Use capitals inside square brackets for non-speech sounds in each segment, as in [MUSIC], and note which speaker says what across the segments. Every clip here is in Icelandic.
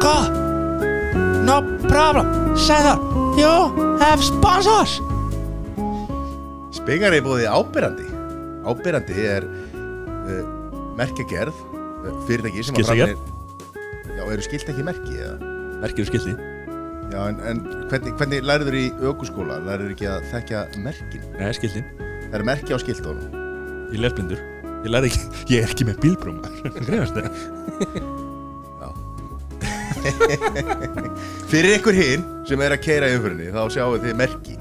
Speaker 1: God, no problem, Sæður, you have sponsors.
Speaker 2: Spegar er búið ábyrrandi Ábyrrandi er uh, merkjagerð uh, fyrirtæki sem að
Speaker 3: Skyldagerð?
Speaker 2: framleiðir- Já, eru skilt ekki merki eða?
Speaker 3: Merkir og skildi
Speaker 2: Já, en, en hvernig, hvernig læriður í ökuskóla? Læriður ekki að þekka merkin?
Speaker 3: Nei, skildi
Speaker 2: Það eru merki á skiltunum
Speaker 3: Ég les blindur Ég læri ekki Ég er ekki með bílbrúm Grefast það
Speaker 2: Fyrir ykkur hinn sem er að keira umfyrinni þá sjáu þið merki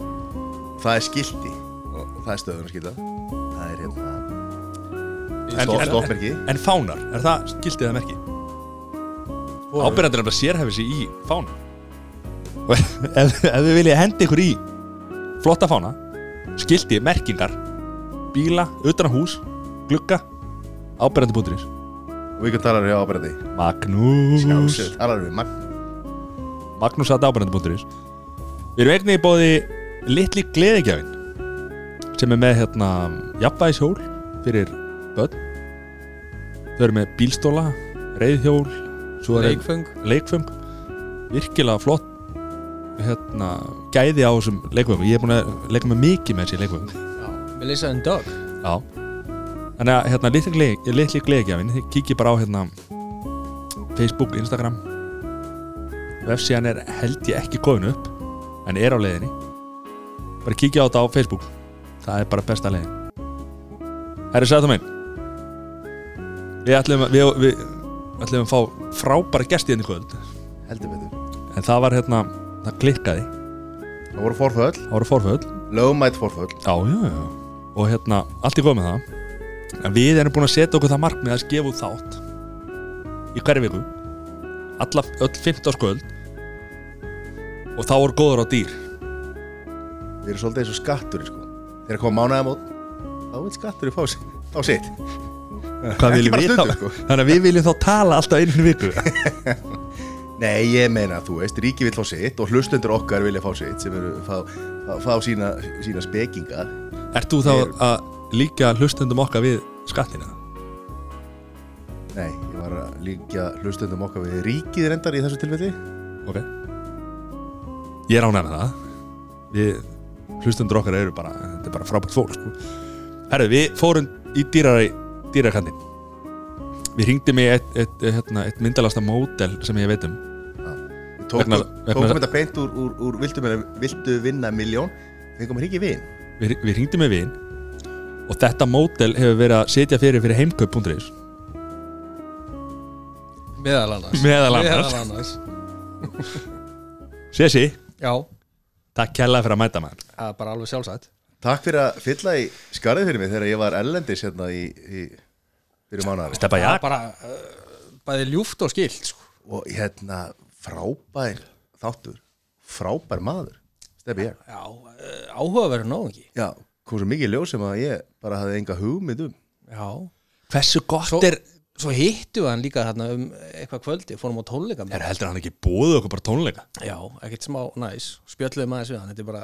Speaker 2: Það er skilti og það er stöðunarskilta Það er hérna
Speaker 3: En-
Speaker 2: stopp-
Speaker 3: en-
Speaker 2: stoppmerki.
Speaker 3: en- En fánar Er það skildi eða merki? Ábyrrandir er bara sérhæfið sér í fána Og [LAUGHS] ef, ef þið viljið hendi ykkur í flotta fána skildi, merkingar bíla, utan á hús, glugga ábyrrandi.is
Speaker 2: og ykkur talar við ábyrrandi
Speaker 3: Magnús
Speaker 2: Sjálfsög talar við magn
Speaker 3: Magnús að ábyrrandi.is Við erum einnig í bóði litli gleðigjafin sem er með hérna jafnvægishjól fyrir börn þau eru með bílstóla reyðhjól svo er ein-
Speaker 4: Leikföng
Speaker 3: leikföng virkilega flott hérna, gæði á þessum leikföng ég er búin að leika með mikið með þessi leikföng
Speaker 4: Melissa and Doug
Speaker 3: já þannig að hérna, litli gleði- litli gleðgjafin þið kikið bara á hérna, Facebook, Instagram vefsíðan er held ég ekki komin upp en er á leiðinni bara kikið á þetta á Facebook það er bara besta leiðin Herri Sæðum einn við ætlum að við, við ætlum að fá frábæra gesti hérna í kvöld
Speaker 2: Heldur betur
Speaker 3: en það var hérna, það klikkaði
Speaker 2: Það voru forföll,
Speaker 3: það voru forföll
Speaker 2: lögumætt forföll
Speaker 3: já, já, já. og hérna, allt í góð með það en við erum búin að setja okkur það markmið að gefa út þátt í hverju viku alla, öll 15 sköld og þá voru góður á dýr
Speaker 2: Við erum svolítið eins og skattur sko. Þegar koma mánuðamót Þá vil skattur fá sig Þá sitt
Speaker 3: hvað
Speaker 2: Ekki
Speaker 3: viljum
Speaker 2: bara
Speaker 3: við
Speaker 2: stundum,
Speaker 3: þá
Speaker 2: sko.
Speaker 3: þannig að við viljum þá tala alltaf einu viku
Speaker 2: [LAUGHS] Nei, ég meina þú veist Ríki vil fá sitt Og hlustundur okkar vilja fá sitt Sem eru fá, fá, fá sína, sína spekinga
Speaker 3: ert þú þá að líka hlustendum okkar við skattina
Speaker 2: Nei, ég var að líka hlustundum okkar við Ríkið reyndar í þessu tilfelli
Speaker 3: ok ég er ánægð með það við hlustundur okkar eru bara þetta er bara frábært fólk sko. herru við fórum í dýrari dýrakandin við hringdum í eitt, eitt, hérna, eitt myndalasta mótel sem ég veit um
Speaker 2: Við
Speaker 3: Vegna-
Speaker 2: Tókum,
Speaker 3: vegna-
Speaker 2: tókum þetta beint úr, úr, úr viltu, meina, viltu vinna miljón Fengum Ríki vin
Speaker 3: við, við hringdum í vin og þetta mótel hefur verið að setja fyrir fyrir heimkaup.is
Speaker 4: Meðal annars
Speaker 3: Meðal annars.
Speaker 4: Meðal annars
Speaker 3: Sessi,
Speaker 4: Já
Speaker 3: takk kærlega fyrir að mæta maður
Speaker 4: Það er bara alveg
Speaker 3: Ah.
Speaker 4: sjálfsagt
Speaker 2: Takk fyrir að fylla í skarðið fyrir mig Þegar ég var erlendis hérna í, í Fyrir mánuðamót
Speaker 3: Steppa
Speaker 4: Það er
Speaker 3: Jakk
Speaker 4: bara uh, Bæði ljúft og skilt sko.
Speaker 2: og hérna frábær þáttur frábær maður, stefið ég
Speaker 4: Já uh, Áhugaverður nóg ekki
Speaker 2: já, kom svo mikið ljós sem að ég bara hafði enga hugmynd um
Speaker 4: Já
Speaker 3: hversu gott
Speaker 4: Svo,
Speaker 3: er
Speaker 4: svo hittu við hann líka þarna um eitthvað kvöldi Fórum á tónleika með
Speaker 3: er heldur hann ekki búið okkur bara tónleika
Speaker 4: Já, ekkert smá næs Spjöllum aðeins við hann Þetta er bara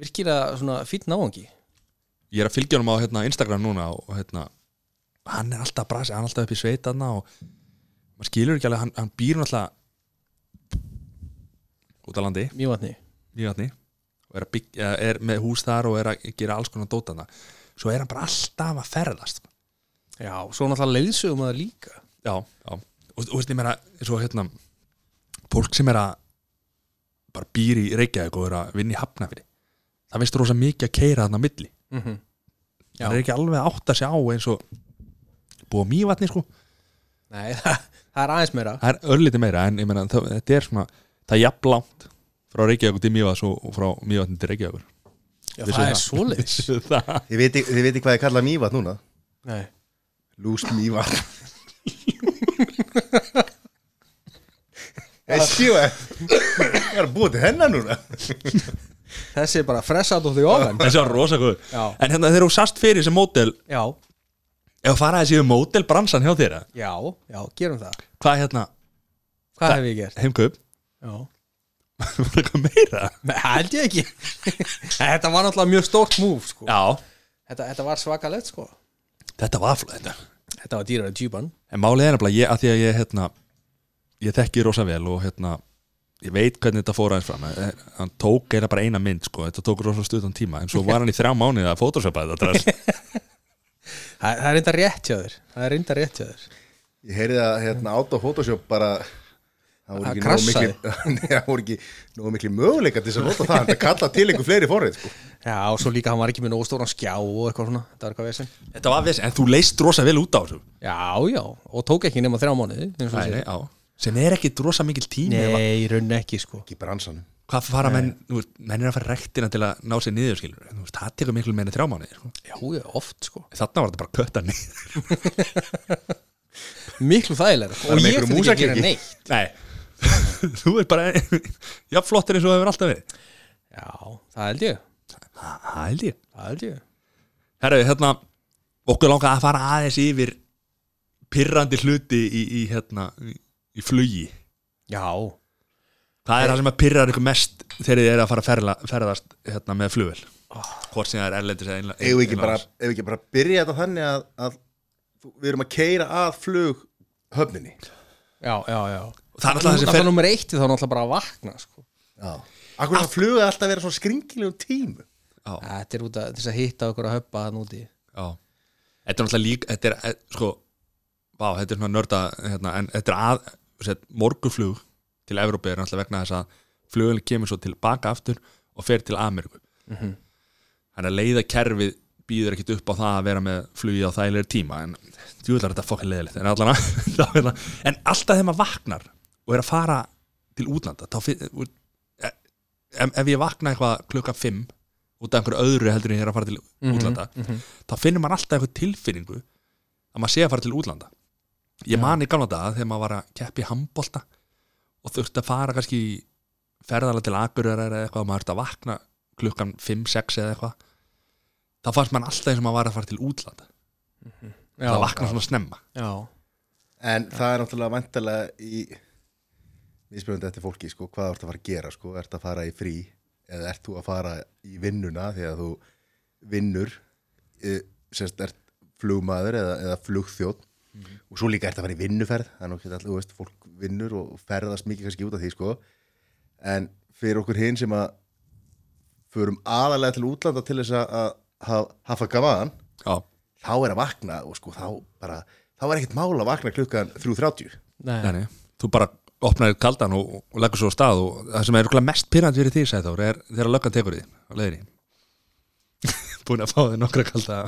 Speaker 4: virkilega svona fýtt náungi
Speaker 3: ég er að fylgja honum á hérna, Instagram núna og hérna, hann er alltaf brasi, hann er alltaf upp í sveitanna og maður skilur ekki alveg, hann, hann býr náttúrulega út á landi
Speaker 4: Mývatni
Speaker 3: Mývatni og er, að byggja, er með hús þar og er að gera alls konar dótana svo er hann bara alltaf að ferðast
Speaker 4: Já, svo náttúrulega leiðsögum að líka
Speaker 3: já, já. og þú veist ég meina svo hérna, fólk sem er að bara býr í Reykjavík og er að vinna í Hafnafili það veist rosa mikið að keira þarna á milli
Speaker 4: mm -hmm. Já.
Speaker 3: það er ekki alveg að átta sig á eins og búið á Mývatni sko
Speaker 4: Nei, [LAUGHS] það er aðeins meira
Speaker 3: það er örlítið meira en ég meina það, þetta er svona, það er jafn langt frá Reykjavík til Mývas og og frá Mývatn til Reykjavíkur
Speaker 4: Já,
Speaker 3: Vissuð
Speaker 4: það er
Speaker 3: það.
Speaker 4: svoleiðis
Speaker 3: það
Speaker 2: þið viti, þið viti hvað ég kalla mývat núna
Speaker 4: Nei,
Speaker 2: lúst mývat [LAUGHS] ég séu að eh? ég er að búa til hennar núna
Speaker 4: þessi er bara fressat og því ofan
Speaker 3: þessi var rosa góð
Speaker 4: Já.
Speaker 3: en hérna þegar þú sast fyrir þessi mótel
Speaker 4: Já,
Speaker 3: ef þú faraði þessi mótel bransan hjá þér eða?
Speaker 4: já, já, gerum það
Speaker 3: hvað er hérna
Speaker 4: Hvað
Speaker 3: Það-
Speaker 4: hef ég gert?
Speaker 3: heimkaup [LAUGHS]
Speaker 4: Já
Speaker 3: var eitthvað meira
Speaker 4: Nei, held ég [LAUGHS] ekki Þetta var náttúrulega mjög stórt múf sko.
Speaker 3: já
Speaker 4: þetta, þetta var svakalegt sko
Speaker 3: þetta var flott þetta
Speaker 4: Þetta var dýrari tjúpan
Speaker 3: en málið er nefnilega ég að því að ég hérna ég þekki rosa vel og hérna ég veit hvernig þetta fór aðeins fram Eh, hann tók eina bara eina mynd sko, þetta tók rosa stuðan tíma en svo var hann í þrjá mánuði að photoshopa þetta drasl.
Speaker 4: Það, það er reynda rétt hjá þér Það er reynda rétt hjá þér
Speaker 2: Ég heyrði að hérna át á Photoshop bara Það voru
Speaker 4: Það
Speaker 2: ekki nógu
Speaker 4: krassaði.
Speaker 2: mikli- [LAUGHS] Nei, það voru ekki nógu miklu möguleika til þess að nota það en það kalla til einhver fleiri forrið sko.
Speaker 4: Já, og svo líka hann var ekki með nógu stóran skjá og eitthvað svona Það var eitthvað vesinn
Speaker 3: [LAUGHS] þetta var viss, en þú leist rosa vel út á þessu
Speaker 4: Já, já, og tók ekki nema þrjá mánuði eins og þú
Speaker 3: Nei,
Speaker 4: segir.
Speaker 3: nei, á. sem er ekki rosa mikil tími ef að-
Speaker 4: Nei, í rauninni ekki sko
Speaker 2: Ekki í bransanum
Speaker 3: hvað fara menn, þú veist, menn er að fara rektina til að ná sér niður skilur, þú veist, það tekur miklu meina þrjá mánuði sko.
Speaker 4: Já, já, oft sko
Speaker 3: þarna var þetta bara kötta niður
Speaker 4: Miklu þægilega
Speaker 2: er
Speaker 4: Og
Speaker 2: með
Speaker 4: ég
Speaker 2: einhverju
Speaker 4: þurfti ekki að
Speaker 2: músaklikki.
Speaker 4: gera neitt
Speaker 3: nei, [LAUGHS] þú er bara [LAUGHS] já, flottir eins og það hefur alltaf verið
Speaker 4: Já, það held ég
Speaker 3: það held ég
Speaker 4: Það held ég
Speaker 3: Herru, hérna, okkur langar að fara aðeins yfir pirrandi hluti í, í hérna, í, í flugi.
Speaker 4: Já,
Speaker 3: Það er það sem að pirrar ykkur mest þegar þið eru að fara að ferla, ferðast hérna, með flugvel. Hvort sem það er erlendis eða einlega.
Speaker 2: Ef við ekki, bara- eigum við ekki bara byrja þetta þannig að, að þú- við erum að keira að flug höfninni
Speaker 4: já, já, já
Speaker 3: Það er alltaf þessi
Speaker 4: fer...
Speaker 3: ferð...
Speaker 4: nummer eitt þá er náttúrulega bara að vakna sko
Speaker 2: Akkur er að fluga alltaf að vera svona skringilegum tímu
Speaker 3: Já,
Speaker 4: Þetta er út að, til þess að hitta okkur að höppa þann úti
Speaker 3: já. Þetta er alltaf líka, þetta er, eh, sko, vá, þetta er svona nörda, hérna, en þetta er að, set, morgunflug til Evrópi er alltaf vegna þess að flugvel kemur svo tilbaka aftur og fer til Ameríku. þannig að leiða kerfið býður ekkit upp á það að vera með flugið á þægilegri tíma en djúðlar þetta fokkin leiðilegt en, allana, [LAUGHS] þá er það- en alltaf þegar maður vaknar og er að fara til útlanda þá, finn- úr- e- ef, ef ég vakna eitthvað klukka 5 út af einhverju öðru heldur en ég er að fara til
Speaker 4: Mhm,
Speaker 3: útlanda þá finnir maður alltaf einhver tilfinningu að maður sé að fara til útlanda ég man í gamla daga þegar maður var að keppi handbolta og þurfti að fara kannski í ferðala til Akureyrar eða eitthvað og maður þurfti að vakna klukkan 5-6 eða eitthvað þá fannst mann alltaf eins og maður var að fara til útlanda
Speaker 4: Já,
Speaker 3: það vakna svona snemma
Speaker 4: já,
Speaker 2: En það er náttúrulega vantilega í Íspjöndi eftir fólki sko, hvað ertu að fara að gera sko, ertu að fara í frí eða ert þú að fara í vinnuna þegar þú vinnur e, sérst ert flugmaður eða, eða flugþjótt og svo líka ert að fara í vinnuferð það er nokkið alltaf, þú veist, fólk vinnur og ferðast mikið kannski út af því sko en fyrir okkur hinn sem að förum aðalega til útlanda til þess að- að ha- hafa gaman
Speaker 3: já,
Speaker 2: þá er að vakna og sko þá bara þá er ekkert mál að vakna klukkan 3.30
Speaker 4: nei,
Speaker 3: nei, nei. þú bara opnaðir kaldan og, og leggur svo á stað og það sem er örugglega mest pyrrandi fyrir því sagði Þór, er þegar löggan tekur því á leiðinni [LAUGHS] búin að fá þig nokkra kalda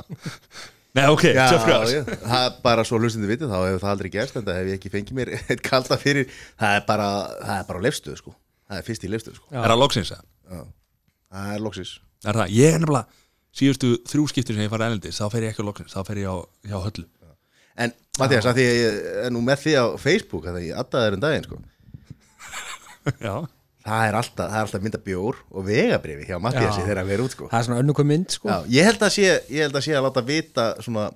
Speaker 3: nei ok,
Speaker 2: Já,
Speaker 3: tjöf gráðs
Speaker 2: já, það er bara svo hlustandi vitið þá hefur það aldrei gerst en það hef ég ekki fengið mér [LAUGHS] eitt kalda fyrir það er bara, það er bara á lefstuð sko það er fyrst í lefstuð sko
Speaker 3: er það loksins það?
Speaker 2: Já. það er loksis
Speaker 3: er það, ég er nefnilega síðustu þrjú skiptur sem ég farið elendis þá fer ég ekki á loksins, þá fer ég á, hjá
Speaker 4: [LAUGHS]
Speaker 3: höllu
Speaker 2: en Mattias, að því að ég er nú með því á Facebook að ég addaði þér um daginn sko
Speaker 3: já,
Speaker 2: það er alltaf, það er alltaf mynda bjór og vegabrifi hjá Mattiasi
Speaker 4: Já.
Speaker 2: þegar hann verið út sko
Speaker 4: Það er svona önnur hvað mynd sko
Speaker 2: Já, ég held að sé, ég held að sé að láta vita svona,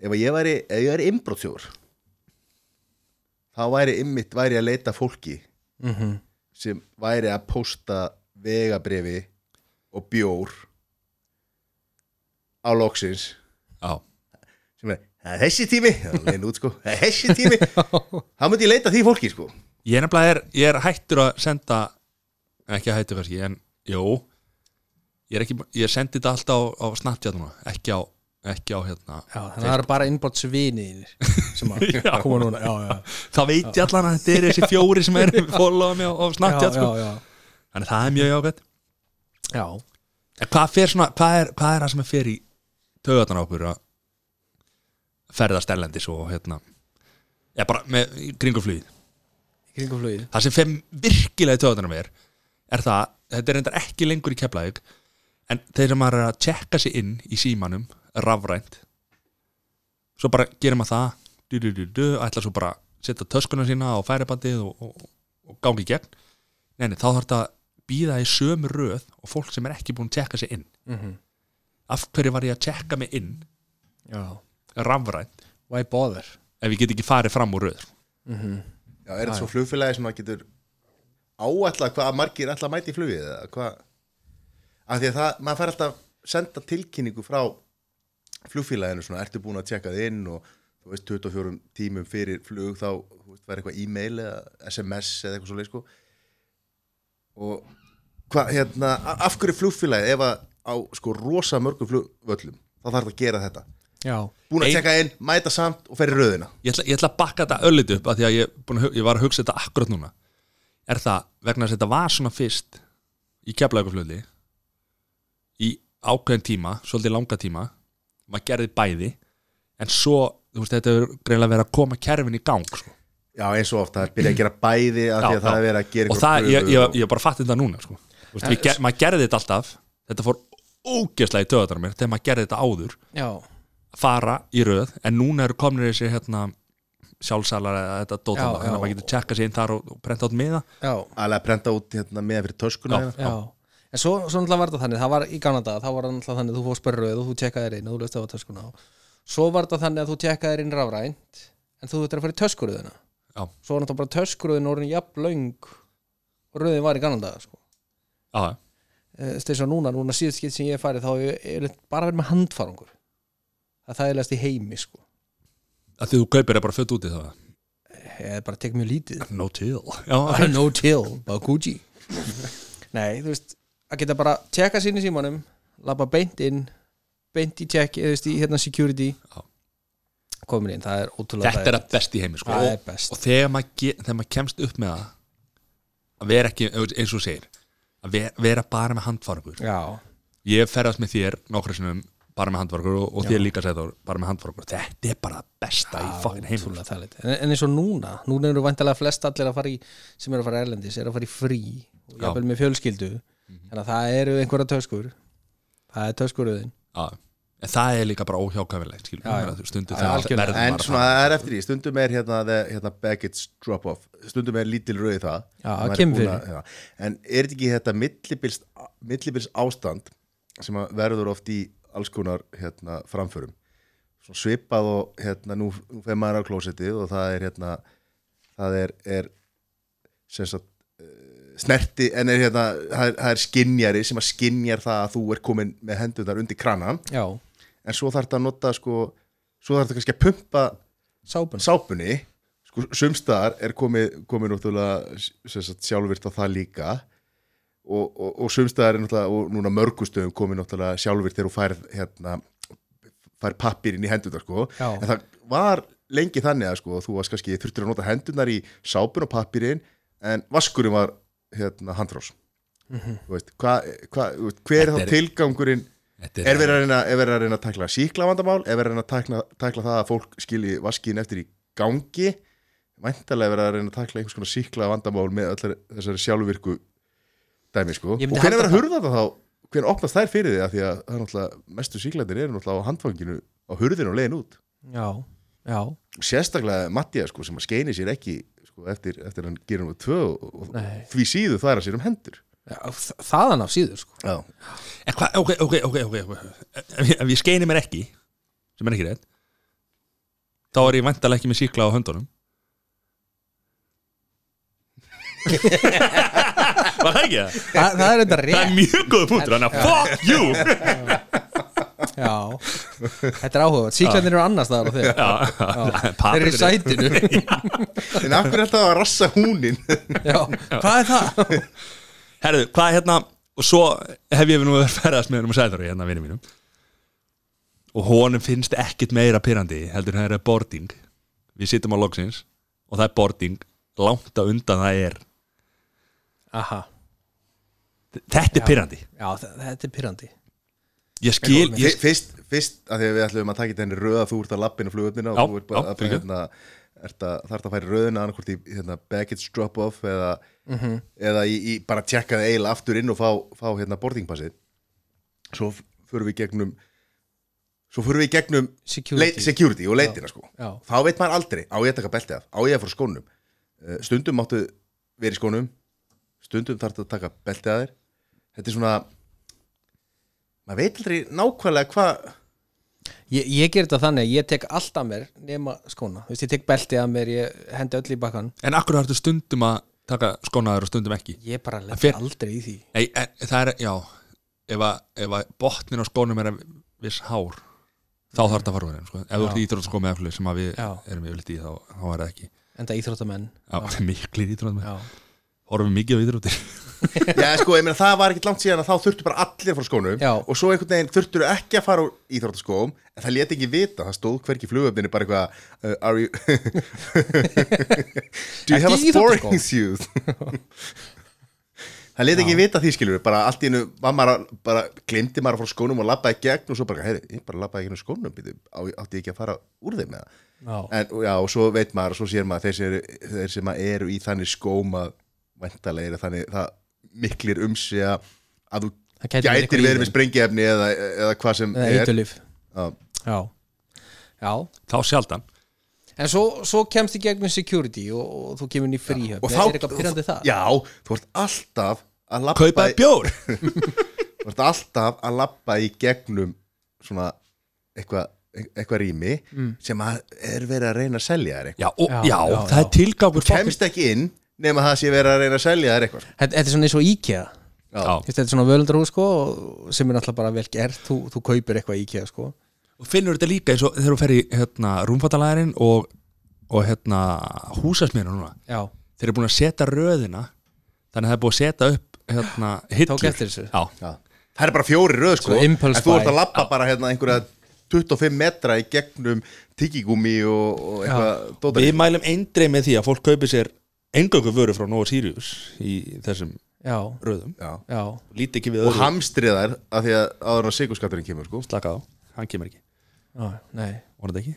Speaker 2: ef að ég væri ef ég væri innbrotsjóður þá væri ymmit, væri ég að leita fólki sem væri að posta vegabrifi og bjór á loksins
Speaker 3: já,
Speaker 2: sem er, "Það er þessi tími þá er leiðin út, sko, "Það er þessi tími þá myndi ég leita því fólki sko
Speaker 3: ég er nefnilega er, ég er hættur að senda ekki að hættu kannski, en jú ég er ekki, ég sendi þetta alltaf á, á Snapchat núna, ekki á ekki á hérna
Speaker 4: Já, þannig að það eru bara innbort sviniðinir sem að
Speaker 3: Já.
Speaker 4: koma núna [LAUGHS] Já, já,
Speaker 3: þá veit ég allan að þetta er
Speaker 4: [LAUGHS]
Speaker 3: þessi fjóri sem er followa mig á, á
Speaker 4: já,
Speaker 3: Snapchat
Speaker 4: já,
Speaker 3: sko.
Speaker 4: já.
Speaker 3: þannig að það er mjög jákvæmt
Speaker 4: já.
Speaker 3: en hvað, fer svona, hvað, er, hvað er það sem er fer í taugarnar á okkur að ferðast erlendis og hérna já bara með í kringum flugið
Speaker 4: Í kringum flugið
Speaker 3: það sem fer virkilega í taugarnar á mér er það, þetta er reyndar ekki lengur í keflaðið en þeir sem maður er að tjekka sig inn í símanum rafrænt svo bara gerir maður það du, du, du, du, ætla svo bara að setja töskuna sína og færibandið og, og, og gangi í gegn nei, nei, þá þarf þetta að býða í sömu röð og fólk sem er ekki búin að tjekka sig inn
Speaker 4: Mhm.
Speaker 3: af hverju var ég að tjekka mig inn
Speaker 4: Já,
Speaker 3: rafrænt
Speaker 4: why bother
Speaker 3: ef ég get ekki farið fram úr röð
Speaker 2: Já, er þetta svo flugfélagi sem að getur áætla hvað margir ætla að mæti í flugið eða hvað af því að það, maður fær alltaf senda tilkynningu frá flugfélaginu svona, ertu búin að tjekka þið inn og þú veist 24 tímum fyrir flug þá þú þú veist, væri eitthvað e-mail eða SMS eða eitthvað svoleið sko og hvað, hérna, a- af hverju flugfélagi ef að á sko rosa mörgum flugvöllum þá þarf það að gera þetta
Speaker 4: Já,
Speaker 2: búin að
Speaker 3: Ein-
Speaker 2: tekka inn, mæta samt og fer í röðina
Speaker 3: ég ætla, ég ætla að bakka þetta ölliti upp af því að ég, búin, að hu- ég var að hugsa þetta akkurat núna er það vegna þess að þetta var svona fyrst í keflaugaflöðli í ákveðin tíma svolítið langa tíma maður gerði bæði en svo, þú veist, þetta er greinlega verið að koma kerfin í gang sko.
Speaker 2: já, eins og ofta, byrja að gera bæði af því
Speaker 3: Já,
Speaker 2: að það
Speaker 3: já.
Speaker 2: er verið að gera
Speaker 3: og
Speaker 2: einhverjar
Speaker 3: það,
Speaker 2: kröfur
Speaker 3: ég, ég,
Speaker 2: og-
Speaker 3: ég bara fatti þetta núna sko. Þú veist, við ger, maður gerði þetta alltaf þetta fór ógeðslega í töðanar mér þegar maður gerði þetta áður
Speaker 4: já,
Speaker 3: fara í röð en núna eru komnir þessi hérna, sjálfsalar eða þetta dóta
Speaker 4: Já,
Speaker 3: þannig
Speaker 4: já.
Speaker 3: að maður getur tjekka sér inn þar og, og prenta át miða
Speaker 4: já,
Speaker 2: alveg að prenta út hérna með fyrir töskuna
Speaker 3: Já.
Speaker 2: hérna.
Speaker 4: já En svo, svo náttúrulega var þetta þannig, það var í gamla daga, það var náttúrulega þannig að þú fórst bara rauð og þú tjekkaðir inn og þú löst það á töskuna og svo var þetta þannig að þú tjekkaðir inn rafrænt en þú þurftir að fara í töskuröðuna
Speaker 3: Já.
Speaker 4: Svo var náttúrulega bara töskuröðin orðin jafn löng og rauðin var í gamla daga sko. Eh,
Speaker 3: Já, já.
Speaker 4: þess að núna, núna síðust skipt sem ég hef farið þá er er bara verið með handfarangur að það er leðast í heimi sko.
Speaker 3: að því þú kaupir er bara fött úti þá
Speaker 4: eða bara tek mjög lítið
Speaker 3: No till Já,
Speaker 4: bara no till, bara Gucci Nei, þú veist að geta bara tjekka sín í símanum labba beint inn, beint í tjekk eða þú veist í hérna security
Speaker 3: Já.
Speaker 4: komin inn, það er ótrúlega
Speaker 3: þetta er að best í heimi sko.
Speaker 4: Það er
Speaker 3: og,
Speaker 4: best.
Speaker 3: og þegar maður, ge- þegar maður kemst upp með það að vera ekki eins og þú segir að vera, vera bara með handfarangur
Speaker 4: Já,
Speaker 3: ég ferðast með þér nokkra sinnum bara með handfarangur og, og þér líka sæður bara með handfarangur þetta er bara það besta í fokkin heimi
Speaker 4: ótrúlega það en, en eins og núna, núna eru vantilega flest allir að fara í sem eru að fara erlendis, eru að fara í frí
Speaker 3: Já.
Speaker 4: og
Speaker 3: Mhm.
Speaker 4: jáfnvel með fjölskyldu þannig að það eru einhverja töskur það er töskuröðin
Speaker 3: Já. en það er líka bara óhjákvæmilegt skilur,
Speaker 4: Já, já.
Speaker 3: já, stundu
Speaker 4: Já,
Speaker 3: það
Speaker 4: algjörlega.
Speaker 3: verður
Speaker 2: en
Speaker 3: bara
Speaker 2: svona það er eftir í, stundum er hérna, the- hérna baggage drop off, stundum er lítil rauði það
Speaker 4: Já,
Speaker 2: Maður er
Speaker 4: kemur
Speaker 2: búin að- já. en er þetta ekki þetta millibils, millibils ástand sem að verður oft í alls konar hérna, framförum Svo svipað og hérna, nú, nú fer maður á klósettið og það er hérna, það er, er sem sagt eh, snerti, en er hérna það er, það er skinjari sem að skinjar það að þú er komin með hendunar undir kranan
Speaker 4: Já,
Speaker 2: en svo þarf þetta að nota sko, svo þarf þetta kannski að pumpa
Speaker 4: sápun
Speaker 2: sápunni sko, sumstaðar er komið, komið náttúrulega sem sagt, sjálfvirt á það líka og, og, og sumstaðar er náttúrulega og núna mörgustöðum komið náttúrulega sjálfvirt þegar þú færð hérna, færð pappir inn í hendunar sko.
Speaker 4: Já.
Speaker 2: en það var lengi þannig að sko, þú varst kannski þurftir að nota hendunar í sápun og pappirinn en vaskurinn var hérna, handfrós Þú veist, hva, hva, þú veist, hver er
Speaker 3: Mhm. Þetta
Speaker 2: þá
Speaker 3: er-
Speaker 2: tilgangurinn
Speaker 3: Þetta
Speaker 2: er verið að reyna, er verið að, reyna að takla síklavandamál er verið að reyna að takla, takla það að fólk skilji vaskin eftir í gangi væntalega verið að reyna að takla einhvers konar síklavandamál með allar þessari sjálfvirku dæmi sko og
Speaker 4: Ég myndi
Speaker 2: hvernig verið
Speaker 4: halda
Speaker 2: að hurða það þá hvernig opnast þær fyrir því að því að það er náttúrulega mestu síklandir eru náttúrulega á handfanginu á hurðinu og leiðin út
Speaker 4: Já, já,
Speaker 2: sérstaklega Mattia sko sem að skeini sér ekki sko, eftir, eftir hann gerir nú tvö og, og
Speaker 4: Nei.
Speaker 2: því síðu það er að sér um hendur
Speaker 4: já þa- þaðan af síður
Speaker 3: [LAUGHS]
Speaker 4: sko
Speaker 2: Já.
Speaker 3: En hvað, Eh, ok, ok, ok, ok, ok. Ef, ég- ef ég skeini mér ekki sem er ekki rétt þá er ég vantalega ekki með síkla á höndunum Var það ekki það?
Speaker 4: Þa, það er þetta
Speaker 3: Það
Speaker 4: rétt
Speaker 3: er mjög góð punktur, þannig að fuck you
Speaker 4: Já, þetta er áhugað Sýklandir eru annars staðar á þeir
Speaker 3: Já,
Speaker 4: Þeir eru í
Speaker 3: pappírinn er-
Speaker 4: sætinu
Speaker 2: en af hverju þetta að rassa húnin
Speaker 4: Já, hvað er það?
Speaker 3: Herðu, hvað er hérna og svo hef ég nú verið að ferðast með hennum og sæður hérna vinni mínum og honum finnst ekkit meira pyrrandi heldur en það er boarding við sittum á loksins og það er boarding langt að undan það er
Speaker 4: Aha,
Speaker 3: þetta er pyrrandi
Speaker 4: já, þa- þetta er pyrrandi
Speaker 3: ég skil, ég,
Speaker 2: Fyr- fyrst, fyrst að því að við ætlum að taka þetta henni röða þú ert að lappinu flugöfnina og
Speaker 3: Já,
Speaker 2: þú ert bara
Speaker 3: já,
Speaker 2: að,
Speaker 3: fyrirgefðu.
Speaker 2: hérna, ert að þarf að færi röðina annarkvort í hérna, baggage drop off eða,
Speaker 3: Mhm.
Speaker 2: eða í, í bara tjekka það eiginlega aftur inn og fá, fá hérna boardingpassið svo f- förum við í gegnum svo förum við í gegnum
Speaker 4: Security.
Speaker 2: leit- security og leitina sko
Speaker 4: Já.
Speaker 2: þá veit maður aldrei, á ég að taka beltið af á ég að fara úr skónum Eh, stundum máttu verið skónum stundum þarf að taka beltið af þér þetta er svona maður veit aldrei nákvæmlega hvað
Speaker 4: Ég, ég ger þetta þannig að ég tek allt af mér nema skóna, þú veist, ég tek belti af mér ég hendi öll í bakkan
Speaker 3: en akkur þarftu stundum að taka skónaður og stundum ekki
Speaker 4: Ég bara lef
Speaker 3: fer-
Speaker 4: aldrei í því
Speaker 3: Nei, en, það er, já ef að, ef að botnin á skónum er að viss hár þá þarf þetta að fara úr þeim sko. ef þú ert í íþróttaskómi eða eitthvað sem að við
Speaker 4: Já.
Speaker 3: erum yfirleitt í þá, þá er það ekki
Speaker 4: enda íþróttamenn
Speaker 3: já, [LAUGHS] miklir íþróttum
Speaker 4: já,
Speaker 3: horfum mikið á íþróttir [LAUGHS]
Speaker 2: Já, sko, ég meina það var ekkert langt síðan að þá þurftu bara allir að fara úr skónum
Speaker 4: Já.
Speaker 2: og svo einhvern veginn þurftu ekki að fara úr íþróttaskóm en það lét ekki vita, það stóð hvergi í flugöfninu bara eitthvað uh, Are you... [LAUGHS] Do you
Speaker 4: Ekki
Speaker 2: have a
Speaker 4: í íþróttaskóm?
Speaker 2: sporting shoes? það lét ekki vita því skilur bara allt í einu, var maður að- bara glemdi maður að fara úr skónum og labbaði gegn og svo bara, heyri, ég bara labbaði ekki úr skónum býtu, á- átti ég ekki að fara úr þeim með það
Speaker 4: já.
Speaker 2: en, og já, og svo veit maður og svo sér maður þeir sem eru, þeir sem eru í þannig skóm að væntalegir þannig það miklir um sig að að þú
Speaker 4: það gæti verið
Speaker 2: gætir
Speaker 4: eitthvað í
Speaker 2: verið með
Speaker 4: þeim.
Speaker 2: sprengiefni eða, eða hvað sem
Speaker 4: eða
Speaker 2: er
Speaker 4: eitulif
Speaker 2: Já.
Speaker 4: já. já,
Speaker 3: þá sjaldan
Speaker 4: en svo, svo kemst í gegnum security og, og þú kemur inn í fríhöfn
Speaker 2: og
Speaker 4: er
Speaker 2: þá,
Speaker 4: eitthvað pyrrandi það
Speaker 2: já, þú ert alltaf að labba
Speaker 3: kaupaði
Speaker 2: í,
Speaker 3: bjór
Speaker 2: þú ert alltaf að labba í gegnum svona eitthvað eitthvað rými
Speaker 4: Mm.
Speaker 2: sem að er verið að reyna að selja þér eitthvað
Speaker 3: já, og,
Speaker 4: Já,
Speaker 3: já,
Speaker 4: já,
Speaker 3: það
Speaker 4: já.
Speaker 3: er tilgangur fucking-
Speaker 2: kemst ekki inn nema það sé verið að reyna að selja þér eitthvað
Speaker 4: þetta, þetta er svona eins og IKEA
Speaker 3: já.
Speaker 4: Þú veist, þetta er svona völundarhús sko og- sem er náttúrulega bara vel gert þú, þú kaupir eitthvað í IKEA sko
Speaker 3: og finnur þetta líka eins og þegar þú fer í hérna, rúmfattalærin og, og hérna, húsasmýra núna
Speaker 4: já,
Speaker 3: þeir eru búin að setja röðina þannig að það er búin að setja upp hérna, hillur
Speaker 4: eftir þessu.
Speaker 3: já,
Speaker 2: Já. Það er bara fjóri röð sko
Speaker 4: Svo
Speaker 2: En
Speaker 4: impulse
Speaker 2: þú ert
Speaker 4: buy.
Speaker 2: að lappa bara hérna einhverja 25 metra í gegnum tyggigúmi og, og eitthvað dótar
Speaker 3: Við mælum eindreið með því að fólk kaupi sér engöngu vöru frá Nova Sirius í þessum
Speaker 4: já,
Speaker 3: röðum
Speaker 2: Já.
Speaker 4: já
Speaker 3: Líti ekki við
Speaker 2: Og
Speaker 3: öðru
Speaker 2: hamstriðar af því að áður en að sigurskatturinn kemur sko
Speaker 3: Slaka á, hann kemur ekki,
Speaker 4: Já, nei
Speaker 3: vonandi ekki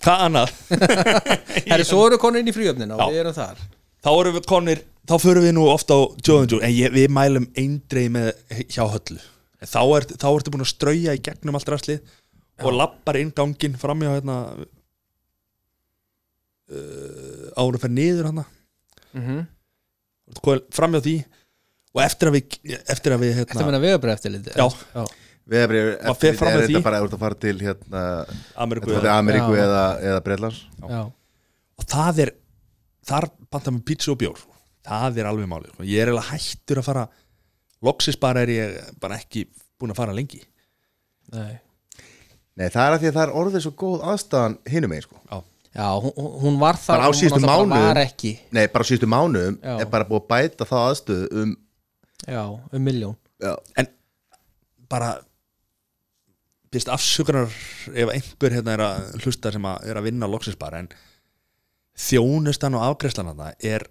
Speaker 3: Hvað annað?
Speaker 4: [LAUGHS] Herri, svo eru konur inn í fríöfnina og
Speaker 3: Já.
Speaker 4: við erum þar
Speaker 3: Þá erum við konir, þá förum við nú ofta á Jóðanjú En ég, við mælum eindreið með hjá höllu En Þá, er, þá ertu búin að strauja í gegnum allt rastlið Og lappar inn ganginn framjá hérna uh, Ára fer niður hérna. hana
Speaker 4: mm -hmm.
Speaker 3: framjá því og eftir að við, eftir að við
Speaker 4: Þetta
Speaker 3: hérna,
Speaker 4: meina vegabrið eftir liti
Speaker 3: Já.
Speaker 4: já.
Speaker 2: Við erum
Speaker 3: Maður fer fram með því.
Speaker 2: þetta bara ef þú ert að fara til hérna
Speaker 3: Ameríku
Speaker 2: Þetta er Ameríku
Speaker 4: Já.
Speaker 2: eða, eða Breitlands
Speaker 4: Já.
Speaker 3: og það er þar bantar með pizza og bjór það er alveg máli, sko. ég er eiginlega hættur að fara loksis bara er ég bara ekki búin að fara lengi
Speaker 4: Nei.
Speaker 2: Nei það er af því að það er orðið svo góð aðstæðan hinum megin sko
Speaker 4: já, hún, hún var þar
Speaker 2: Bara á
Speaker 4: og hún
Speaker 2: síðustu
Speaker 4: náttúrulega bara
Speaker 2: mánuðum.
Speaker 4: var ekki
Speaker 2: Nei bara síðustu mánuðum
Speaker 4: Já.
Speaker 2: er bara búið að bæta þá aðstöðu um
Speaker 4: Já, um miljón
Speaker 2: Já,
Speaker 3: en bara byrst afsökunar ef einhver hérna er að hlusta sem að er að vinna loksis bara en þjónustan og afgreðslan að það er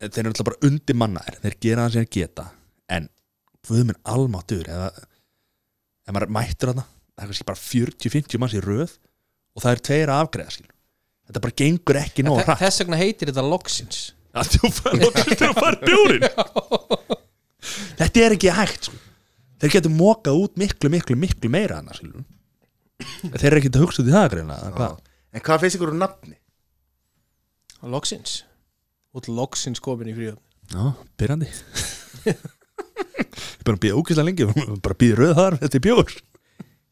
Speaker 3: þeir eru alltaf bara undir mannaðir þeir gera það sem þeir geta en guðminn almáttur eða ef maður er mættur þarna það er kannski bara 40-50 manns í röð og það er tveir að afgreða skil þetta bara gengur ekki nóg
Speaker 4: Þe-
Speaker 3: hratt
Speaker 4: Þess vegna heitir þetta loksins
Speaker 3: að þú fær loksis til að fara bjórin [LAUGHS] þetta er ekki hægt sko. þeir getur mokað út miklu, miklu, miklu meira annars skilur þeir eru ekki að hugsa út í það greinlega eða hvað?
Speaker 2: En hvað finnst ykkur um nafni?
Speaker 4: Loksins Út loksins komin í fríöfn
Speaker 3: Já, byrjandi ég er bara að býða ógislega lengi bara að býða röð þar með þetta bjór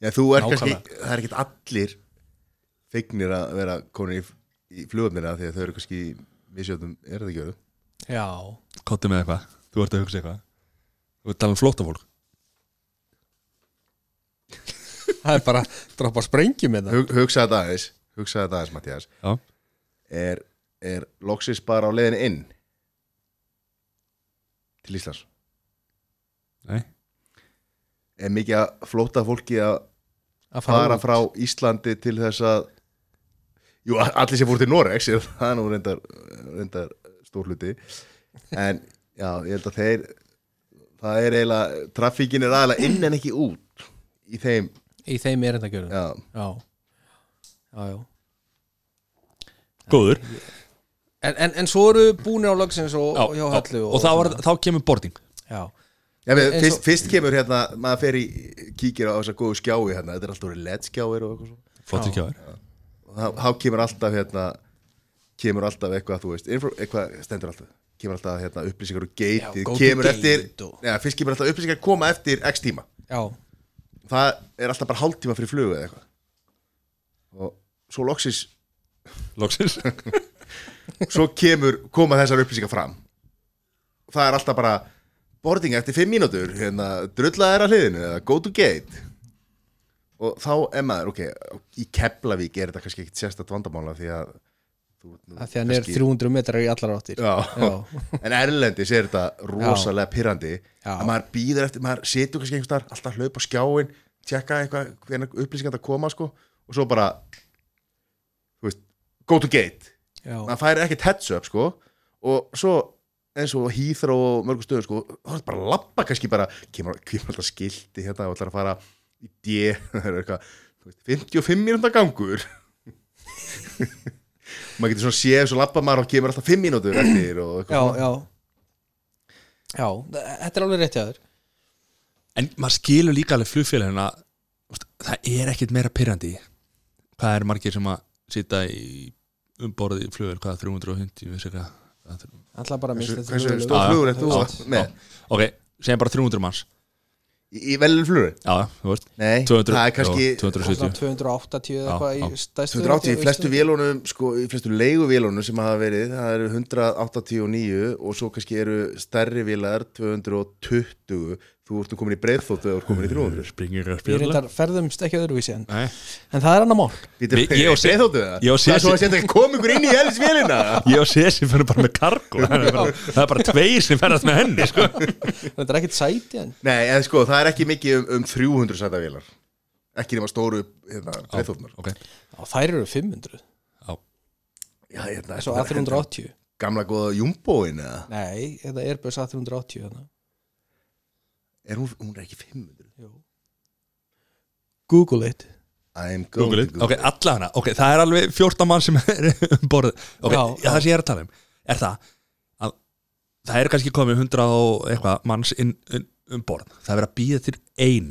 Speaker 2: Já, þú er kannski,
Speaker 4: Nákvæmlega.
Speaker 2: það er ekkert allir feignir að vera konur í, í flugumina því að þau eru kannski í misjöfnum er það ekki verið
Speaker 4: Já
Speaker 3: Kottu með eitthvað, þú ert að hugsa eitthvað Þú ert að tala um flóttafólk
Speaker 4: Það er bara droppa sprengjum með það
Speaker 2: Hug, hugsa þetta aðeins, hugsa þetta aðeins Mattias
Speaker 3: Já,
Speaker 2: er, er loksis bara á leiðinu inn til Íslands
Speaker 3: nei
Speaker 2: er mikið að flóta fólki að
Speaker 4: Að
Speaker 2: fara
Speaker 4: út.
Speaker 2: frá Íslandi til þess að jú, a- allir sem fór til [LAUGHS] Norex er það er nú reyndar, reyndar stór hluti en já, ég held að þeir það er eiginlega, trafíkin er aðeinslega inn en ekki út í þeim,
Speaker 4: Í þeim er þetta gjörðum
Speaker 2: já,
Speaker 4: Já, já, já.
Speaker 3: Góður
Speaker 4: En, en, en svo eru búinir á loksins og,
Speaker 3: Já,
Speaker 4: og hjá höllu
Speaker 3: og, og þá, var, þá kemur boarding
Speaker 4: Já,
Speaker 2: já við,
Speaker 4: Eins og-
Speaker 2: fyrst, fyrst kemur hérna, maður fer í kíkir á þessa góðu skjái hérna, þetta er alltaf orðið ledskjáir og eitthvað svo
Speaker 3: Flottir kjáður
Speaker 2: og þá- þá kemur alltaf hérna kemur alltaf eitthvað, þú veist info, eitthvað stendur alltaf, kemur alltaf hérna upplýsingar og
Speaker 4: Já,
Speaker 2: geitið,
Speaker 4: go to
Speaker 2: kemur
Speaker 4: gate
Speaker 2: eftir
Speaker 4: og-
Speaker 2: já, fyrst kemur alltaf upplýsingar koma eftir x tíma,
Speaker 4: já,
Speaker 2: það er alltaf bara hálftíma fyrir flugu eða eitthvað og svo loksis
Speaker 3: Loksins
Speaker 4: [LAUGHS]
Speaker 2: svo kemur, koma þessar upplýsingar fram það er alltaf bara boarding eftir 5 mínútur hérna, drulla er að hliðinu eða go to gate og þá er maður, ok í Keflavík er þetta kannski ekkit sérstætt vandamála því að þú ert nú
Speaker 4: af því að hann er
Speaker 2: kannski-
Speaker 4: 300 metrar í allar áttir
Speaker 2: já. en erlendis er þetta rosalega pirrandi
Speaker 4: Já.
Speaker 2: að maður býður eftir, maður setur kannski einhvers þar alltaf hlaup á skjáin, tjekka eitthvað hvernig upplýsingar það koma sko og svo bara þú veist, go to gate
Speaker 4: Já.
Speaker 2: maður fær ekkert heads up sko og svo eins og hýþra og mörgum stöðum sko, þá er þetta bara að labba kannski bara, kemur, kemur alltaf skilti hérna og ætlar að fara í D [LAUGHS] það er eitthvað, þú veist, 55 mínúnda gangur [LAUGHS] maður getur svona séð svo labba maður og kemur alltaf 5 mínútur eftir og eitthvað
Speaker 4: já, já já, þetta er alveg rétt hjá þér
Speaker 3: en maður skilur líka alveg flugfélagina það er ekkit meira pyrrandi hvað er margir sem að sita í umborði í flugvél, hvað 350 vissi hvað, hvað, þrjú-
Speaker 4: alltaf bara að
Speaker 2: Hversu-
Speaker 4: mista
Speaker 2: hversu
Speaker 4: flugvél.
Speaker 2: stór flugur er þú
Speaker 3: Já,
Speaker 2: átt með?
Speaker 3: ok, segjum bara 300 manns
Speaker 2: Í, í velun flugur?
Speaker 3: já, þú veist,
Speaker 2: Nei,
Speaker 3: 200,
Speaker 2: það er kannski
Speaker 3: já, 270
Speaker 4: 280
Speaker 3: Já,
Speaker 4: eða eitthvað
Speaker 3: já.
Speaker 4: í stæstu
Speaker 2: 280 í flestu vélunum, sko, í flestu leiguvélunum sem hafa verið, það eru 189 og svo kannski eru stærri vélar 220 þú ertu komin í breiðþóttu og komin í 300
Speaker 3: springir að
Speaker 4: Við
Speaker 3: spila
Speaker 4: reyndar ferðumst ekki öðruvísi en,
Speaker 3: Nei.
Speaker 4: en það er annar mál
Speaker 2: Býtur,
Speaker 3: Ég- ég og Sif-
Speaker 2: breiðþóttu það?
Speaker 3: ég og Sif-
Speaker 2: Það er svo að senda ekki komingur inn í hellisvélina
Speaker 3: ég og Sessi fyrir bara með kargo það er bara, það er bara tveir sem ferðast með henni sko.
Speaker 4: Þetta er ekkit sæti en
Speaker 2: Nei, en sko, það er ekki mikið um, um 300 sæta vélar ekki nema stóru hérna, breiðþóttunar
Speaker 3: ok,
Speaker 4: á, þær eru 500
Speaker 3: já
Speaker 2: Já, hérna,
Speaker 4: Svo A380
Speaker 2: Gamla góða jumboin eða?
Speaker 4: Nei, þetta er Airbus A380 þarna.
Speaker 2: Er hún, hún er ekki 500?
Speaker 4: Jú. Google it
Speaker 2: I'm going
Speaker 3: Google
Speaker 2: to
Speaker 3: it, ok, allafina, ok, það er alveg 14 mann sem er [LAUGHS] um borð ok, já,
Speaker 4: Já, já.
Speaker 3: það sem ég er að tala um er það að það er kannski komið 100 og eitthvað manns inn, inn, um borð, það er verið að býða til ein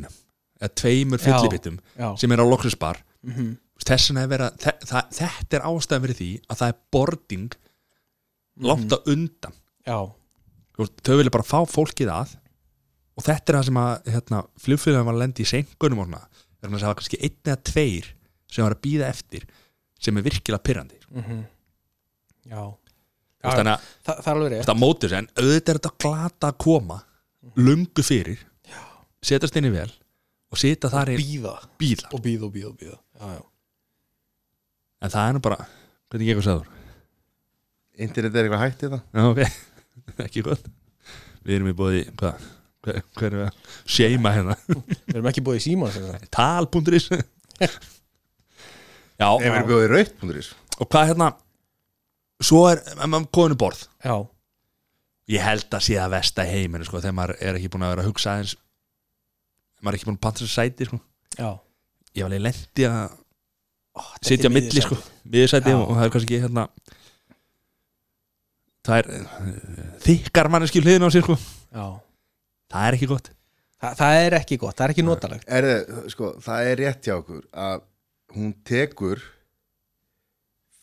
Speaker 3: eða tveimur
Speaker 4: Já,
Speaker 3: fyllibittum
Speaker 4: já. Mhm.
Speaker 3: sem er á loksusbar mm -hmm. þess vegna er verið að þe- það- þetta er ástæðan fyrir því að það er boarding
Speaker 4: Mhm.
Speaker 3: langt á undan
Speaker 4: Já,
Speaker 3: Þú veist, þau vilja bara fá fólkið að og þetta er það sem að hérna, flugfélagin var að lenda í sengunum og svona þannig að það var kannski einn eða tveir sem var að býða eftir sem er virkilega pyrrandi mm.
Speaker 4: mhm. já, já.
Speaker 3: þannig að
Speaker 4: Þa, það er alveg rétt
Speaker 3: þetta mótur sér en auðvitað er þetta glata að koma lungu fyrir Já. setast inn í vel og sita þar í
Speaker 4: Býða
Speaker 3: bíla
Speaker 4: og býða og býða og býða Já, já
Speaker 3: en það er nú bara, hvernig ég ekki sagður
Speaker 2: Internet er eitthvað hægt í það
Speaker 3: Já, ok, [LAUGHS] ekki gott við erum í bóði, hvað hver, hver er við að seima hérna [LAUGHS]
Speaker 4: Við erum ekki búið í síma Já,
Speaker 3: tal.is Já,
Speaker 2: Ef við erum bjóðið rautt.is
Speaker 3: og hvað hérna svo er, ef maður konu borð
Speaker 4: já,
Speaker 3: ég held að sé að vesta heiminu sko, þegar maður er ekki búin að vera að hugsa aðeins maður er ekki búin að panta sér sæti sko. ég var alveg lendi að
Speaker 4: þetta
Speaker 3: sitja
Speaker 4: er
Speaker 3: á milli sko, miðursæti
Speaker 4: Já.
Speaker 3: og, og það er kannski hérna það er eh, þykkar manneski hliðin á sér sko.
Speaker 4: já.
Speaker 3: það er ekki gott
Speaker 4: Þa, Það er ekki gott, það er ekki notalegt
Speaker 2: er, sko, það er rétt hjá okkur að hún tekur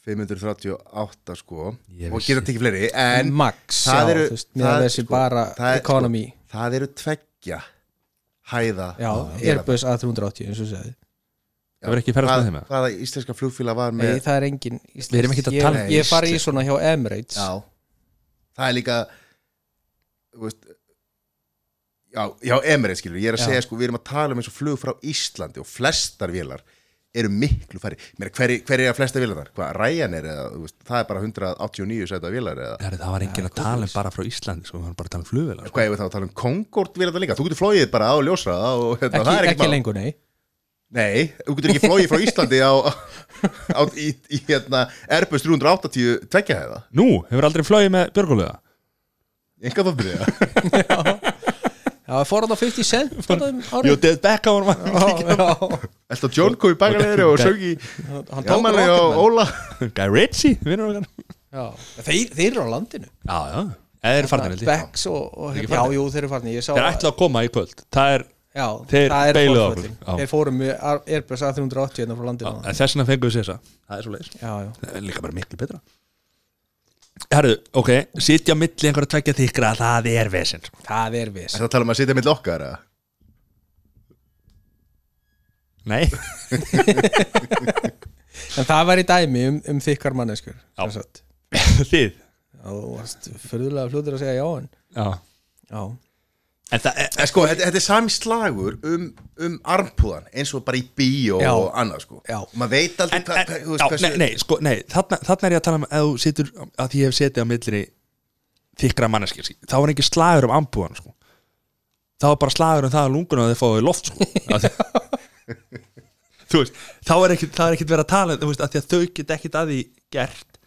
Speaker 2: 538 sko
Speaker 3: Ég vissi.
Speaker 2: og
Speaker 3: Mm.
Speaker 2: geta tekið fleiri en
Speaker 4: Max,
Speaker 2: það
Speaker 4: já,
Speaker 2: eru-
Speaker 4: þú veist
Speaker 2: það-
Speaker 4: Meðan þessi
Speaker 2: sko,
Speaker 4: bara
Speaker 2: það er- sko,
Speaker 4: economy
Speaker 2: það eru tveggja hæða
Speaker 4: Já, Airbus A380 eins og segði
Speaker 3: Það verður ekki ferðast með þeim, eða?
Speaker 2: hvaða íslenska flugfíla var
Speaker 4: Nei,
Speaker 2: með
Speaker 4: það er engin íslensk
Speaker 3: Við erum ekkert að
Speaker 4: Ég-
Speaker 3: tala um
Speaker 4: Ég fari í
Speaker 3: íslensk.
Speaker 4: svona hjá Emirates
Speaker 2: já, það er líka þú veist, já, já emirið skilur, ég er að
Speaker 4: Já.
Speaker 2: segja sko við erum að tala um eins og flug frá Íslandi og flestar vélar eru miklu færri Meira, hver, hver er að flesta vélar þar? Hvað, Ryanair eða, þú veist, það er bara 189 sæta vélar eða
Speaker 3: Herri, það var enginn að tala um bara frá Íslandi sko, við varum bara að tala um flugvila sko.
Speaker 2: hvað ég veit þá að tala um Concorde við þetta líka, þú getur flóið bara á ljósra og hérna,
Speaker 4: Ekki,
Speaker 2: það er
Speaker 4: ekki,
Speaker 2: ekki, mál.
Speaker 4: lengur, nei
Speaker 2: Nei, þú getur ekki flóið frá Íslandi á, á í, í hérna Airbus 380 tveggja hefða,
Speaker 3: Nú, hefur aldrei flogið með björgulega
Speaker 2: enga þá byrja
Speaker 4: Já, fór hann á
Speaker 2: [LAUGHS]
Speaker 4: 50 cent þarna um árið.
Speaker 3: did back á hann
Speaker 4: Já, [LAUGHS] já.
Speaker 2: Elta John kom í bakalegri og sög í
Speaker 4: Hann tók
Speaker 2: Jamanli og
Speaker 4: Rocketman.
Speaker 2: Óla
Speaker 3: [LAUGHS] Guy Ritchie, vinnur okkar
Speaker 4: Já. Þeir, þeir eru á landinu
Speaker 3: Já, já, eða þeir eru farnir held ég
Speaker 4: Becks og, og hérna.
Speaker 3: ekki
Speaker 4: Já,
Speaker 3: farnir?
Speaker 4: jú, þeir eru farnir Ég sá
Speaker 3: Þeir ætla að koma í kvöld Það er
Speaker 4: Já,
Speaker 3: þeir
Speaker 4: það er
Speaker 3: beiluðu
Speaker 4: forföllin.
Speaker 3: okkur. Já.
Speaker 4: Þeir fórum með Ar- Airbus A380 hérna frá landinu
Speaker 3: En þess vegna fengum við sér það Það er svo leiðis
Speaker 4: Já, já
Speaker 3: Það er líka bara miklu betra Herðu, ok, sitja á milli einhverja tveggja þykra Það er vesinn
Speaker 4: Það er viss
Speaker 2: Þetta tala um að sitja mitt okkar eða?
Speaker 3: Nei, [LAUGHS]
Speaker 4: En það var í dæmi um, um þykkar manneskur
Speaker 3: Já.
Speaker 4: sem sagt.
Speaker 3: þið
Speaker 4: Já, þú varst fyrðulega fljótur að segja já en
Speaker 3: Já,
Speaker 4: Já,
Speaker 3: En það er
Speaker 2: En sko, þetta, þetta er sami slagur um, um armpúðan eins og bara í bíó
Speaker 4: Já.
Speaker 2: og annað sko
Speaker 4: Já.
Speaker 2: Maður veit aldrei
Speaker 3: en,
Speaker 2: hvað-
Speaker 3: en,
Speaker 2: hvað- þú veist,
Speaker 3: já,
Speaker 2: hversu-
Speaker 3: nei, nei, sko, nei, þarna, þarna er ég að tala um að þú situr, að ég hef setið á millinni þykra manneskir, sí. þá er ekki slagur um ambúan, sko þá er bara slagur um það að lunguna þeir fáið loft, sko Af því- [LAUGHS] þú veist, þá er ekkit, það er ekkit verið að tala um, þú veist, að því að þau get ekkit að því gert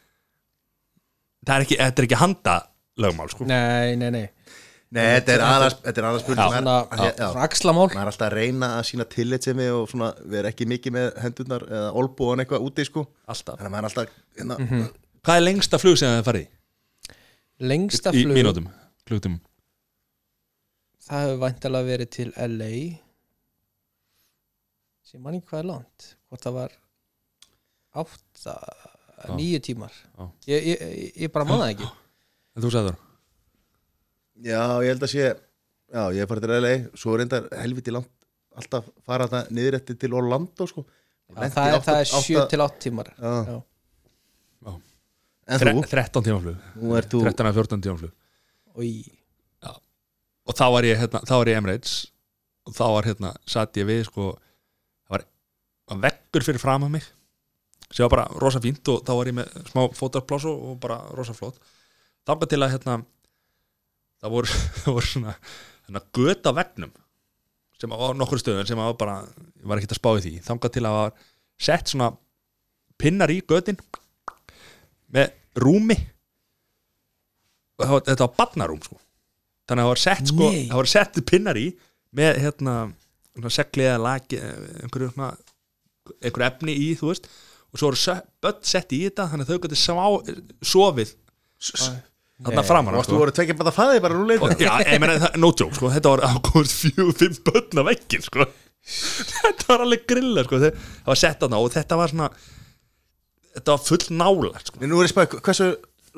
Speaker 3: það er ekki, þetta er ekki handa lögmál, sko
Speaker 4: Nei, nei, nei
Speaker 2: Nei, þetta er aðra- þetta er aðra spurning
Speaker 4: Svona,
Speaker 2: maður- af því að- já.
Speaker 4: svona axlamál
Speaker 2: maður er alltaf að reyna að sína tillitsemi og svona vera ekki mikið með hendurnar eða olbúan eitthvað úti sko
Speaker 3: alltaf,
Speaker 2: þannig að maður er alltaf hérna,
Speaker 4: Mhm.
Speaker 3: hvað er lengsta flug sem þið farið í?
Speaker 4: Lengsta
Speaker 3: í
Speaker 4: flug
Speaker 3: mínútum, klugtum
Speaker 4: Það hefur væntalega verið til LA sem mann ekki hvað er langt hvort það var átta, nýju tímar
Speaker 3: Já.
Speaker 4: ég, ég, ég bara manna ekki
Speaker 3: en þú sagði það,
Speaker 2: já, ég held að sé já, ég er farið til LA, svo reyndar helviti langt alltaf fara þetta niðrætti til Orlando sko
Speaker 4: Já, það, er, það er 7 til 8 tímar
Speaker 2: Já.
Speaker 4: Já.
Speaker 2: en þú,
Speaker 3: 13 tíma flug
Speaker 2: nú ert þú
Speaker 3: 13 að 14 tíma flug
Speaker 4: og í
Speaker 3: og þá var ég, hérna, þá var ég Emirates og þá var hérna, satt ég við sko, það var, var vekkur fyrir fram að mig sem var bara rosa fínt og þá var ég með smá fótarplásu og bara rosa flott þangað til að hérna það voru, [LAUGHS] það voru svona hérna, göta vegnum sem var á nokkur stöðum sem var bara ég var ekkert að spá í því, þangað til að var sett svona pinnar í götin með rúmi og það var, þetta var barnarúm sko þannig að það var sett sko,
Speaker 4: Nei.
Speaker 3: það var sett pinnar í með hérna svona segli eða laki einhverju svona einhverju efni í þú veist og svo voru börn sett í þetta þannig að þau gæti svá sofið þarna framar
Speaker 2: varst þú voru tvekja bara að faði bara nú leiðina
Speaker 3: Já, ég meina, það- no joke, sko, þetta var ákomast fjögur, fimm börn af vekkin, sko [LAUGHS] Þetta var alveg grilla, sko þau- Það var sett þarna og þetta var svona Þetta var full nála, sko
Speaker 2: en nú er ég spæk, hversu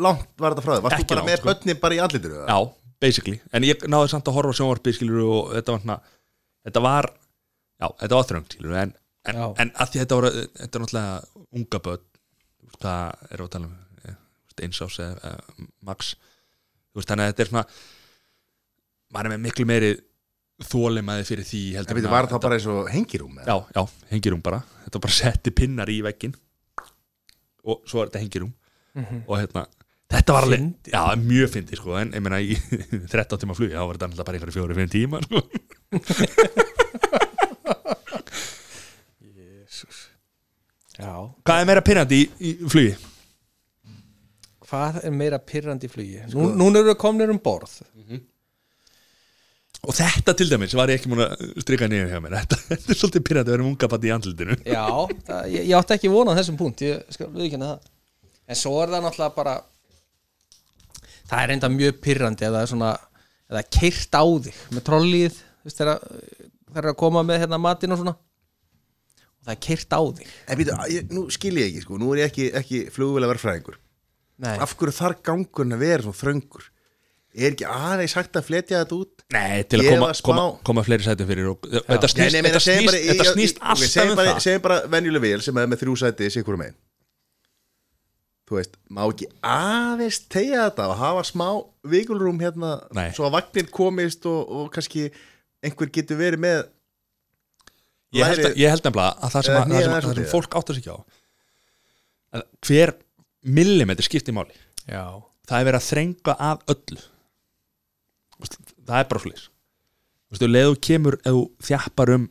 Speaker 2: langt var þetta frá þig varst
Speaker 3: Ekki
Speaker 2: þú bara
Speaker 3: langt,
Speaker 2: með
Speaker 3: sko.
Speaker 2: börnin bara í andlitiru
Speaker 3: Já, basically, en ég náði samt að horfa á sjónvarpið, skilur og þetta var svona Þetta var, já, þetta var þröngt, skilur en, en,
Speaker 4: Já.
Speaker 3: en að því þetta voru, þetta er náttúrulega unga börn þú veist, Hvað er að tala um, eh, þú veist, eins ás eða eh, max Þú veist, þannig að þetta er svona Maður er með miklu meiri þólimaði fyrir því heldur
Speaker 2: en
Speaker 3: en
Speaker 2: veitum,
Speaker 3: að-
Speaker 2: var það bara eins og hengirúm eða?
Speaker 3: já, já, hengirum bara þetta var bara setti pinnar í vekkin og svo var þetta hengirum
Speaker 2: Mhm.
Speaker 3: og hérna, þetta var alveg
Speaker 4: Fyndið.
Speaker 3: já, mjög fyndi, sko, en ég meina í [LAUGHS] 13 tíma flugi, þá var þetta alltaf bara einhverju fjóri, fimm tíma, sko
Speaker 4: Já.
Speaker 3: hvað er meira pinnandi í, í flugi?
Speaker 4: Hvað er meira pirrandi í flugi? Nú, núna eru við komnir um borð
Speaker 3: og þetta til dæmis var ég ekki múin að strika niður hjá mér, þetta, [LAUGHS] þetta er svolítið pinnandi að vera með unga bann í andlutinu
Speaker 4: Já, [LAUGHS] það, ég, ég átti ekki vona á þessum punkt Ég skal viðkynna það En svo er það náttúrulega bara Það er enda mjög pirrandi eða svona eða keirt á þig með trollið veist, þegar það er að koma með hérna matinn og svona og það er keirt á þig
Speaker 2: en veitum, nú skil ég ekki sko nú er ég ekki, ekki flugvel að vera fræðingur
Speaker 4: Nei,
Speaker 2: af hverju þarf gangurinn að vera svona þröngur er ekki aðeins sagt að fletja þetta út
Speaker 3: Nei, til að
Speaker 2: Ég
Speaker 3: koma,
Speaker 2: var smá-
Speaker 3: koma, koma fleiri sætum fyrir og, þetta snýst,
Speaker 2: Nei, nei, meina,
Speaker 3: þetta
Speaker 2: segjum
Speaker 3: snýst,
Speaker 2: bara-
Speaker 3: þetta
Speaker 2: ég-
Speaker 3: snýst
Speaker 2: ég- ok,
Speaker 3: alltaf
Speaker 2: segjum
Speaker 3: um
Speaker 2: bara-
Speaker 3: það
Speaker 2: Segjum bara venjuleg vél sem er með þrjú sæti sikkur megin Þú veist, má ekki aðeins tegja þetta og hafa smá vikulrúm hérna
Speaker 3: Nei.
Speaker 2: svo að vagnin komist og, og kannski einhver getur verið með
Speaker 3: ég held,
Speaker 2: Væri-
Speaker 3: ég held nefnilega að það sem,
Speaker 2: Eða
Speaker 3: að, það sem,
Speaker 2: hnéð
Speaker 3: að, það sem
Speaker 2: eða
Speaker 3: fólk áttar sig ekki á að hver millimetri skiptir máli
Speaker 4: já,
Speaker 3: það er verið að þrenga af öllu Veistu, það er bara slis Vistu, leðu kemur ef þú þjappar um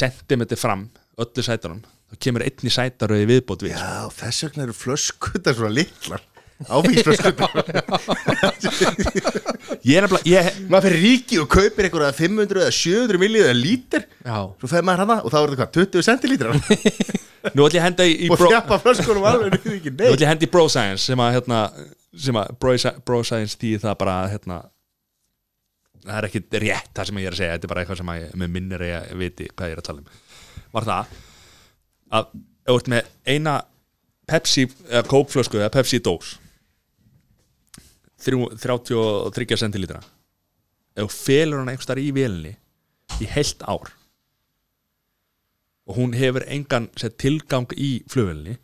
Speaker 3: sentimetri fram öllu sætunum þá kemur einni sætaröði viðbót við
Speaker 2: Já, þess vegna eru flöskutar svona litlar áfengisflöskutar
Speaker 3: [LAUGHS] ég er nefnilega ég,
Speaker 2: Maður fyrir ríki og kaupir einhverja 500 eða 700 millið eða lítir
Speaker 4: já.
Speaker 2: Svo fer maður hana og þá er þetta hvað, 20 centilítrar
Speaker 3: nú ætlum ég að henda í, í
Speaker 2: og
Speaker 3: bro,
Speaker 2: þjapa flöskunum alveg niður ekki
Speaker 3: nú
Speaker 2: neitt
Speaker 3: ætlum ég að henda í bro science sem að, hérna, sem að bro, bro science því það bara að, hérna, það er ekki rétt það sem ég er að segja, þetta er bara eitthvað sem að ég, með minnir ég að viti hvað ég er að tala um var það að ef þú ert með eina Pepsi, eða kópflösku eða Pepsi dós þrjú- 33 centilitra ef þú felur hann einhverstaðar í vélinni í heilt ár og hún hefur engan sem tilgang í flugvélinni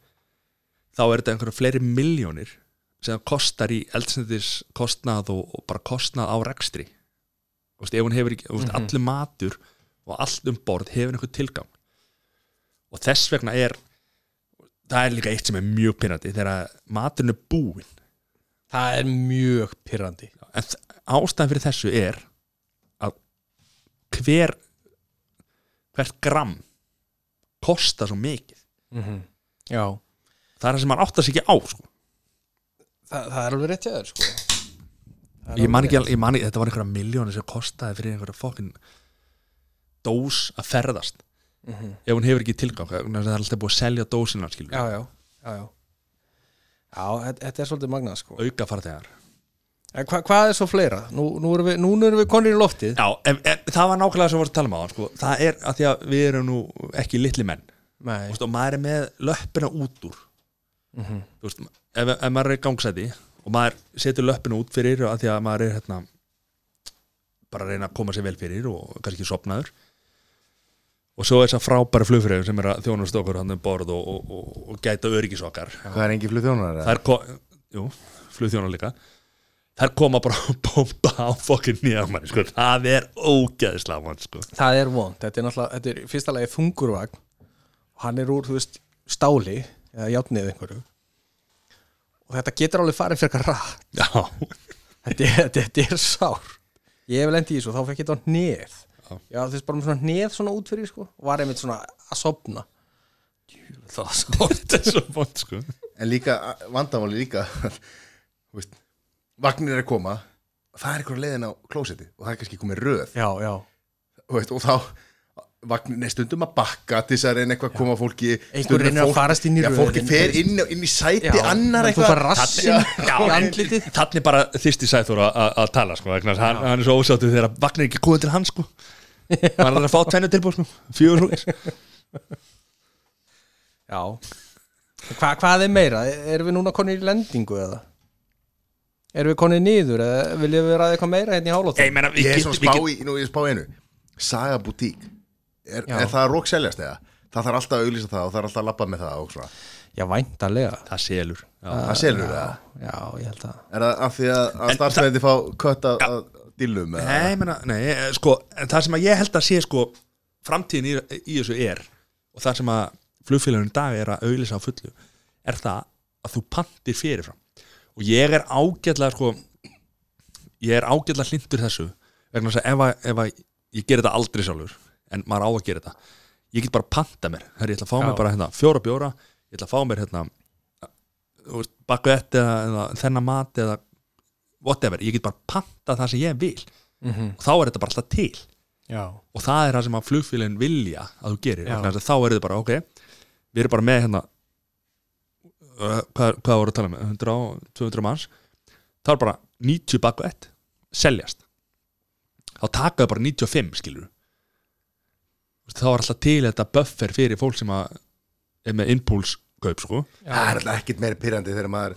Speaker 3: þá er þetta einhverja fleiri miljónir sem það kostar í eldsnættis kostnað og, og bara kostnað á rekstri Þú veist, ef hún hefur ekki, þú veist, allur matur og allt um borð hefur einhver tilgang og þess vegna er það er líka eitt sem er mjög pinnandi þegar maturinn er búinn
Speaker 4: það er mjög pyrrandi
Speaker 3: en þ- ástæðan fyrir þessu er að hver hvert gram kostar svo mikið
Speaker 4: já,
Speaker 3: það er það sem maður áttar sig ekki á sko.
Speaker 4: Þa, það er alveg rétt hjá þér sko Það er
Speaker 3: ég man
Speaker 4: alveg
Speaker 3: ekki,
Speaker 4: rétt.
Speaker 3: al- ég man ekki, þetta var einhverja miljónir sem kostaði fyrir einhverja fokkin dós að ferðast ef hún hefur ekki tilgang vegna þess að það er alltaf búið að selja dósina skilur,
Speaker 4: Mhm. já, já, já, já. já þetta, þetta er svolítið magnað sko
Speaker 3: auka farþegar
Speaker 4: en hva, hvað er svo fleira? Nú, nú erum við, núna erum við konir í loftið
Speaker 3: já, en, en, það var nákvæmlega sem við vorum að tala um á sko. það er að því að við erum nú ekki litli menn
Speaker 4: Nei.
Speaker 3: Vist, og maður er með löppina út úr þú veist, ef, ef maður er í gangsæti og maður setur löppina út fyrir að því að maður er hérna bara að reyna að koma sér vel fyrir og kannski sopnaður og svo þess að frábæra flugfræður sem er að þjónast okkur hann um borð og, og, og, og gæta öryggis okkar
Speaker 2: Hvað er engi flugþjónar?
Speaker 3: þær ko- jú, flugþjónar líka þær koma bara að bomba á fokkin nýja mann, sko, það er ógæðislega mann, sko,
Speaker 4: það er vond, þetta er náttúrulega þetta er í fyrsta lagi þungurvagn og hann er úr, þú veist, stáli eða játnið einhverju og þetta getur alveg farið fyrir eitthvað rætt
Speaker 3: [LAUGHS] já
Speaker 4: þetta, er- [LAUGHS] þetta, þetta er sár ég hef lendi í þessu, þá fekk ég þetta á hneð
Speaker 3: Já.
Speaker 4: já, þú veist, bara með svona hneð svona út fyrir sko, og var einmitt svona að sopna það var sár
Speaker 3: þetta er svo mann, sko
Speaker 2: En líka, vandamáli líka [LAUGHS] þú veist, Vagnir er að koma Það er einhver leiðin á klósetti og það er kannski komið röð
Speaker 4: já, já,
Speaker 2: þú veist, og þá vagnir er stundum að bakka til þess að reyna eitthvað að koma fólki
Speaker 4: Einhver
Speaker 2: stundum
Speaker 4: reynir að
Speaker 2: fólk-
Speaker 4: farast inn í
Speaker 2: Já, fólki
Speaker 4: röðin.
Speaker 2: fer inn, inn í sæti annar
Speaker 4: en þú fær
Speaker 2: eitthvað
Speaker 4: rassinn
Speaker 3: Já,
Speaker 4: í
Speaker 3: en
Speaker 4: andlitið
Speaker 3: Þannig bara þyrsti Sæþór að- að að tala sko, vegna, þess að hann, hann er svo ósáttu þegar að vagnir ekki komið til hans [LAUGHS] sko. hann er að fá tvennu tilbúr sko. fjögur hrúir
Speaker 4: já Hva, hvað er meira, erum við núna konir í lendingu eða erum við konir niður eða viljum við ræða eitthvað meira hérna í hálóttum
Speaker 3: ég, meina, við
Speaker 2: Ég er
Speaker 3: getum-
Speaker 2: svona
Speaker 3: við
Speaker 2: spá
Speaker 3: getum-
Speaker 2: í, nú, ég er spá í einu Saga bútík er,
Speaker 4: Já.
Speaker 2: er það að rók seljast eða? Það þarf alltaf að auglýsa það og það er alltaf að labba með það og svona
Speaker 4: já, væntalega
Speaker 3: það selur já.
Speaker 2: Það selur það
Speaker 4: já, ég held að
Speaker 2: Er það af því að, að starfsveiti fá kött að, að dillum eða?
Speaker 3: nei, ég meina, nei, eh, sko, en það sem að ég held að sé sko, framtíðin í, í þessu er og það sem að flugfélaginu dag er að auðlýsa á fullu er það að þú pantir fyrirfram og ég er ágætlega sko, ég er ágætlega hlindur þessu vegna þess að ef, að ef að ég ger þetta aldrei sjálfur en maður á að gera þetta ég get bara panta mér, Herri, ég ætla að fá
Speaker 4: Já.
Speaker 3: mér bara hérna, fjóra bjóra, ég ætla að fá mér hérna, þú veist, baguett eða, eða þennan mat eða whatever, ég get bara panta það sem ég vil og þá er þetta bara alltaf til
Speaker 4: já,
Speaker 3: og það er það sem að flugfélagin vilja að þú gerir
Speaker 4: Já.
Speaker 3: vegna þess að þá er þetta bara, ok við erum bara með hérna uh, hvað, hvað voru að tala með, 100, og 200 manns þá er bara 90 baku 1 seljast þá taka þau bara 95 skilur þá er alltaf til þetta buffer fyrir fólk sem að er með impulskaup sko
Speaker 2: Það er alltaf ekkit meira pyrrandi þegar maður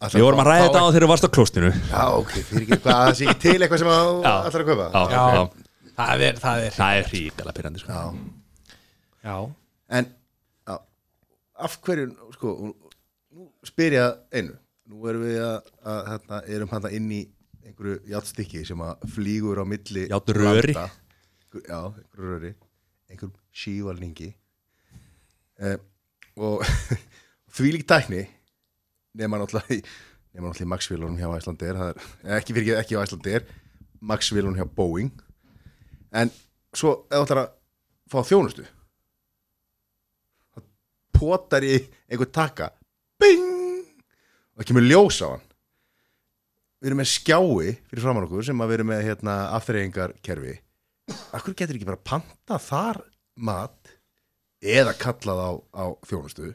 Speaker 2: ætlar
Speaker 3: við vorum að ræða
Speaker 2: fá-
Speaker 3: þetta á þegar þú varst á klóstinu
Speaker 2: Já, ok, fyrir ekki hvað, það sé ekki til eitthvað sem að þú
Speaker 3: Já.
Speaker 2: ætlar að kaupa
Speaker 3: Já, já.
Speaker 4: það er, það er
Speaker 3: það er ríkala pyrrandi sko.
Speaker 4: já,
Speaker 2: En já, af hverju, sko, nú spyr ég að einu Nú erum við að, að hérna, erum hann inn í einhverju játstykki sem að flýgur á milli
Speaker 3: Járnröri.
Speaker 2: landa. Einhver- Já, einhverju röri Einhverjum sívalningi eh, Og [LAUGHS] því lík tækni nema náttúrulega í- nema náttúrulega í Maxvélunum hjá Æslandir það er, eða ekki fyrir ekki á Æslandir Maxvélunum hjá Boeing en svo ef þú ætlar að fá þjónustu þá potar í einhver taka bing og það kemur ljós á hann við erum með skjái fyrir framann okkur sem að við erum með hérna aftreyingarkerfi akkur getur ekki bara panta þar mat eða kallað á, á þjónustu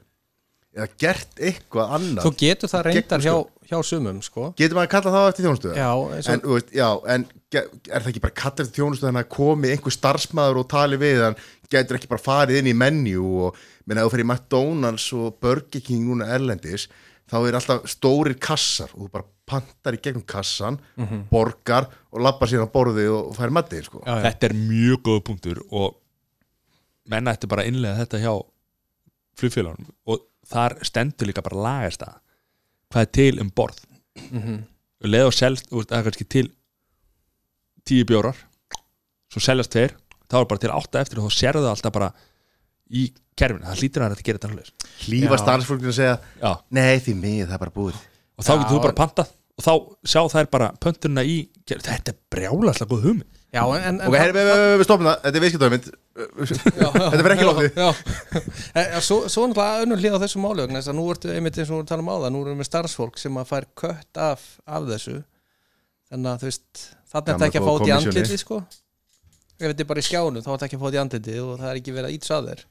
Speaker 2: eða gert eitthvað annað
Speaker 4: þú getur það reyndar hjá,
Speaker 2: Gegnum
Speaker 4: hjá sumum sko
Speaker 2: Getur maður að kalla það eftir þjónustu?
Speaker 4: Já, eins og-
Speaker 2: en, þú veist, já, en ge- er það ekki bara að kalla eftir þjónustu þannig að komi einhver starfsmæður og tali við hann getur ekki bara farið inn í menju og minna ef þú fyrir McDonalds og Burger King núna erlendis þá er alltaf stórir kassar og þú bara pantar í gegnum kassan borgar og lappar síðan á borðið og fær matið sko.
Speaker 4: Mhm. já, já.
Speaker 3: þetta er mjög góð punktur og menna ætti bara að innlega þetta hjá flugfélagunum og þar stendur líka bara lagast það hvað er til
Speaker 4: Mhm.
Speaker 3: um borð mm -hmm. leð og selst, þú veist, það er kannski til tíu bjórar svo seljast tveir, þá er bara til átta eftir og þá sérðu það alltaf bara í kerfinu, það hlýtur að þetta gera þetta hlutis
Speaker 2: hlýfa starfsfólkinu og segja
Speaker 3: Já,
Speaker 2: nei því mig, það er bara búið
Speaker 3: og þá
Speaker 4: Já,
Speaker 3: getur þú bara
Speaker 4: en-
Speaker 3: pantað og þá sjá þær bara pöntunina í kerfinu. þetta er brjála alltaf góð hugmynd
Speaker 4: Já, en, en,
Speaker 2: ok, herri, við, við, við stoppum það, þetta er viðskiptöðumind þetta verður ekki lófið
Speaker 4: Já, já. [LAUGHS] En Svo, svo náttúrulega önnur hlið á þessu máli vegna þess að nú ertu einmitt eins og við vorum að tala um á það nú erum við starfsfólk sem að fær kött af, af þessu þannig að þú veist, þannig er
Speaker 2: Gamla
Speaker 4: þetta ekki að fá út í
Speaker 2: góða
Speaker 4: andlitið sko ef þetta er bara í skjánu þá er þetta ekki að fá út í andlitið og það er ekki verið að ítsa að þér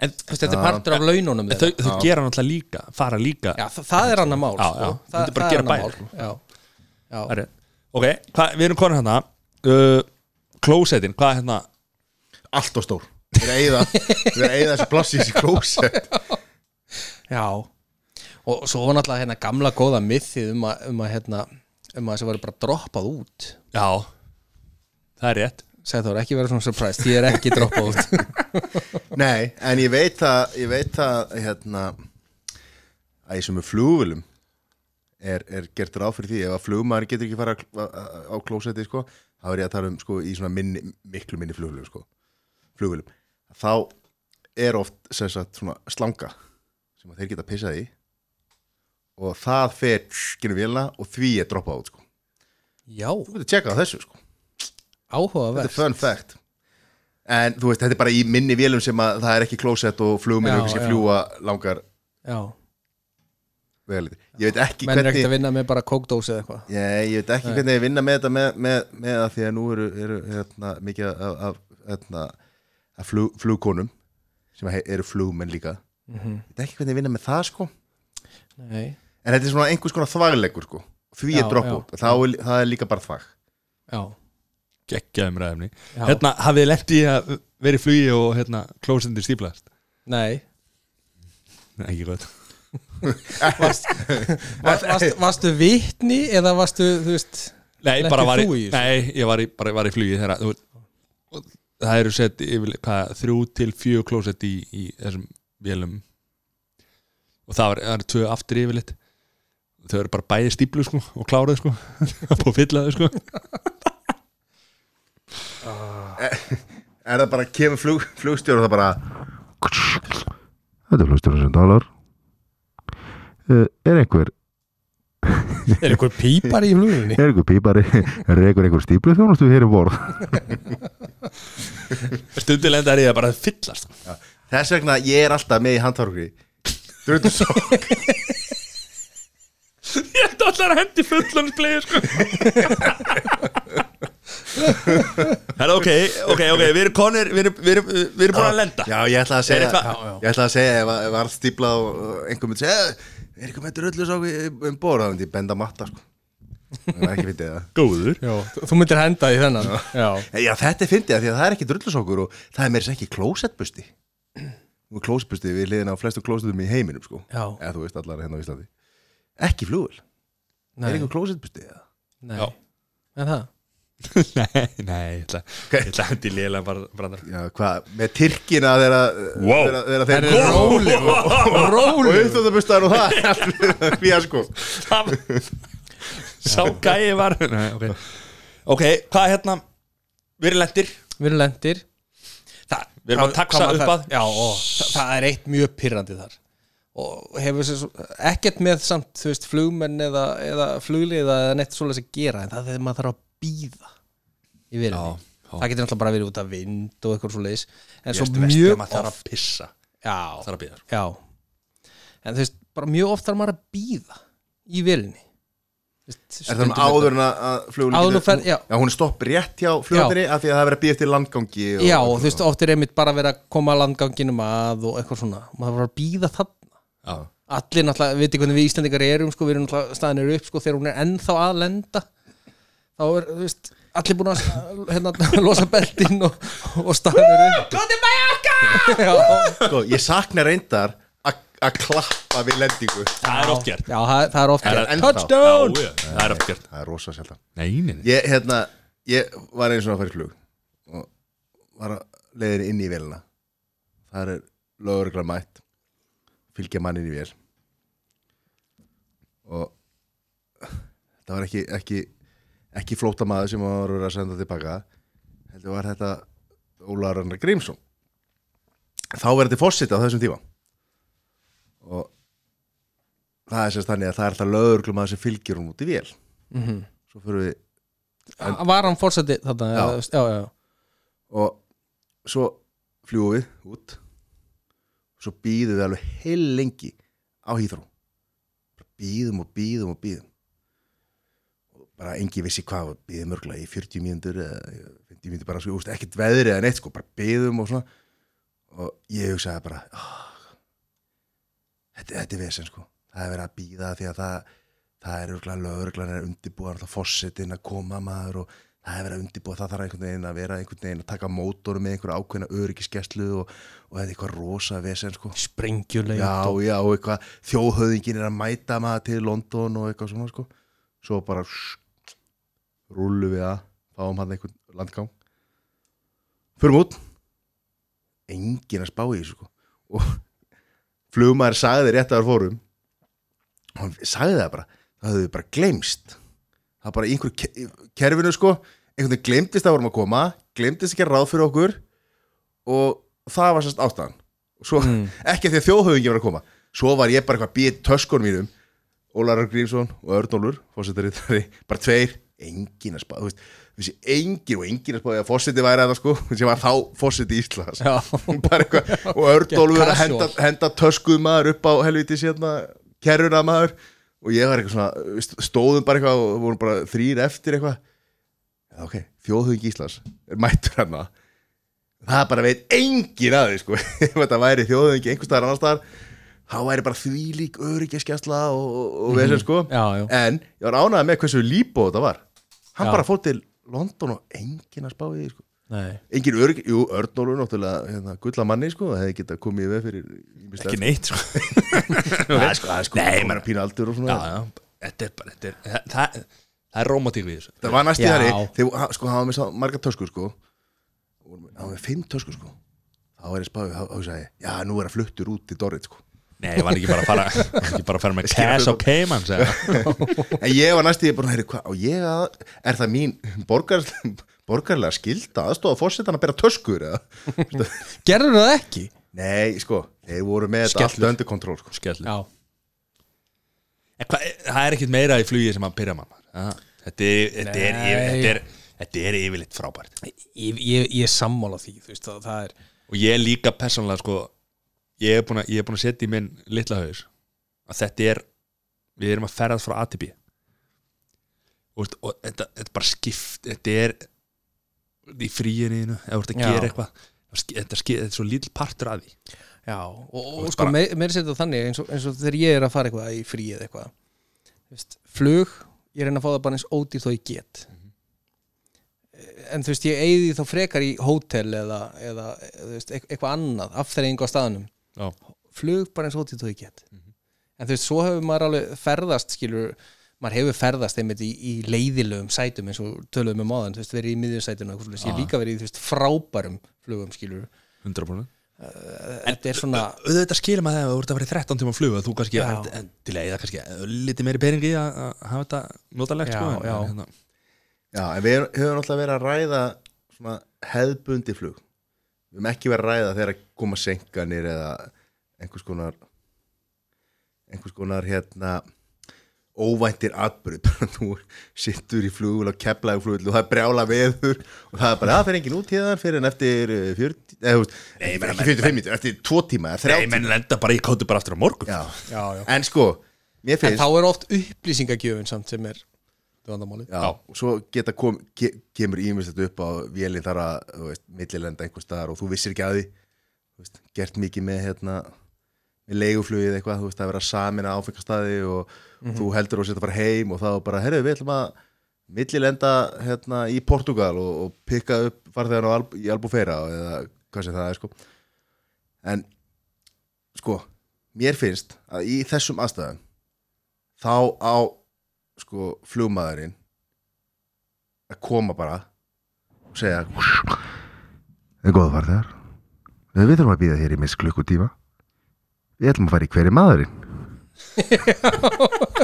Speaker 4: en þú veist, þetta er
Speaker 2: Já.
Speaker 4: partur af laununum
Speaker 3: þau,
Speaker 4: þeirra.
Speaker 3: þau gera náttúrulega líka, fara líka
Speaker 4: Já, það, það er annar mál
Speaker 3: Já,
Speaker 4: sko.
Speaker 3: já.
Speaker 4: Það,
Speaker 3: Þetta er bara að
Speaker 4: það
Speaker 3: gera
Speaker 4: annað
Speaker 3: bæði,
Speaker 4: mál.
Speaker 3: sko.
Speaker 4: Já, já.
Speaker 3: Það er rétt. ok, hva, við erum konur hérna uh, klósetin, hvað er hérna
Speaker 2: allt og stór við erum að eyða- við erum að eyða þessu plassi í þessi klóset
Speaker 4: Já og svo var náttúrulega hérna gamla góða mythið um að, um að hérna um að þessi var bara droppað út
Speaker 3: já, það er rétt
Speaker 4: segði þá ekki verið svona surprise ég er ekki droppað út
Speaker 3: [LAUGHS]
Speaker 2: Nei, en ég veit að ég veit að hérna að í sem er flugvölum er, er gert ráð fyrir því ef að flugmaður getur ekki fara á- á á klósetti sko, þá er ég að tala um sko í svona minni, miklu minni flugvölum sko flugvölum, þá er oft sem sagt svona slanga sem að þeir geta pissað í og það fer genið vélina og því er droppað út sko
Speaker 4: Já,
Speaker 2: þú getur tjekkað á þessu sko þetta er
Speaker 4: áhugavert
Speaker 2: fun fact en þú veist, þetta er bara í minni vélum sem að það er ekki klósett og flugminn
Speaker 4: Já,
Speaker 2: sem
Speaker 4: já.
Speaker 2: fljúa langar
Speaker 4: Já,
Speaker 2: vegaliti ég veit ekki
Speaker 4: menn er
Speaker 2: hvernig
Speaker 4: ekkert að vinna með bara kókdósi eða eitthvað
Speaker 2: ég, ég veit ekki hvernig ég vinna með þetta með, með, með að því að nú eru, eru hérna, mikið af, af, hérna, af flug, flugkonum sem he- eru flugmenn líka
Speaker 4: Mhm.
Speaker 2: ég veit ekki hvernig ég vinna með það sko
Speaker 4: Nei,
Speaker 2: en þetta er svona einhvers konar þvagleikur sko því
Speaker 4: Já,
Speaker 2: er dropp út, það er, það er líka bara þvag
Speaker 4: já,
Speaker 3: geggjaðum ræðumni
Speaker 4: já.
Speaker 3: hérna hafið lendi að vera í flugi og hérna klósetin stíplast
Speaker 4: Nei
Speaker 3: Nei, ekki gott
Speaker 4: Varst, var, varst, Varstu vitni eða varstu, þú veist
Speaker 3: Nei,
Speaker 4: Lentir
Speaker 3: bara var
Speaker 4: þú
Speaker 3: í,
Speaker 4: í þessu?
Speaker 3: nei, ég var í, bara, var í flugi þegar þú, það eru sett yfir, hvað, þrjú til fjögur klósett í, í þessum vélum og það var, það eru tvö aftur yfirleitt þau eru bara bæði stíplu sko og kláruð sko [LAUGHS] og fyllaðu sko
Speaker 2: er það bara kemur flug, [LAUGHS] flugstjóra og það bara Þetta er flugstjóra sem talar Eh, Er einhver
Speaker 4: Er einhver pípar í flugunni?
Speaker 2: er einhver pípari [LAUGHS] rekur einhver stíplu þjónustu hér um borð
Speaker 3: stundilegnd er ég að bara fyllast sko.
Speaker 2: Þess vegna ég er alltaf með í handvarugri Dröndu svo
Speaker 3: ég ætti allar að hendi fullan bleið sko Það er ok, ok, ok, við erum konir, við erum, við erum, við erum búin að lenda
Speaker 2: Já, ég ætla að
Speaker 3: Er
Speaker 2: segja
Speaker 3: eitthvað-
Speaker 2: Ég ætla að segja ef, ef var stípla og og einhver myndi segja "Eh, Er einhver með dröllu svo um borð þá myndi ég benda á matta sko Það er ekki fyndið það
Speaker 3: Góður
Speaker 4: Já, þú- þú myndir henda í þennan Já,
Speaker 2: Já, þetta er fyndið það því að það er ekki drullusokkur og það er meira þess ekki klósettbusti Nú er klósettbusti við liðin á flestu klósettum í heiminum sko
Speaker 4: Já.
Speaker 2: Eða þú veist allar hérna á Íslandi Ekki flugul,
Speaker 4: nei,
Speaker 2: er einhver klósettbusti eða?
Speaker 4: nei.
Speaker 3: Já.
Speaker 4: En það?
Speaker 3: [LAUGHS] Nei, nei, ég ætla Ég ætla að hendi lélega bara brandar
Speaker 2: Já, hvað, með Tyrkina þeirra
Speaker 3: Wow.
Speaker 2: þeirra, þeirra þeir
Speaker 4: eru rólegur.
Speaker 2: Og uppþóttabustar og það [LAUGHS] Fía sko
Speaker 3: Sá gæi var nei, okay. ok, hvað er hérna Við erum lendir
Speaker 4: Við erum lendir það,
Speaker 3: Við erum að
Speaker 4: það-
Speaker 3: taxa
Speaker 4: hvað maður
Speaker 3: upp
Speaker 4: það-
Speaker 3: að-
Speaker 4: Já, og það, það er eitt mjög pyrrandi þar og hefur sér svo, ekkert með samt, þú veist, flugmenn eða, eða flugliða eða neitt svoleiðis að gera en það er þegar maður þarf að býða í viljum
Speaker 3: Já, já.
Speaker 4: það getur náttúrulega bara verið út af vind og eitthvað svoleiðis en svo
Speaker 3: Mjög
Speaker 4: mjög
Speaker 3: maður þarf
Speaker 4: oft
Speaker 3: að pissa
Speaker 4: já,
Speaker 3: Þarf að býða
Speaker 4: já, en þú veist, bara mjög oft þarf maður að býða í viljunni
Speaker 2: Er það um áður en að- að flugul
Speaker 4: Áður en þú ferð- já.
Speaker 2: já, hún er stopp rétt hjá flugulni af því að það er verið að býja eftir landgangi og,
Speaker 4: Já, og þú veist, oft er einmitt bara verið að koma að landganginum að og eitthvað svona maður var að býða þarna
Speaker 3: Já.
Speaker 4: Allir náttúrulega, veit ekki hvernig við Íslendingar erum sko, við erum náttúrulega staðan eru upp sko, þegar hún er ennþá að lenda þá er, þú veist, allir búin að hérna, [LAUGHS] losa beltin og, og staðan eru upp Góði bæjarka! [LAUGHS] Já,
Speaker 2: sko, Ég sakna reyndar að að klappa við lendingu
Speaker 3: Það er oft gert
Speaker 4: já það, það er oft
Speaker 3: Það
Speaker 4: gert.
Speaker 3: er
Speaker 2: ennþá.
Speaker 3: Touchdown Já, já, Það er oft gert
Speaker 2: Það er rosa sjaldan
Speaker 3: Nei, nei, nei.
Speaker 2: ég, hérna, ég var eins og að fara í flug og var að leiðin inn í vélina þar er lögregla mætt fylgja mann inn í vél og það var ekki ekki, ekki flótamaður sem var að vera að senda tilbaka heldur var þetta Ólaður Rannar Grímsson þá verður þetta fósitt á þessum tíma og það er sérst þannig að það er það lögurglum að þessi fylgjur hún út í vél svo fyrir við
Speaker 4: Var hann fórseti þarna?
Speaker 2: Já.
Speaker 4: eða- já, já, já.
Speaker 2: og svo fljúum við út svo býðum við alveg heil lengi á hýþró býðum og býðum og býðum og bara engi vissi hvað við býðum örgulega í 40 mínútur eða 50 mínútur bara, sko, úst, ekkert veðri eða neitt sko, bara býðum og svona og ég hugsaði bara "Ah, þetta, þetta er vesen sko það er verið að býða því að það það er örgulega lögreglan er undirbúðan þá fossetinn að koma maður og það er verið að undirbúða það þarf einhvern veginn að vera einhvern veginn að taka mótorum með einhverja ákveðna öryggisgæslu og, og þetta er eitthvað rosa vesen sko
Speaker 4: Sprengjuleg
Speaker 2: já, já, og eitthvað þjóðhöðingin er að mæta maður til London og eitthvað svona sko svo bara sh- rúllu við að fáum hann einhvern landgang förum út engin að spá í þessu sko og [LAUGHS] flugmaður sagði rétt að það fórum og hann sagði það bara það höfðu bara gleymst það bara í einhverju ke- kerfinu sko einhvern veginn gleymdist að vorum að koma gleymdist ekki að ráð fyrir okkur og það var sérst ástæðan svo, [LAUGHS] ekki af því að þjóðhauðingi var að koma svo var ég bara eitthvað að býja töskun mínum Ólarar Grímsson og Örnólfur fórsetarittari, bara tveir engin að spá, þú veist, þessi engin og engin að spá, að fórseti væri að það sko [LAUGHS] sem var þá fórseti Íslands
Speaker 4: Já.
Speaker 2: [LAUGHS] bara eitthvað, og Örnólfur er að henda,
Speaker 4: Casual.
Speaker 2: henda töskuð maður upp á helviti sérna, kerruna maður og ég var eitthvað svona, st- stóðum bara eitthvað og vorum bara þrýr eftir eitthvað Já, ok, þjóðhauðingi Íslands er mættur hérna. hann það bara veit engin að því sko ef þetta væri þjóðhauðingi einhvers staðar annars staðar þá væri bara þvílík öryggjastkjastla og, og, og mm sko
Speaker 4: Já, já.
Speaker 2: en ég var ánægð með hversu líbó þetta var hann
Speaker 4: Já.
Speaker 2: bara fór til London og engin að spá í því sko
Speaker 4: Nei
Speaker 2: engin örygg, jú, Örnólu náttúrulega hérna, gulla manni sko, það hefði getað komið í veð fyrir ýmislegt.
Speaker 3: ekki [LAUGHS] neitt sko.
Speaker 2: það er sko, það er sko Nei, maður er pínu aldur og svona
Speaker 3: já, já, þetta er bara þetta er, það, það, það er rómatík við þessu
Speaker 2: það var næst í
Speaker 4: Já.
Speaker 2: þarri þegar ha- sko, hann var með sá- margar töskur sko Og hann var með fimm töskur sko þá er ég spáðið, þá þá sagði ég já, nú er að fluttur út í Dorrit sko
Speaker 3: nei, ég var ekki bara að fara var ekki bara að fara með
Speaker 2: Skilja
Speaker 3: cash á
Speaker 2: hlutum.
Speaker 3: Cayman sagði hann.
Speaker 2: en ég var næst í bara, heyrðu, hvað, á ég að er það mín borgar, borgarlega skilda aðstofa fórsetan að bera töskur eða
Speaker 4: Gerður það ekki?
Speaker 2: nei, sko, þeir voru með þetta allt
Speaker 3: Skellur.
Speaker 2: undir kontról sko.
Speaker 3: Skellu.
Speaker 4: Já
Speaker 3: En hvað- það er ekkit meira í flugi sem að pyrra mann Ah, þetta er, þetta er,
Speaker 4: Nei.
Speaker 3: yfir- þetta er, þetta er yfirleitt frábært
Speaker 4: Ég, ég, ég er sammála því, þú veist, það, það er
Speaker 3: og ég er líka persónlega sko, ég er búin að, ég er búin að setja í minn litla haus að þetta er við erum að ferðast frá A til B og, veist, og þetta, þetta bara skipt þetta er í fríininu, ef þú ert að
Speaker 4: Já.
Speaker 3: gera eitthvað þá ski- þetta, ski- þetta er svo lítill partur að því
Speaker 4: Já, og, og,
Speaker 3: veist,
Speaker 4: sko,
Speaker 3: bara-
Speaker 4: meir, meir setja þannig eins og, eins og þegar ég er að fara eitthvað í frí eða eitthvað Þú veist, flug, ég reyna að fá það bara eins ódýrt þó ég get
Speaker 3: Mhm.
Speaker 4: en þú veist, ég eigði þá frekar í hótel eða, eða þú veist, eit- eitthvað annað, afþreying á staðnum
Speaker 3: Já.
Speaker 4: flug bara eins ódýrt þó ég get
Speaker 3: Mhm.
Speaker 4: en þú veist, svo hefur maður alveg ferðast skilur, maður hefur ferðast einmitt í, í leiðilegum sætum eins og töluðum með máðan, þú veist, verið í miðjursætinu og eitthvað svoleiðis. ég
Speaker 3: Ah.
Speaker 4: hef líka verið í þú veist, frábærum flugum skilur,
Speaker 3: 100%
Speaker 4: þetta er svona
Speaker 3: auðvitað skilur maður þegar þú ert að fara í 13 tíma flug að þú kannski,
Speaker 4: Já.
Speaker 3: en, en til að eða kannski litið meiri peningi að að hafa þetta notalegt
Speaker 4: Já,
Speaker 3: sko, en-
Speaker 4: já.
Speaker 3: en hérna-
Speaker 2: já, en við erum- höfum alltaf verið að ræða svona hefðbundi flug við höfum ekki verið að ræða þegar að koma senkanir eða einhvers konar einhvers konar hérna óvæntir atbyrð [LAUGHS] bara þú sittur í flugul og kepla í flugul og það er brjála veður og það er bara, það fer engin út héðan fyrir en eftir eh, 40, eða þú veist
Speaker 3: menn-
Speaker 2: ekki 45 mítur, eftir 2 tíma eða 30
Speaker 3: Nei, menn lenda bara í kóti bara aftur á morgun
Speaker 2: já.
Speaker 4: Já, já.
Speaker 2: en sko, mér
Speaker 4: En
Speaker 2: finnst
Speaker 4: þá er oft upplýsingagjöfin samt sem er vandamáli
Speaker 2: já, og svo geta kom, ke, kemur ímislegt upp á vélinn þar að þú veist, millilenda einhvers staðar og þú vissir ekki að því Þú veist, gert mikið með hérna með leiguflugið eitthvað, þú veist að vera samin að áfengastæði og þú heldur og setja bara heim og þá bara, herru, við ætlum að millilenda hérna í Portugal og, og pikka upp farþegan á Al í Albufeira eða hvað sem það er sko en sko, mér finnst að í þessum aðstæðum þá á sko flugmaðurinn að koma bara og segja Það er góða farðar Við þurfum að býða hér í miss klukkutíma Við ætlum að fara í hverju maðurinn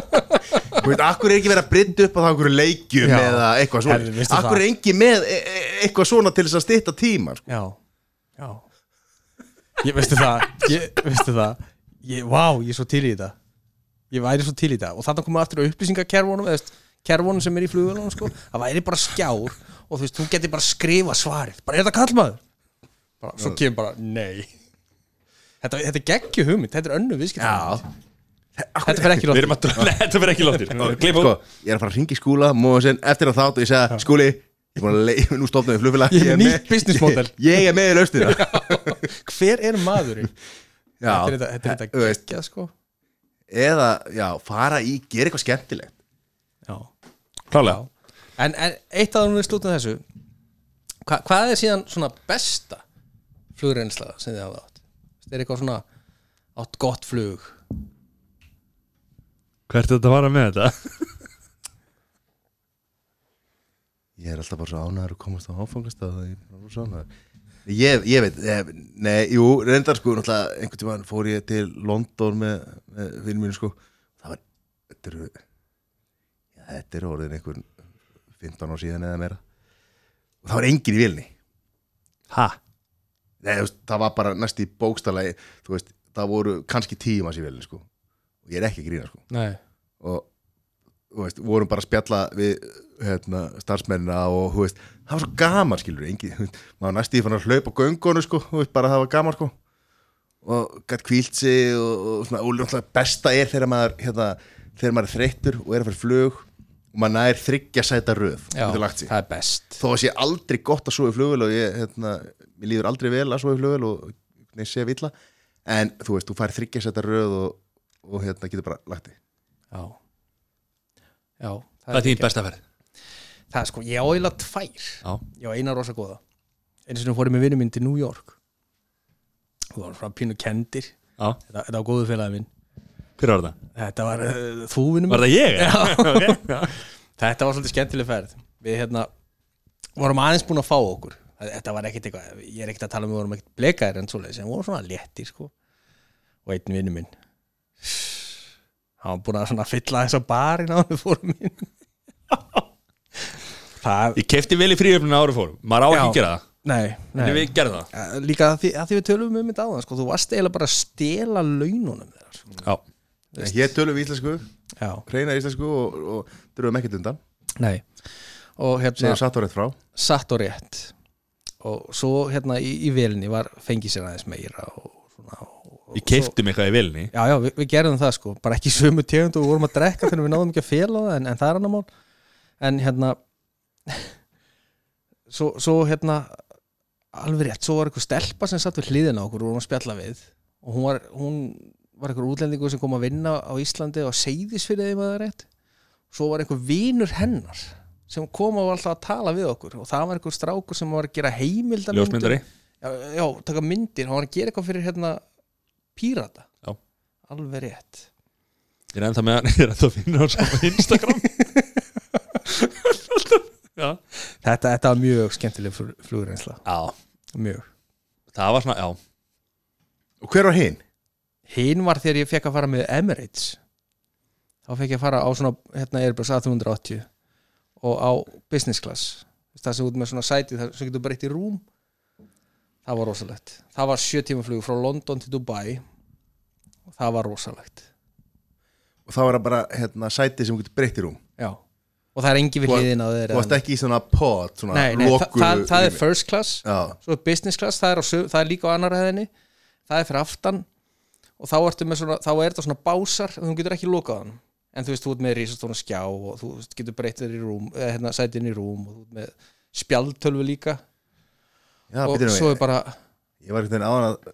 Speaker 2: Þú veit, akkur er ekki verið að brynda upp á það einhverju leikjum
Speaker 4: Já.
Speaker 2: eða eitthvað
Speaker 4: Hefði,
Speaker 2: svona
Speaker 4: veistu
Speaker 2: Akkur er engi með e e eitthvað svona til þess að stytta tíma sko.
Speaker 4: Já, já Ég veistu það, ég veistu það ég, Vá, ég er svo til í þetta Ég væri svo til í þetta og þannig komum við aftur á upplýsingakerfunum eða þú veist, kerfunum sem er í flugulunum sko, það væri bara skjár og þú veist, þú getur bara skrifa svarið bara er þetta kallmaður bara, svo kemur bara, nei Þetta, þetta er geggju hugmynd, þetta er önnu viðskipt Þetta fer ekki
Speaker 3: Við
Speaker 4: lótt
Speaker 3: erum að dröla, þetta verður ekki lóttir Gleipa
Speaker 2: sko, Ég er að fara að ringa í skúla Móðsinn eftir að þátt og ég segja Skúli, ég er búin að leiða [LAUGHS] Nú stofnaði flugfélag
Speaker 4: Ég er með
Speaker 2: með-
Speaker 4: nýtt business model.
Speaker 2: Ég, [LAUGHS] ég er með í lausnina [LAUGHS] Já,
Speaker 4: Hver er maðurinn? Þetta er þetta, þetta, er
Speaker 2: þú
Speaker 4: þetta
Speaker 2: veist,
Speaker 4: geggjað sko
Speaker 2: Eða, já, fara í, gera eitthvað skemmtilegt
Speaker 4: Já
Speaker 3: Klálega
Speaker 4: En, en eitt að hún við slútum þessu hva, Hvað er síðan svona besta flugreynsla sem þið hafa átt? Það er eitthvað svona átt gott flug
Speaker 3: Hvert er þetta að vara með þetta?
Speaker 2: Ég er alltaf bara svo ánæður að komast á áfangastað Ég er bara svo ánæður Ég, ég veit, ég, nei, jú, reyndar sko náttúrulega einhvern tímann fór ég til London með, með fyrir mínu sko það var, þetta eru já, þetta eru orðin einhver 15 ár síðan eða meira og það var engin í vilni
Speaker 3: Ha?
Speaker 2: Nei, þú veist, það var bara næst í bókstalagi þú veist, það voru kannski tíu manns í velin sko. og ég er ekki að grína sko.
Speaker 4: Nei
Speaker 2: og þú veist, vorum bara að spjalla við hérna, starfsmennina og þú veist, það var svo gaman skilur engin, þú veist, maður næst í fann að hlaupa á göngonu sko, þú veist, bara það var gaman sko. og gætt kvílt sig og, og, svona, og náttúrulega besta er þegar maður hérna, þegar maður er þreyttur og er að fyrir flug og maður nær þryggja sæta röð
Speaker 4: Já,
Speaker 2: getur lagt sig
Speaker 4: það er best
Speaker 2: þó að sé aldrei gott að sofa í flugvél og ég, hérna, mér líður aldrei vel að sofa í flugvél og ég sé villa en þú veist, þú fær þryggja sæta röð og, og hérna, getur bara lagt þig
Speaker 4: Já, Já það,
Speaker 3: Það er
Speaker 4: ekki-
Speaker 3: þín besta ferð
Speaker 4: Það er sko, ég á eiginlega tvær
Speaker 3: Já.
Speaker 4: Ég á eina rosa góða Einu sinni fórum við vinnum minn til New York og það var frá pínu kendir
Speaker 3: Já,
Speaker 4: Þetta, þetta var góðu félagi minn
Speaker 3: hver var það?
Speaker 4: Þetta var uh, þú vinnum
Speaker 3: Var það ég? Já, [LAUGHS] ok
Speaker 4: Þetta var svolítið skemmtileg ferð Við hérna vorum aðeins búin að fá okkur Þetta var ekkit eitthvað, ég er ekkit að tala um við vorum ekkit blekaðir en svoleiðis, en við vorum svona léttir sko. og einn vinnu minn hann var búin að svona fylla þess að barinn á hann við fórum inn Það,
Speaker 3: Ég kefti vel í fríöfninu ári fórum Maður á ekki
Speaker 4: Já.
Speaker 3: að gera það
Speaker 4: nei, nei.
Speaker 3: En við gerðum það
Speaker 4: Eh, Líka að því, að því við tölum um þetta á sko, þú varst eiginlega bara að stela laununum þeirra sko.
Speaker 3: Já,
Speaker 2: en hér tölum við íslensku,
Speaker 4: Já,
Speaker 2: reyna íslensku og, og dröfum ekkert undan,
Speaker 4: nei og hérna
Speaker 2: segja satt og rétt frá
Speaker 4: satt og rétt og svo hérna í, í velinni var fengið sér aðeins meira og svona og, og
Speaker 3: ég kefti mig eitthvað í vilni
Speaker 4: já, já, við, við gerðum það sko, bara ekki sömu tegund og við vorum að drekka þegar við náðum ekki að fela það en, en það er annar mál en hérna [LAUGHS] svo, svo hérna alveg rétt, svo var eitthvað stelpa sem satt við hliðina á okkur og vorum að spjalla við og hún var, hún var eitthvað útlendingur sem kom að vinna á Íslandi og seiðis fyrir þeim að það er rétt svo var eitthvað vinur hennar sem kom og var alltaf að tala við okkur og það var eitthvað strákur sem var að gera heimildarmyndir
Speaker 3: Ljósmyndari
Speaker 4: já, já, taka myndir, hann var að gera eitthvað fyrir hérna pírata
Speaker 3: Já.
Speaker 4: alveg rétt
Speaker 3: Ég er ennþá með hann, [LAUGHS] ég er ennþá að finna hann sko, saman
Speaker 4: [LAUGHS]
Speaker 3: Instagram Já
Speaker 4: þetta, þetta var mjög skemmtileg flug- flugreinsla
Speaker 3: Já,
Speaker 4: mjög
Speaker 3: það var svona, já
Speaker 2: og hver var hinn?
Speaker 4: hinn var þegar ég fekk að fara með Emirates þá fekk ég að fara á svona hérna Airbus A380 og á business class það sem út með svona sæti þar sem getur breytt í rúm það var rosalegt það var sjö tíma flug frá London til Dubai og það var rosalegt
Speaker 2: og það var bara hérna, sæti sem þú getur breytt í rúm
Speaker 4: já og það er engi við
Speaker 2: Þú-
Speaker 4: hliðina á þeirra
Speaker 2: þú varst ekki í svona pot, svona
Speaker 4: nei, nei, það,
Speaker 2: loku
Speaker 4: það, það er
Speaker 2: rými.
Speaker 4: first class
Speaker 2: já,
Speaker 4: svo er business class, það er, á, sö- það er líka á annar hæðinni það er fyrir aftan og þá, ertu með svona, þá er það svona básar og þú getur ekki lokað hann en þú veist, þú ert með risastóna skjá og þú veist, getur breytt þér í rúm eða, hérna, sætin í rúm og þú ert með spjaldtölvu líka
Speaker 2: já,
Speaker 4: og
Speaker 2: býttu nú,
Speaker 4: svo er bara
Speaker 2: ég var eitthvað áðan að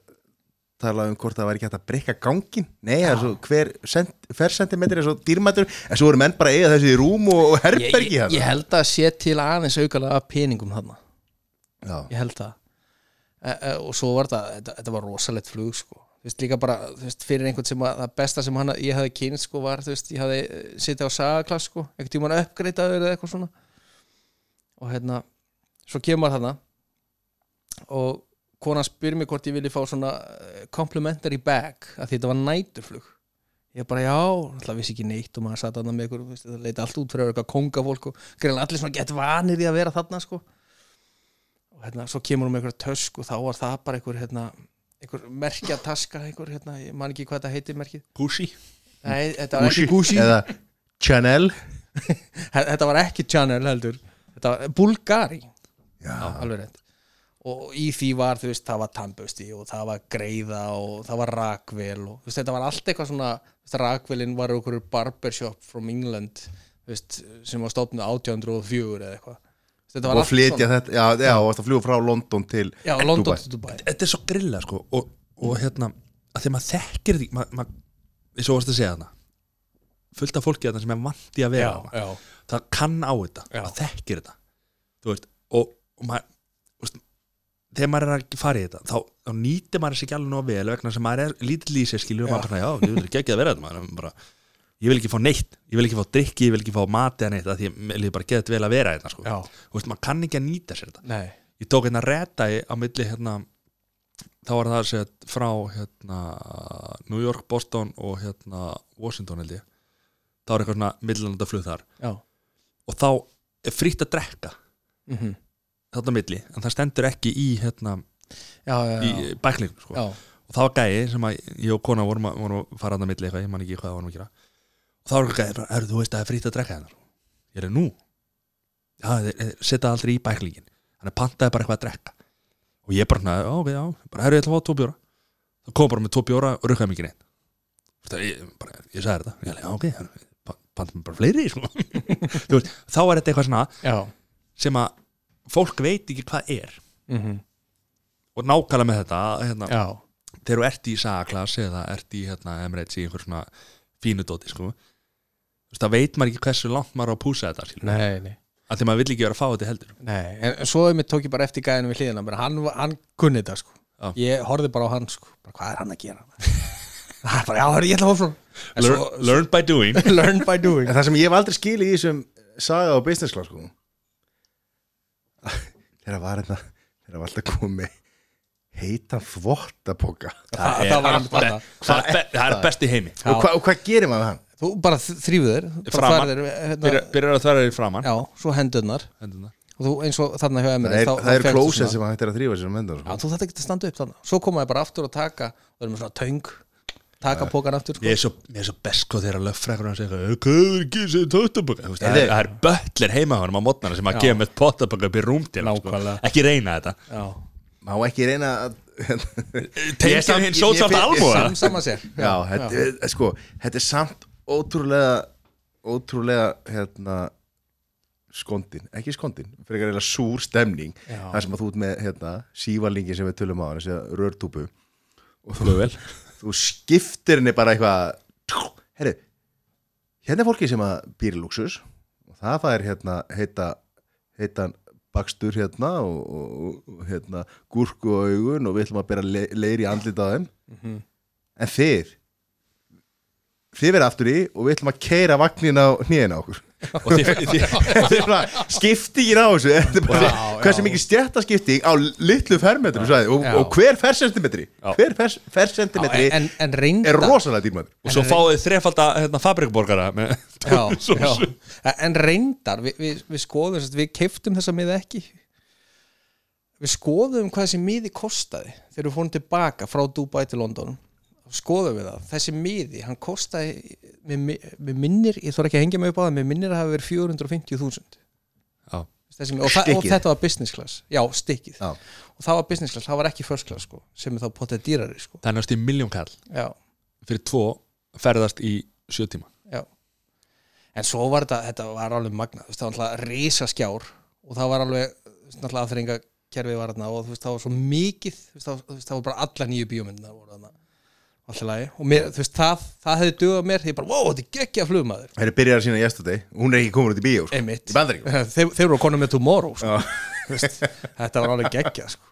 Speaker 2: tala um hvort það væri ekki hægt að breyka gangin nei, það er svo hver, sent, hver sentimetri er svo dýrmættur, en svo eru menn bara að eiga þessi í rúm og, og
Speaker 4: ég, ég,
Speaker 2: herbergi hérna.
Speaker 4: ég held að sé til aðeins aukalega af peningum hann
Speaker 2: hann
Speaker 4: ég held það e, e, og svo var það, þetta, þetta var rosalegt flug sko. þú veist líka bara, þú veist, fyrir einhvern sem að, það besta sem hana, ég hafði kynst sko var, þú veist, ég hafði eh, sitið á sagaklass sko, einhvern tímann uppgreitaður eða eitthvað svona og hérna, svo kemur þarna og konan spyr mér hvort ég vilji fá svona eh, complimentary bag, að þetta var næturflug ég bara já, alltaf vissi ekki neitt og maður satt þarna með ykkur, þú veist, það leiti allt út fyrir eitthvað kongafólk og greinlega allir svona gett vanir í að vera þarna sko og hérna, svo kemur hún með einhverja tösk og þá var það bara einhver, hérna, einhver merkjataska, einhver, hérna, ég man ekki hvað þetta heiti merkið.
Speaker 3: Gucci
Speaker 4: Nei, þetta var ekki Gucci,
Speaker 2: eða Chanel
Speaker 4: þetta var ekki Chanel heldur, þetta var Bulgari, já, alveg rétt. Og í því var, þú veist, það var tannbusti og það var greiða og það var rakvél og þú veist, þetta var allt eitthvað svona, þú veist, rakvélin var einhverjur barbershop from England, þú veist, sem var stofnuð 1804 eða eitthvað. Þú veist, Þetta var
Speaker 2: og
Speaker 4: allt
Speaker 2: flytja
Speaker 4: svona.
Speaker 2: þetta, já, já, og þetta fljúa frá London til
Speaker 4: Já, London
Speaker 2: Dubai.
Speaker 4: til Dubai.
Speaker 3: þetta er svo grilla sko og, og hérna, að því að maður þekkir því ma- ma- eins og varst að segja þarna fullt af fólki þarna sem er vandi að vera
Speaker 4: Já,
Speaker 3: þarna.
Speaker 4: já.
Speaker 3: það kann á þetta,
Speaker 4: Já.
Speaker 3: það þekkir þetta þú veist, og, og maður þú veist, þegar maður er að fara í þetta þá, þá nýtir maður sér ekki alveg nóg vel vegna sem maður er lítill í sér skilur og maður bara, já, þú veist, ekki að vera þetta maður er bara, ég vil ekki fá neitt, ég vil ekki fá drikki ég vil ekki fá mati að neitt, að því ég vil bara geða vel að vera þetta, sko,
Speaker 4: Já.
Speaker 3: þú veist, maður kann ekki að nýta sér þetta
Speaker 4: Nei,
Speaker 3: ég tók hérna reddæi á milli hérna þá var það sett frá hérna New York, Boston og hérna Washington held ég þá er eitthvað svona millinlanda þar
Speaker 4: já
Speaker 3: og þá er frítt að drekka
Speaker 4: mm -hmm.
Speaker 3: þarna milli, en það stendur ekki í hérna
Speaker 4: Já, já,
Speaker 3: í
Speaker 4: já,
Speaker 3: bæklingum sko.
Speaker 4: já.
Speaker 3: og það var gæi sem að ég og kona vorum að, vorum að fara þarna milli eitthvað, ég man ekki hvað vorum að gera og þá var eitthvað gæi, er, þú veist að það er frítt að drekka hérna ég er nú já, þeir, þeir setja aldrei í bæklingin hann er pantaði bara eitthvað að drekka og ég bara, svona, já, ok, já, bara herri, ég ætla að fá tvo bjóra þá kom bara með tvo bjóra og rukkaði mikið neitt Þú veist, ég, bara, ég sagði þetta, ég, já, ok hann- pa- pantaði mér bara fleiri sko. [LAUGHS] Þú veist, þá er þetta eitthvað svona
Speaker 4: já.
Speaker 3: sem að fólk veit ekki hvað er
Speaker 4: Mm -hmm.
Speaker 3: og nákvæmlega með þetta hérna,
Speaker 4: já.
Speaker 3: þegar þú ert í sagaklass eða ert í hérna, Emirates í einhver svona fínu dóti sko. Þú veist, það veit maður ekki hversu langt maður á að púsa þetta skilur.
Speaker 4: Nei, nei,
Speaker 3: að því maður vill ekki vera að fá þetta heldur
Speaker 4: nei En svo einmitt tók ég bara eftir gæðinu við hliðina bara hann, var- hann kunni þetta sko
Speaker 3: Já.
Speaker 4: Ég horfði bara á hann sko bara, Hvað er hann að gera? [LAUGHS] Það er bara, já, hörðu, ég ætla að fá frá En
Speaker 3: learn,
Speaker 4: svo-
Speaker 3: learn by doing
Speaker 4: [LAUGHS] Learn by doing
Speaker 2: en það sem ég hef aldrei skilið í þessum saga og business class sko [LAUGHS] þeirra var þetta þeirra var alltaf komið heita þvottapoka
Speaker 4: Það, það var hann bara
Speaker 3: það, er, það er besti heimi
Speaker 4: Já.
Speaker 2: og, hva, og hvað gerir maður með hann?
Speaker 4: Þú bara þrýfðu þér bara
Speaker 3: Framan.
Speaker 4: þværð þér, hérna,
Speaker 3: byrjar byrjar að þværa þér framann
Speaker 4: Já, svo hendurnar
Speaker 3: Hendurnar.
Speaker 4: Og þú eins og þarna hjá
Speaker 2: það
Speaker 4: Emirates
Speaker 2: er,
Speaker 4: þá-
Speaker 2: það
Speaker 4: þá
Speaker 2: er
Speaker 4: fékkstu
Speaker 2: klósið
Speaker 4: svona-
Speaker 2: sem hann hættir að þrýfa sér um endan
Speaker 4: Já,
Speaker 2: sko.
Speaker 4: þú þetta getur að standa upp þannig Svo komaði bara aftur að taka Það erum svona töng Taka pókan aftur sko.
Speaker 3: ég er svo, ég er svo best sko þegar að löffrækur hann segja "Eh, hvað er ekki þessi tóttaböka það er,
Speaker 2: Heyrðu.
Speaker 3: það er böllir heima hann á mótnana sem að
Speaker 4: Já.
Speaker 3: gefa með pottaböka upp í rúmdina sko.
Speaker 4: Nákvæmlega.
Speaker 3: ekki reyna þetta
Speaker 4: Já.
Speaker 2: má ekki reyna að hérna,
Speaker 3: Tengja
Speaker 2: samt-
Speaker 3: hinn sótsamt
Speaker 2: ég- ég-
Speaker 3: almúga.
Speaker 2: ég-
Speaker 4: Samsama sér
Speaker 2: já, þetta, já. sko, þetta er samt ótrúlega ótrúlega hérna skondin, ekki skondin, frekar eða súr stemning,
Speaker 4: Já.
Speaker 2: þar sem að þú ert með hérna, sívalingin sem við tölum á hann þessi rörtúpu,
Speaker 3: flugvel
Speaker 2: þú skiptir henni bara eitthvað herru, hérna er fólki sem að býr í luxus og það fær hérna heita, heitan bakstur hérna og, og, og hérna gúrku á augun og við ætlum að bera le, leir í andlit á þeim
Speaker 4: Mhm.
Speaker 2: en þið þið verða aftur í og við ætlum að keira vagnin á hnýðin á
Speaker 4: [LAUGHS]
Speaker 3: og
Speaker 2: okkur
Speaker 3: því,
Speaker 2: [LAUGHS]
Speaker 3: því,
Speaker 2: Þetta er bara skiptingin á þessu Þetta er bara
Speaker 4: Já,
Speaker 2: hversu
Speaker 4: já.
Speaker 2: mikið stjættaskipting á litlu fermetru svæði og,
Speaker 4: Já.
Speaker 2: og hver fersentimetri
Speaker 3: Já.
Speaker 2: hver fers, fersentimetri
Speaker 4: en, en, en reynda
Speaker 2: er rosalega dýrmæður
Speaker 3: og svo fáið þið þrefalda hérna, fabrikborgara með
Speaker 4: [LAUGHS]
Speaker 3: [LAUGHS]
Speaker 4: já, já.
Speaker 3: tóttaböka
Speaker 4: en reyndar við, við, við skoðum, sem sagt, við keiftum þessa miða ekki við skoðum hvað þessi miði kostaði þegar við fórum tilbaka frá Dubai til London skoðum við það, þessi miði hann kostaði, við minnir ég þarf ekki að hengja mig upp á það, við minnir að hafa verið 450.000
Speaker 3: Já.
Speaker 4: Þessi miði- og, það- og
Speaker 2: Stykkið.
Speaker 4: þetta var business class, já, stikkið
Speaker 2: Já.
Speaker 4: og það var business class, það var ekki first class sko, sem er þá potið dýrari sko.
Speaker 3: það er næstu í miljón kall
Speaker 4: já
Speaker 3: fyrir tvo ferðast í sjö tíma
Speaker 4: já. en svo var þetta, þetta var alveg magna veist, það var alltaf risaskjár og það var alveg alltaf aðþrenga kerfið var þarna og þú veist, það var svo mikið þú veist, það, þú veist, það var bara alla nýju bíómyndina voru þarna alltaf lagi og mér, þú veist, það, það hefði dugað mér ég bara, wow, þetta er geggja flugmaður
Speaker 2: Það er byrjar að sína yesterday, hún er ekki komin út í bíó sko.
Speaker 4: einmitt,
Speaker 2: Í Bandaríkjunum.
Speaker 4: [LAUGHS] þeir, þeir voru konum með tomorrow sko. Þú veist, þetta var alveg geggja sko.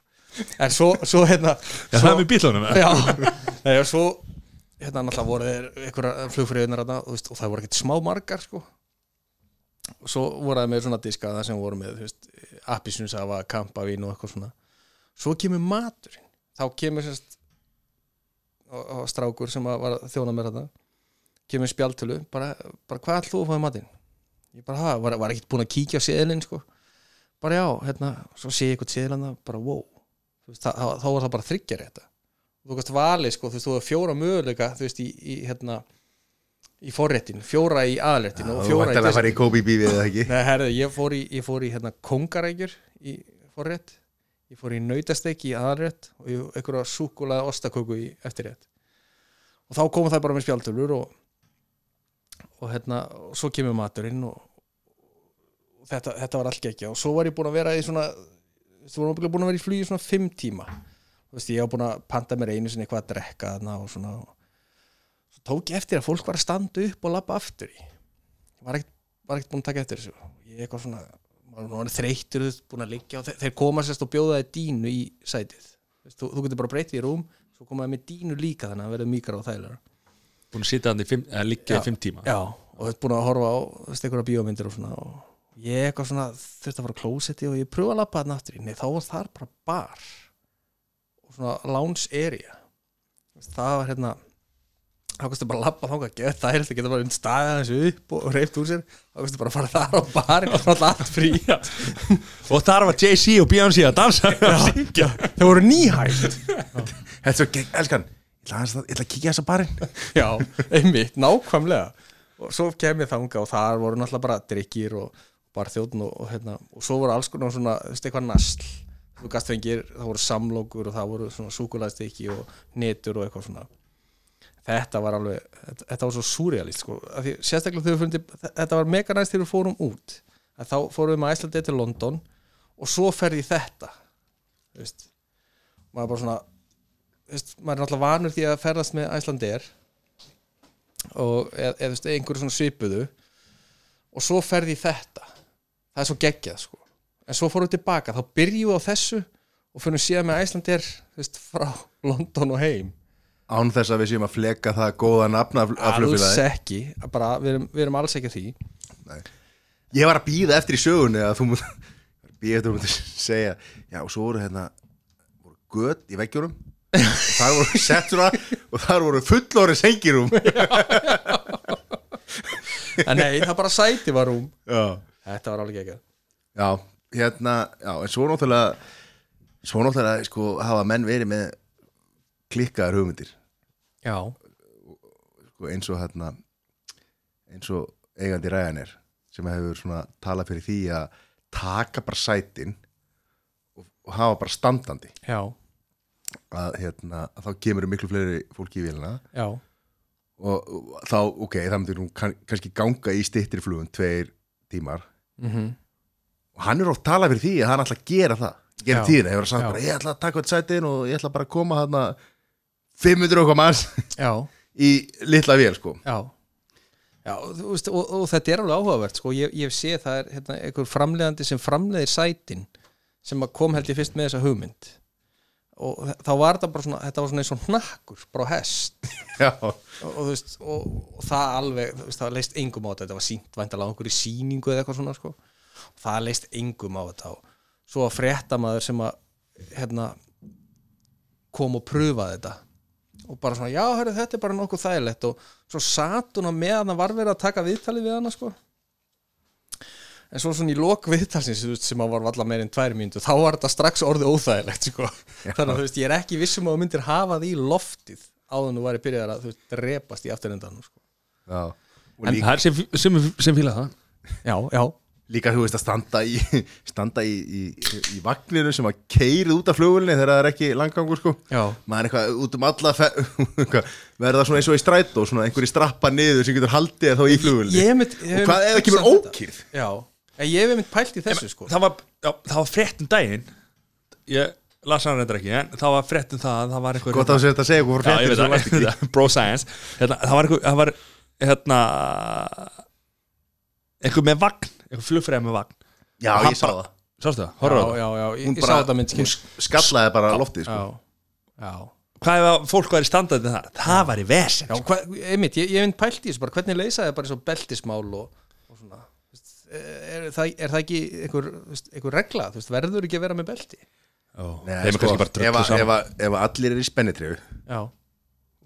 Speaker 4: en svo, svo hérna
Speaker 3: já,
Speaker 4: svo,
Speaker 3: það er með bílunum
Speaker 4: já, [LAUGHS] nei, og svo hérna náttúrulega voru þeir einhverja flugfröðunar þarna, þú veist, og það voru ekkert smá margar sko. og svo voru það með svona diska það sem voru með þú veist, appisunsafa, kampavín og eitthvað svona svo kemur maturinn þá kemur sérst og, og strákur sem að var að þjóna mér þarna kemur spjaltölu bara, bara hvað ætlum þú að fáið matinn ég bara, ha, var, var ekkert búin að kíkja á seðlinn sko. bara bara já, hérna, svo sé ég eitthvað síðan bara wow, Þú veist, það, þá, þá var það bara þryggjar þetta þú veist valið, sko, þú veist, þú hefur fjóra möguleika þú veist, í, í hérna í forréttin, fjóra í aðalréttin og
Speaker 2: þú
Speaker 4: fjóra
Speaker 2: væntalega að fara í Kobe Beef eða ekki
Speaker 4: Nei, herðu, ég fór í, ég fór í hérna, kongarækjur í forrétt ég fór í nautasteik í aðalrétt og í einhverja súkulaða ostaköku í eftirrétt og þá komu það bara með spjaldtölur og, og hérna og svo kemur maturinn og, og þetta, þetta var allt ekki og svo var ég búin að vera í svona þú var ábyggilega búin að vera í flugi í svona fimm tíma þú veist, ég var búin að panta mér einu sinni hvað að drekka þarna og svona og svo tók ég eftir að fólk var að standa upp og labba aftur í ég var ekkert var ekkert búin að taka eftir þessu ég eitthvað svona, maður var orðinn þreyttur þú veist, búin að liggja og þe þeir koma sérst og bjóða þér dínu í sætið Þú veist, þú, þú getur bara breytið í rúm svo komaði með dínu líka þannig að verða mýkara og þægilega
Speaker 3: Búin að sitja hann í fimm, eða liggja
Speaker 4: Já.
Speaker 3: í fimm tíma
Speaker 4: já, og þú ert búin að horfa á þú veist, einhverja bíómyndir og svona og ég eitthvað svona þurfti að fara á klósetti og ég pröfa að lappa þarna aftur í, nei þá var þar bara bar og svona lounge area Þú veist, það var hérna þá kostu bara að lappa þangað að geta það er þetta geta bara einn staðið aðeins upp og reyft úr sér þá kostu bara að fara þar á barinn og alltaf allt frí
Speaker 3: Og þar var Jay-Z og Beyoncé að dansa [LAUGHS] og syngja
Speaker 4: það voru nýhægt
Speaker 2: Þetta er svo gegn, elskan Ég ætla aðeins að- ég ætla að kíkja þess að barinn
Speaker 4: já, einmitt, nákvæmlega og svo kem ég þanga og þar voru náttúrulega bara drikkir og bara þjóðn og, og, hérna, og svo voru alls konar svona, þú veist, eitthvað nasl þú gast fengir, það voru samlokur og það voru svona súkulæðstekki og netur og eitthvað svona þetta var alveg, þetta, þetta var svo súrealist sko, af því sérstaklega þegar við fundi þetta var mega næst þegar við fórum út að þá fórum við með Æslandi til London og svo ferði þetta þú veist, maður bara svona þú veist, maður er náttúrulega vanur því að ferðast með Æslandir og eða eð, veist, einhverju svona svipuðu og svo ferði í þetta það er svo geggjað sko en svo fórum við tilbaka, þá byrjum við á þessu og fyrir síðan með Æslandir veist, frá [LAUGHS] London og heim
Speaker 2: Án þess að við séum að fleka það góða nafna af
Speaker 4: alls
Speaker 2: flugfélagi
Speaker 4: ekki, bara, við, erum, við erum alls ekki að því
Speaker 2: Ég var að býða eftir í sögunni að þú mútt [LAUGHS] Býða eftir að þú mútt segja Já, og svo voru hérna voru gött í
Speaker 4: [LAUGHS]
Speaker 2: veggjurum Þar voru settura og þar voru fullorins hengirum
Speaker 4: [LAUGHS] en nei, það bara sæti var rúm
Speaker 2: Já
Speaker 4: þetta var alveg ekki
Speaker 2: Já, hérna, já, en svo náttúrulega svo náttúrulega, sko, hafa menn verið með klikkaðar hugmyndir
Speaker 4: já,
Speaker 2: sko, eins og hérna eins og eigandi ræðanir sem hefur svona talað fyrir því að taka bara sætin og, og hafa bara standandi
Speaker 4: já,
Speaker 2: að, hérna, að þá kemur miklu fleiri fólki í vélina
Speaker 4: já
Speaker 2: og, og þá, ok, það myndir nú kann, kannski ganga í styttri flugum tveir tímar
Speaker 4: mm
Speaker 2: og hann er oft talað fyrir því að hann ætla að gera það gera
Speaker 4: Já.
Speaker 2: tíðina, hefur hann sagt
Speaker 4: Já.
Speaker 2: bara ég ætla að taka þetta sætin og ég ætla bara að koma hann 500 okkar manns [LAUGHS]
Speaker 4: já,
Speaker 2: í litla vél
Speaker 4: [LAUGHS]
Speaker 2: sko
Speaker 4: já Já, þú veist, og, og þetta er alveg áhugavert sko. ég, ég sé það er hérna, einhver framleiðandi sem framleiðir sætin sem að kom held ég fyrst með þessa hugmynd og þa- þá var þetta bara svona þetta var svona eins og hnakkur, bara á hest
Speaker 2: já,
Speaker 4: og, og, þú veist, og, og það alveg þú veist, það leist engum á þetta, þetta var sínt væntalega á einhverju sýningu eða eitthvað svona sko. og það leist engum á þetta og svo að fréttamaður sem að hérna, kom og pröfaði þetta og bara svona, já, hörru, þetta er bara nokkuð þægilegt og svo satt hún að meðan það var verið að taka viðtalið við hana sko. en svo svona í lok viðtalsins þú veist, sem að var valla meir en tvær mínútu þá var þetta strax orðið óþægilegt sko. þannig að þú veist, ég er ekki vissum að þú myndir hafa því loftið áðan þú væri byrjað að þú veist, drepast í afturendan sko.
Speaker 2: já. og
Speaker 3: En
Speaker 2: líka,
Speaker 3: það er sem, sem, sem fíla það
Speaker 4: já, já,
Speaker 2: líka þú veist að standa í [LAUGHS] standa í, í, í vagninu sem að keirið út af flugulni þegar það er ekki langgangur sko
Speaker 4: já
Speaker 2: maður er eitthvað út um alla fe- [LAUGHS] eitthvað, verða svona eins og í strætó svona einhverji strappa niður sem getur haldið þér þá í flugulni
Speaker 4: Ég hef einmitt- ég hef
Speaker 2: og hvað
Speaker 4: einmitt
Speaker 2: ef það kemur
Speaker 4: hugsað þetta.
Speaker 2: ókýrð
Speaker 4: já, en ég hef einmitt pælt í þessu sko.
Speaker 3: það var, já, það var frétt um daginn ég las hann reyndar ekki en það var frétt um það að það var einhver
Speaker 2: gott að þú sért að segja eitthvað frá
Speaker 3: já, ég
Speaker 2: fréttinni
Speaker 3: veit það,
Speaker 2: sem þú varst ekki í.
Speaker 3: [LAUGHS] það, bro science hérna, það var einhver, það var, hérna einhver með vagn einhver flugfræði með vagn
Speaker 2: já,
Speaker 3: Hann
Speaker 2: ég sá
Speaker 3: bara-
Speaker 2: það
Speaker 3: sástu það,
Speaker 4: já,
Speaker 3: horfðu á það
Speaker 4: já, já, ég,
Speaker 2: hún
Speaker 4: ég sá
Speaker 2: bara,
Speaker 4: þetta mynd
Speaker 2: hún skallaði bara loftið sko.
Speaker 4: já, já
Speaker 3: hvað ef að fólk væri standandi þar það var í vesen
Speaker 4: Já,
Speaker 3: sko.
Speaker 4: hva, einmitt, ég, ég finn pælt í þessu bara hvernig leysa þið bara svo beltismál og, og svona þú veist, er, það, er það ekki einhver, þú veist, einhver regla, þú veist, verður ekki að vera með belti
Speaker 2: Nei, sko,
Speaker 3: þeim er kannski bara
Speaker 2: ef,
Speaker 3: dröggu
Speaker 2: að- ef,
Speaker 3: saman
Speaker 2: að- ef að allir eru í spennitriðu
Speaker 4: Já,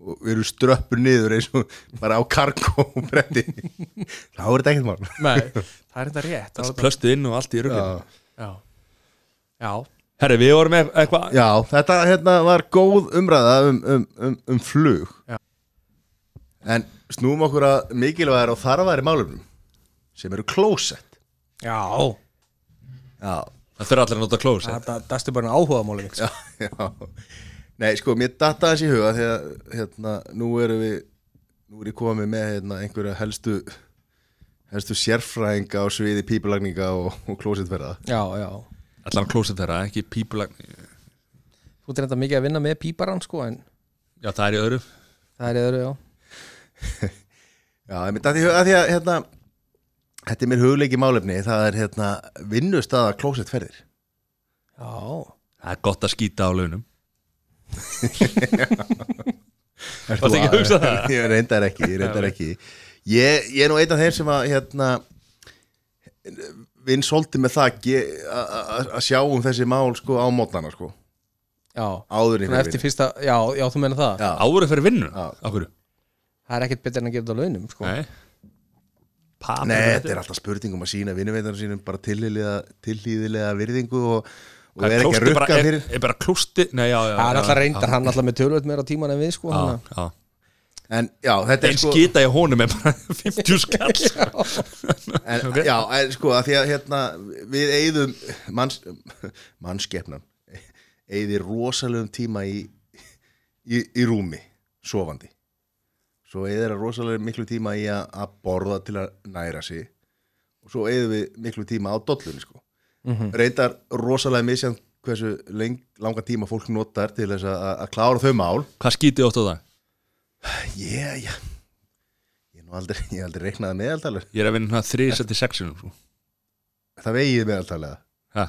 Speaker 2: og eru ströppur niður eins og bara á karko [LAUGHS] og bretti þá er þetta ekkert mál
Speaker 4: nei, það er þetta rétt það er þetta-
Speaker 3: plöstuð inn og allt í rugli
Speaker 4: Já, já,
Speaker 3: Herri, við vorum með eitthvað
Speaker 2: Já, þetta hérna var góð umræða um, um, um, um flug
Speaker 4: Já.
Speaker 2: En snúum okkur að mikilvægir og þarfæri málumnum sem eru klósett
Speaker 4: já
Speaker 2: Já,
Speaker 3: Það þurfa allir að nota klós
Speaker 4: þetta dastu bara áhuga málið
Speaker 2: já, [LAUGHS] já Nei, sko, mér datta þessi í huga þegar, hérna, nú erum við nú er ég komið með hérna, einhverja helstu helstu sérfræðinga á sviði pípulagninga og, og klósettverða
Speaker 4: já, já,
Speaker 3: Allar að klósa þeirra, ekki pípulag
Speaker 4: þú ert þetta mikið að vinna með píparann sko en
Speaker 3: Já, það er í öðru
Speaker 4: það er yfir, já
Speaker 2: Já, ég myndi að því að því að hérna, þetta er mér hugleiki málefni það er hérna vinnustaða klósettferðir
Speaker 4: já,
Speaker 3: Það er gott að skýta á [LAUGHS] launum
Speaker 2: Varst
Speaker 3: Varstu ekki að hugsa það?
Speaker 2: Ég reyndar ekki, ég reyndar ekki ég, ég er nú einn af þeim sem að hérna vinn svolítið með það ge- a- a- a- að sjá um þessi mál sko á mótnana sko
Speaker 4: já
Speaker 2: áður en
Speaker 4: Svona
Speaker 2: ég
Speaker 4: eftir
Speaker 2: fyrir vinnu.
Speaker 4: fyrsta, já, já, þú meina það
Speaker 2: Já.
Speaker 3: Áru fyrir vinnu,
Speaker 2: Já.
Speaker 3: á hverju?
Speaker 4: það er ekkert betur en að gera þetta á launum sko.
Speaker 3: Nei Papir
Speaker 2: Nei, þetta er alltaf spurningum að sína vinnuveitarnar sínum bara tillýðilega, tillýðilega virðingu og, og
Speaker 3: Það
Speaker 2: er ekki að
Speaker 3: klósti
Speaker 2: rukka
Speaker 3: bara-
Speaker 2: fyrir
Speaker 3: Er, er bara klústi Nei, já, já
Speaker 4: það er
Speaker 3: já,
Speaker 4: alltaf
Speaker 3: já,
Speaker 4: reyndar, hann alltaf með tölvöld meira tíman en við sko,
Speaker 3: Já,
Speaker 4: hann
Speaker 3: já
Speaker 2: En já, þetta
Speaker 3: Einn
Speaker 2: er sko
Speaker 3: skýta í honum er bara [LAUGHS] 50
Speaker 2: [LAUGHS]
Speaker 3: skall
Speaker 2: en, Já, en sko að því að hérna við eigðum manns, mannskeppnan eigði rosalegum tíma í, í, í rúmi sofandi svo eigður að rosalegum miklu tíma í að, að borða til að næra sig og svo eigðum við miklu tíma á dollunni sko reyndar rosalega misjan hversu leng, langa tíma fólk notar til þess að, að klára þau mál
Speaker 3: Hvað skýti ótt á það?
Speaker 2: yeah, yeah. ég er nú aldrei, ég er aldrei reiknaði meðaltalur
Speaker 3: Ég er að vinna þrýsa til sko. sexinu
Speaker 2: það vegið meðaltalega
Speaker 3: Hæ,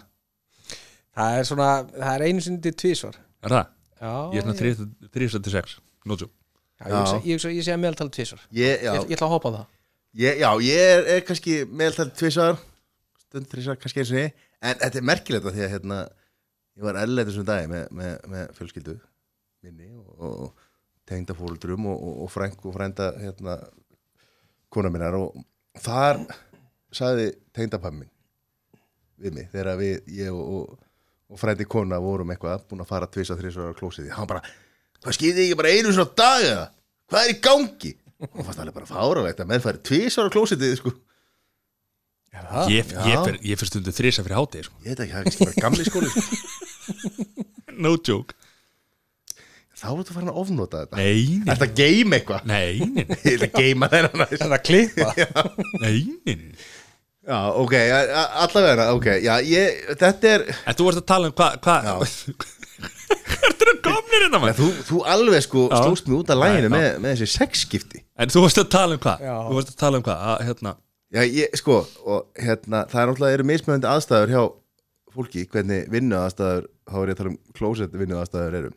Speaker 4: það er svona, það er einu sinni til tvísvar
Speaker 3: er það?
Speaker 4: já,
Speaker 3: Ég er svona þrýsa til sex No joke
Speaker 4: Já, ég, hugsa, ég, hugsa, ég sé að meðaltal tvisar
Speaker 2: ég, já,
Speaker 4: ég, ég ætla að hoppa á það
Speaker 2: Ég, já, ég er, er kannski meðaltal tvisar stund tvisar, kannski eins og ég en þetta er merkilegt af því að hérna, ég var erlendur sem dagi með, með, með fjölskyldu minni og, og tengda fóruldrum og, og, og frænk og frænda hérna, kona minnar og þar sagði tengdapammin við mig þegar við, ég og, og, og frændi kona vorum eitthvað búin að fara tvisa, þrisvar á klósiði hann bara, hvað skýði ekki bara einu svona dag eða hvað er í gangi og fannst alveg bara fáralegt að menn færi tvisvar á klósitið sko.
Speaker 4: Já,
Speaker 3: Ég, ég, fer, ég fer stundu þrýsa fyrir hátið sko.
Speaker 2: ég veit ekki, það er kannski bara gamli skóli sko.
Speaker 3: No joke
Speaker 2: þá er þetta farin að ofnota þetta
Speaker 3: Nei, nei,
Speaker 2: er þetta game eitthvað?
Speaker 3: nei, nei, nei,
Speaker 2: ég er að geima þeirra næst
Speaker 4: Það klippa
Speaker 3: nei, nei.
Speaker 2: já, ok, a- a- allavega ok, já, ég, þetta er
Speaker 3: En þú varst að tala um hvað hva, [LAUGHS] Ertu nú komnir innan
Speaker 2: Nei,
Speaker 3: maður?
Speaker 2: þú, þú alveg sko
Speaker 3: Já.
Speaker 2: slóst mig út af læginu
Speaker 3: Nei,
Speaker 2: með, með þessi sexskipti
Speaker 3: En þú varst að tala um hvað?
Speaker 4: Já.
Speaker 3: Þú varst að tala um hvað? Að, hérna,
Speaker 2: Já, ég, sko, og hérna, það er náttúrulega eru mismöðandi aðstæður hjá fólki, hvernig vinnu aðstæður, þá er ég að tala um klósett vinnu aðstæður eru.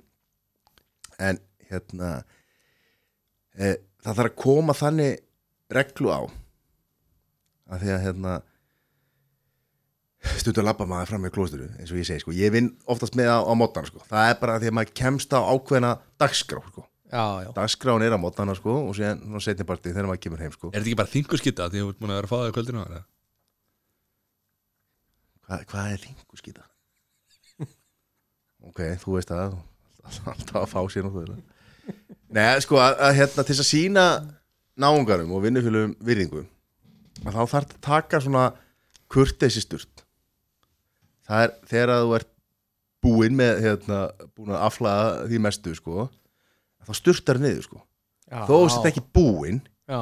Speaker 2: En, hérna, e, það þarf að koma þannig reglu á. Af því að, hérna, stundum labba maður fram með klósturu, eins og ég segi, sko. Ég vinn oftast með á, á mótana, sko. Það er bara af því að maður kemst á ákveðna dagskrá, sko.
Speaker 4: Já, já
Speaker 2: Dagskráin er á mótana, sko, og síðan setnipartið þegar maður kemur heim, sko.
Speaker 3: er þetta ekki bara þinguskitta því að þú ert búin að vera að fá það í kvöldinu? eða?
Speaker 2: Hva, hvað er ringuskýta? ok, þú veist það alltaf að fá sér náttúrulega Nei, sko, að, að hérna til þess að sína náungarum og vinnufélum virðingu að þá þarf að taka svona kurteisi sturt það er þegar að þú ert búinn með, hérna, búinn að aflaða því mestu, sko þá sturtar niður, sko
Speaker 4: Já,
Speaker 2: þó þess þetta ekki búinn
Speaker 4: Já,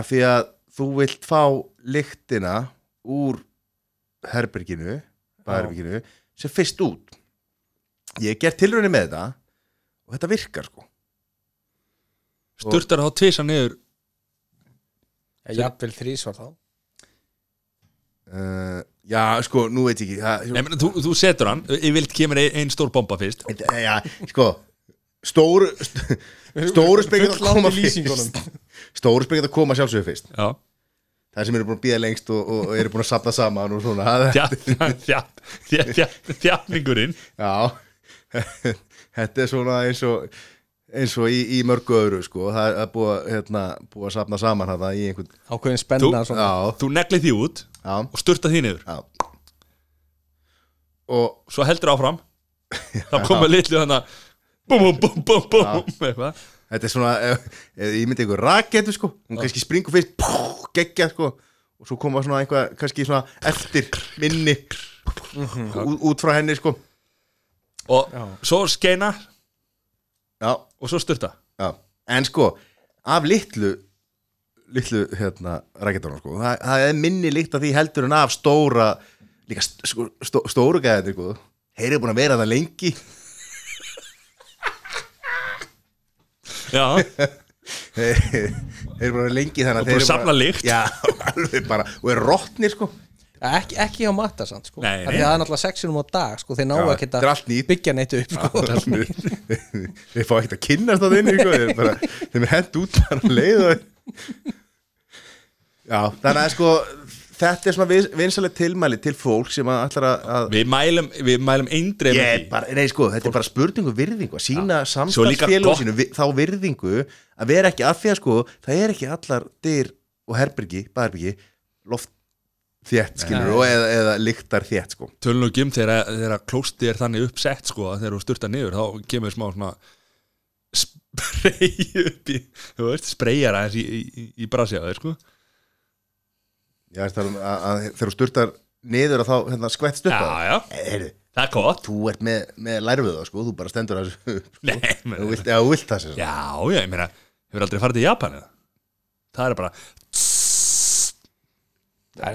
Speaker 2: af því að þú vilt fá lyktina úr herberginu, baðherberginu sem fyrst út ég hef gert tilraunir með þetta og þetta virkar sko
Speaker 3: Sturtar þá tvisa niður
Speaker 4: ég jafnvel þrísvar þá
Speaker 2: uh, já sko, nú veit ég ekki það,
Speaker 3: Nei, meni, þú, þú setur hann, yfirleitt kemur ein, ein stór bomba fyrst
Speaker 2: Þetta- já, sko stóru st- stóru spekjum að
Speaker 4: Fulllangt
Speaker 2: koma
Speaker 4: í
Speaker 2: fyrst
Speaker 4: lýsingunum.
Speaker 2: stóru spekjum að koma sjálfsögur fyrst
Speaker 3: Já,
Speaker 2: það sem eru búin að býða lengst og, og eru búin að sapna saman og svona það-
Speaker 3: [LAUGHS] þjáfningurinn
Speaker 2: Já, [LAUGHS] þetta er svona eins og eins og í, í mörgu öðru sko, það er búið, að, hérna, búið að safna saman hana í einhvern,
Speaker 4: Ákveðin spenna
Speaker 3: Þú-
Speaker 4: svona
Speaker 2: já,
Speaker 3: Þú neglið því út
Speaker 2: já,
Speaker 3: og sturtar því niður
Speaker 2: já og
Speaker 3: svo heldur
Speaker 2: [LAUGHS]
Speaker 3: áfram þá komið litlu þannig að bum bum bum bum bum eitthvað
Speaker 2: þetta er svona, [LAUGHS] ef, ef ég myndi einhver raketu sko, hún kannski springur fyrst pú, geggja sko, og svo koma svona einhvað kannski svona eftir, minni ú, út frá henni sko
Speaker 3: og svo skeina
Speaker 2: já,
Speaker 3: og svo styrta
Speaker 2: já, en sko af litlu litlu hérna raketunum sko, það, það er minni líkt að því heldur en af stóra líka st sko, stó stóru gæðin sko þeir eru búin að vera það lengi
Speaker 3: já,
Speaker 2: þeir þeir eru búin að vera lengi þannig
Speaker 3: Og búin
Speaker 2: að þeir eru
Speaker 3: að safna lykt.
Speaker 2: já, alveg bara, og er rottnir sko
Speaker 4: Ja, ekki, ekki á matta samt sko.
Speaker 3: Nei, nei.
Speaker 4: Af því að það er náttúrulega sexinum á dag sko. þeir ná
Speaker 2: Já,
Speaker 4: að
Speaker 2: þetta er
Speaker 4: geta
Speaker 2: allt nýtt.
Speaker 4: byggja neitt upp sko.
Speaker 2: [LAUGHS] þeir fá ekkert að kynnast það inni sko. þeir, bara, þeim er hent út bara um leið og... já, þannig að sko þetta er svona vinsalega tilmæli til fólk sem að ætlar að- að
Speaker 3: við mælum við mælum eindreif
Speaker 2: ég, bara, nei, sko, þetta er bara spurningu virðingu að sína
Speaker 3: Svo líka
Speaker 2: samstagsfélag
Speaker 3: gott-
Speaker 2: sínu vi- þá virðingu að vera ekki af því að sko það er ekki allar dyr og herbergi, baðherbyggi loft þétt skilur og eða, eða lyktar þétt sko
Speaker 3: tölun og gym um þegar, þegar klósti er þannig uppsett sko að þegar þú styrta niður þá kemur smá svona sprey upp í þú veist, spreyjar aðeins í, í, í- í brasi á þeir sko
Speaker 2: Já, er það um að, að þegar þú sturtar niður að þá hérna, skvett stutta
Speaker 3: já, já,
Speaker 2: Eh, Heyrðu,
Speaker 3: það er gott
Speaker 2: þú ert með, með lærfið sko, þú bara stendur að þessu upp, sko.
Speaker 3: Nei, menn-
Speaker 2: [LAUGHS] þú vilt, ja, þú vilt það sér
Speaker 3: já, já, ég meina hefur aldrei farið til Japan eða það er bara
Speaker 4: Það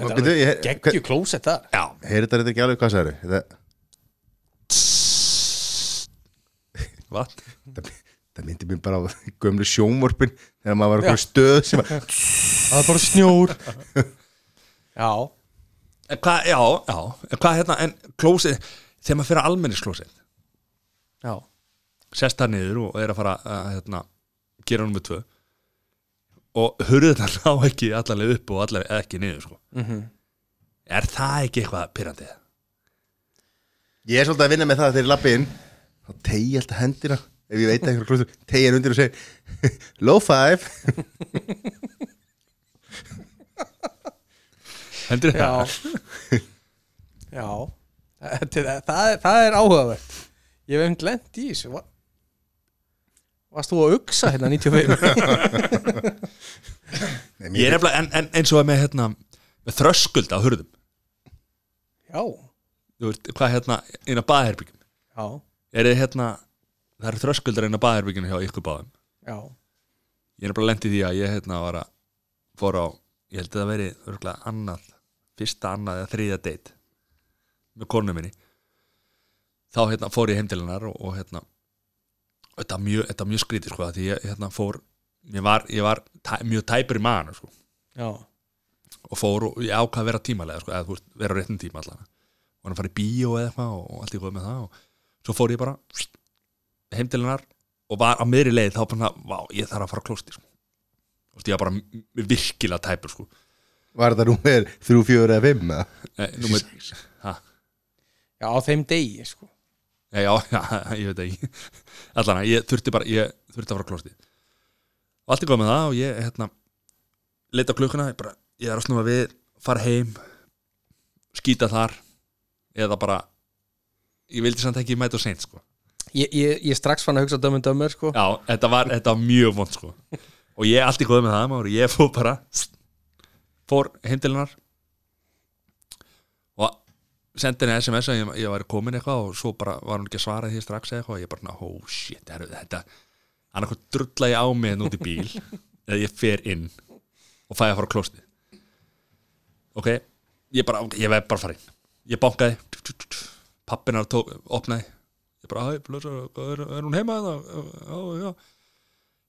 Speaker 2: Hvað
Speaker 4: er
Speaker 2: byrju, ég-
Speaker 4: geggju klósett þar
Speaker 3: já,
Speaker 2: heyrðu þetta ekki alveg hvað særu þetta,
Speaker 3: vatn
Speaker 2: þetta, þetta myndi mér bara á gömlu sjónvorpin þegar maður var okkur stöð sem var
Speaker 4: Það er bara snjór Já,
Speaker 3: En hvað, já, já, en hvað hérna, en klósið, þegar maður fyrir að almennisklósið,
Speaker 4: já
Speaker 3: sest það niður og er að fara að, hérna, gera nummer tvö og hurðið það [LAUGHS] ná ekki allaveg upp og allaveg ekki niður, sko. Er það ekki eitthvað pyrrandið?
Speaker 2: Ég er svolítið að vinna með það að þegar ég lappi inn þá tegi ég alltaf hendina ef ég veit eitthvað klústur, tegi henn undir og segi [LAUGHS] low five
Speaker 3: Hendur
Speaker 4: Já
Speaker 3: það?
Speaker 4: Já Þetta er- Það er, það er áhugavert Ég hef um glend í þessu Va- Varst þú að hugsa hérna [LAUGHS] 95
Speaker 2: Nei,
Speaker 3: Ég
Speaker 2: mér,
Speaker 3: er nefnilega, en, en eins og með, hérna, með þröskuld á hurðum,
Speaker 4: Já,
Speaker 3: þú veist, hvað hérna, inn á baðherbyggjum,
Speaker 4: já,
Speaker 3: er þið hérna, það eru þröskuldar inn á baðherbygginu hjá ykkur báðum.
Speaker 4: já
Speaker 3: ég er bara lent í því að ég hérna var að fór á, ég held að það veri örgulega annað, fyrsta annað eða þriðja date með konu minni þá hérna fór ég heim til hennar og, og hérna þetta var mjög, þetta var mjög skrítið sko af því ég hérna fór, ég var, ég var tæ, mjög tæpur í maðan sko
Speaker 4: Já,
Speaker 3: og fór og ég ákvað að vera tímalega sko, eða þú veist, vera á réttum tíma allan og hann að fara í bíó eða eitthvað og, og allt í góð með það og svo fór ég bara pst, heim til hennar og var á miðri leið þá bara, svona, vá, ég þarf að fara á klósti sko. og því ég var bara m- virkilega tæpur sko.
Speaker 2: Var það númer 3, 4 eða 5 eða?
Speaker 3: Nei, númer, ha,
Speaker 4: já á þeim degi sko
Speaker 3: Nei, já, [LAUGHS] já, ég veit ekki allan að ég þurfti bara, ég þurfti að fara á klósti og allt í góð með það og ég hérna, leita á klukkuna ég, bara, ég er að snúa við, fara heim skýta þar eða bara ég vildi samt ekki mæta og seint sko
Speaker 4: Ég, ég, ég strax fann að hugsa dömum dömur sko
Speaker 3: já, þetta var, þetta var mjög vond sko og ég allt í góð með það Mári, ég fór bara fór heim til hennar og sendi henni sms að ég, ég væri komin eitthvað og svo bara var hún ekki að svara því strax eða eitthvað og ég bara, svona, oh shit, herru, þetta annarkoð drulla ég á mig hérna út í bíl eða ég fer inn og fæ að fara á klósti ok, ég bara, ok, ég veið bara farin ég bankaði pappinar tók, opnaði ég bara, hæ, blösa, er, er hún heima hérna? já, já,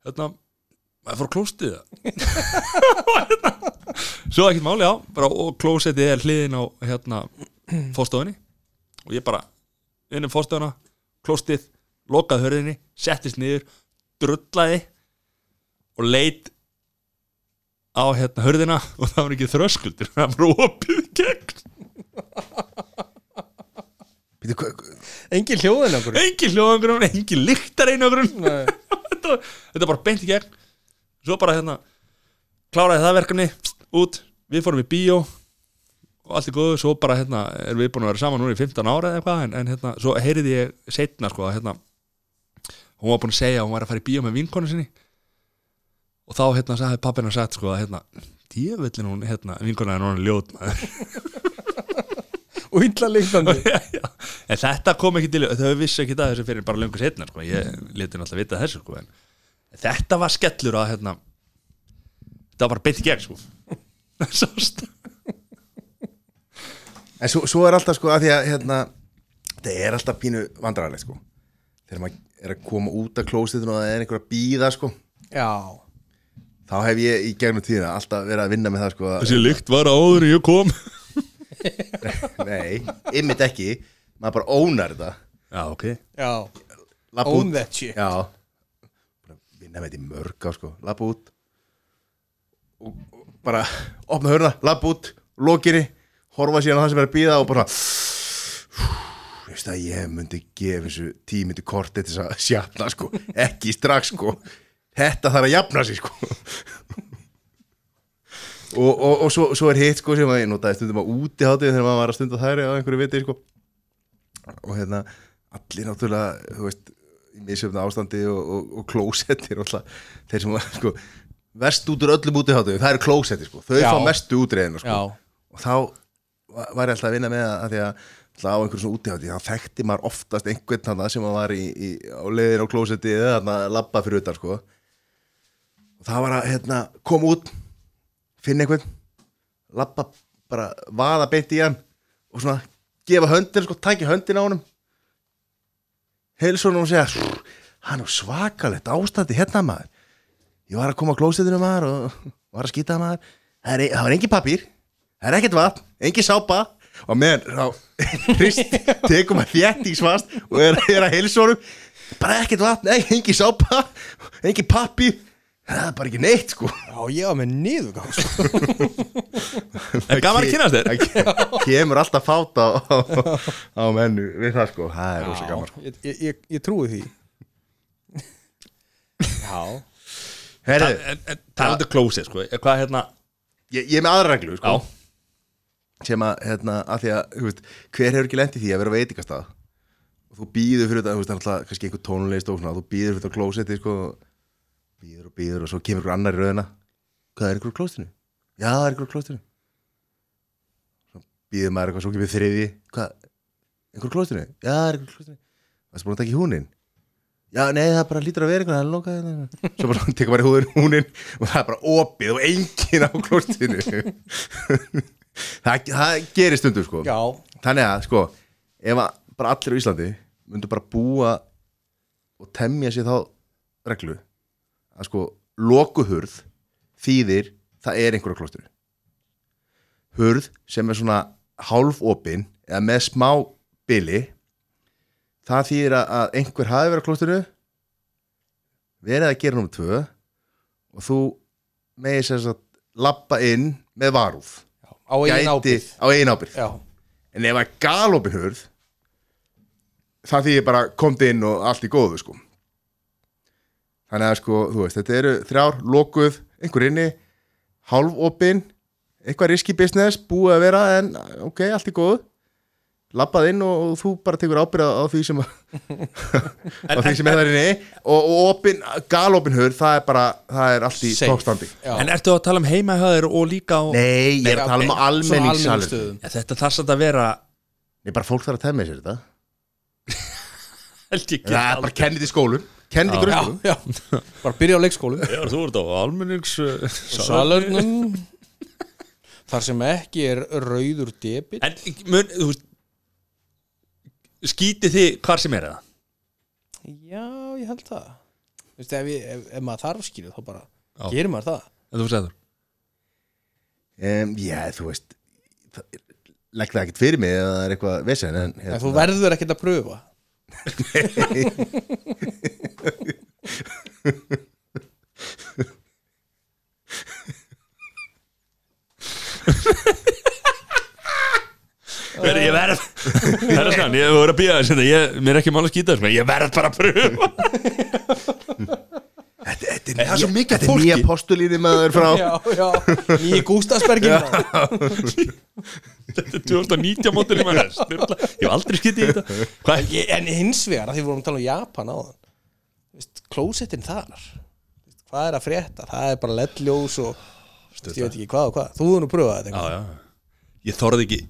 Speaker 3: hérna maður fór á klóstið það [LAUGHS] svo ekkert máli, já, bara, og klósetið er hliðin á hérna fórstofunni og ég bara inn um fórstofuna, klóstið lokaði hörðinni, settist niður drullaði og leit á hérna hörðina og það var ekki þröskuldur það var opið í gegn
Speaker 2: Býtu, hva- hva-
Speaker 4: Engin hljóðin okkur
Speaker 3: engin hljóðangrun, engin lyktar einagrun þetta, þetta bara beint í gegn svo bara hérna kláraði það verkefni, út við fórum í bíó og allt er góðu, svo bara hérna erum við búin að vera saman núna í 15 ára eða eitthvað en, en hérna, svo heyrði ég setna sko að hérna, hún var búin að segja að hún var að fara í bíó með vinkonu sinni og þá hérna sagði pappina sagt sko að hérna, djöfullin hún hérna, vinkona er núna ljót maður
Speaker 4: og illa [LAUGHS] líktandi
Speaker 3: [LAUGHS] Já, já. en þetta kom ekki til þau vissi ekki það þessu fyrir bara löngu setna sko. ég leti náttúrulega vita þessu sko. en þetta var skellur að hérna, þetta var bara beint í gegn [LAUGHS] sko. Sást?
Speaker 2: En svo, svo er alltaf sko að því að hérna, þetta er alltaf pínu vandrarlega sko þegar maður er að koma út af klósitinu og það er einhver að býða sko
Speaker 4: já,
Speaker 2: þá hef ég í gegnum tíðina alltaf verið að vinna með það sko að-
Speaker 3: þessi lykt var áður en ég kom
Speaker 2: Nei, ymmit ekki maður bara ónar þetta
Speaker 3: já ok
Speaker 4: já,
Speaker 2: Labba
Speaker 4: Own
Speaker 2: út.
Speaker 4: that shit.
Speaker 2: Já Bara Vinna með þetta í mörg á sko Lappa út og, og bara opna hörna, lappa út Lokinni, horfa síðan á það sem er að býða og bara Þú veist að ég myndi gefa þessu tímyndu korti til þess að sjafna sko Ekki strax sko Þetta þarf að jafna sig sko Og, og, og svo, svo er hitt sko sem að ég notaði stundum að úti hátíð þegar maður var að stunda þær á einhverju viti sko og hérna allir náttúrulega þú veist, í misjöfna ástandi og, og, og klósettir alltaf, þeir sem var sko verst út úr öllum útiháttu, það eru klósetti sko þau
Speaker 4: Já.
Speaker 2: fá mestu útreðina sko
Speaker 4: já,
Speaker 2: og þá va- var ég alltaf að vinna með það af því að alltaf á einhverjum svona útihátti þá þekkti maður oftast einhvern hann sem að var í, í, á leiðin á klósetti eða hann að labba fyrir utan sko og það var að hérna, koma út finna einhvern labba bara vaða beint í hann og svona gefa höndin sko, tækja höndin á honum heilsa honum og segja "Sss, hann er á svakalegt ástandi hérna maður ég var að koma á klósettinu maður og [LAUGHS] var að skýta maður það, er, e- það var engin papír það er ekkert vatn, engin sápa og meðan þá [LAUGHS] hrist tekum að þjætt í svast og er, er að heilsórum bara ekkert vatn, nei, engin sápa engin pappír, það er bara ekki neitt sko
Speaker 4: já, ég var með niðurgang sko.
Speaker 3: en gaman að kynast þér
Speaker 2: Það kemur alltaf fát á, á, á mennu við það sko, það er rosa gaman sko.
Speaker 4: ég, ég, ég, ég trúi því já,
Speaker 2: Herru,
Speaker 3: talandu klósið sko eh, hvað hérna
Speaker 2: ég, ég er með aðra reglu sko
Speaker 3: já
Speaker 2: sem að, hérna, að því að, þú veist, hver hefur ekki lent í því að vera á veitingastað og þú býður fyrir þetta, þú veist, það er alltaf kannski einhver tónlist og svona, þú býður fyrir þetta klósetti, sko býður og býður og svo kemur einhver annar í röðina hvað er einhver á klóstinu? Já, það er einhver á klóstinu svo býður maður eitthvað, svo kemur þriði hvað, einhver á klóstinu? Já, það er einhver á klóstinu það er búin að taka í húnin Já, nei, það bara lítur að vera einhvern, hann lokaði hérna. Svo bara [LAUGHS] tekur maður í húðin húnin og það er bara opið og enginn á klóstinu [LAUGHS] það, það gerir stundum sko
Speaker 4: já,
Speaker 2: þannig að sko ef að bara allir á Íslandi myndu bara búa og temja sér þá reglu að sko lokuhurð þýðir það er einhverja klosturu hurð sem er svona hálfopin eða með smá bili það þýðir að- að einhver hafi verið á klosturu verið að gera nummer tvö og þú megir sér að lappa inn með varúð
Speaker 4: á einn
Speaker 2: Gæti-
Speaker 4: ábyrð
Speaker 2: á eigin ábyrð
Speaker 4: já,
Speaker 2: en ef að galopin hurð það því ég bara komdi inn og allt í góðu sko þannig að sko, þú veist, þetta eru þrjár, lokuð, einhver inni hálfopin, eitthvað riski business, búið að vera en ok, allt í góðu labbað inn og, og þú bara tekur ábyrða á því sem [LAUGHS] að- á því sem er þar inni og, og opin, galopin hurð, það er bara það er allt í
Speaker 4: Safe.
Speaker 2: tókstandi
Speaker 4: já.
Speaker 3: en ertu að tala um heimahöður og líka á
Speaker 2: Nei, ég er að tala um
Speaker 4: Svona
Speaker 2: almenningssalur
Speaker 4: almenningsstöðum.
Speaker 3: Ja, þetta þarf samt að vera
Speaker 2: Nei, bara fólk þarf að temja sér þetta
Speaker 3: held ég
Speaker 2: Það er bara kennið í skólum Kennið í
Speaker 4: já,
Speaker 2: grunnskólum
Speaker 4: já, bara byrja á leikskólu
Speaker 3: Já, þú ert á almennings uh,
Speaker 4: salurnum þar sem ekki er rauður debil
Speaker 3: En mun, þú veist Skítið þið hvar sem er eða?
Speaker 4: já, ég held það Þú veist, ef, ég, ef, ef maður þarf skilur þá bara
Speaker 3: Já.
Speaker 4: gerir maður það
Speaker 3: En þú segður
Speaker 2: um, Já, þú veist það- Legg það ekkert fyrir mig eða það er eitthvað vesen En, hérna,
Speaker 4: en þú verður ekkert að pröfa
Speaker 3: Ver, Ég verð Það er skan, ég voru að býja þess Mér er ekki mál að skýta þess Ég verð bara að pröfa
Speaker 2: þetta, þetta, Réttin, það er svo mikið
Speaker 3: þetta er
Speaker 2: fólki
Speaker 3: nýja
Speaker 2: Nýja postulínu maður frá
Speaker 4: já, já, í Gústafsbergin
Speaker 3: [LAUGHS] Þetta er 2019 mótil í maður Snurla. Ég hef aldrei skiptið í þetta Hvað?
Speaker 4: Ég- en hins vegar, að því við vorum að tala um Japan áðan Vist, klósettin þar Vist, hvað er að frétta, það er bara leddljós og Vist, ég veit ekki hvað og hvað, þú hefur nú pröfað þetta
Speaker 3: Já,
Speaker 4: eitthvað.
Speaker 3: já Ég þorði ekki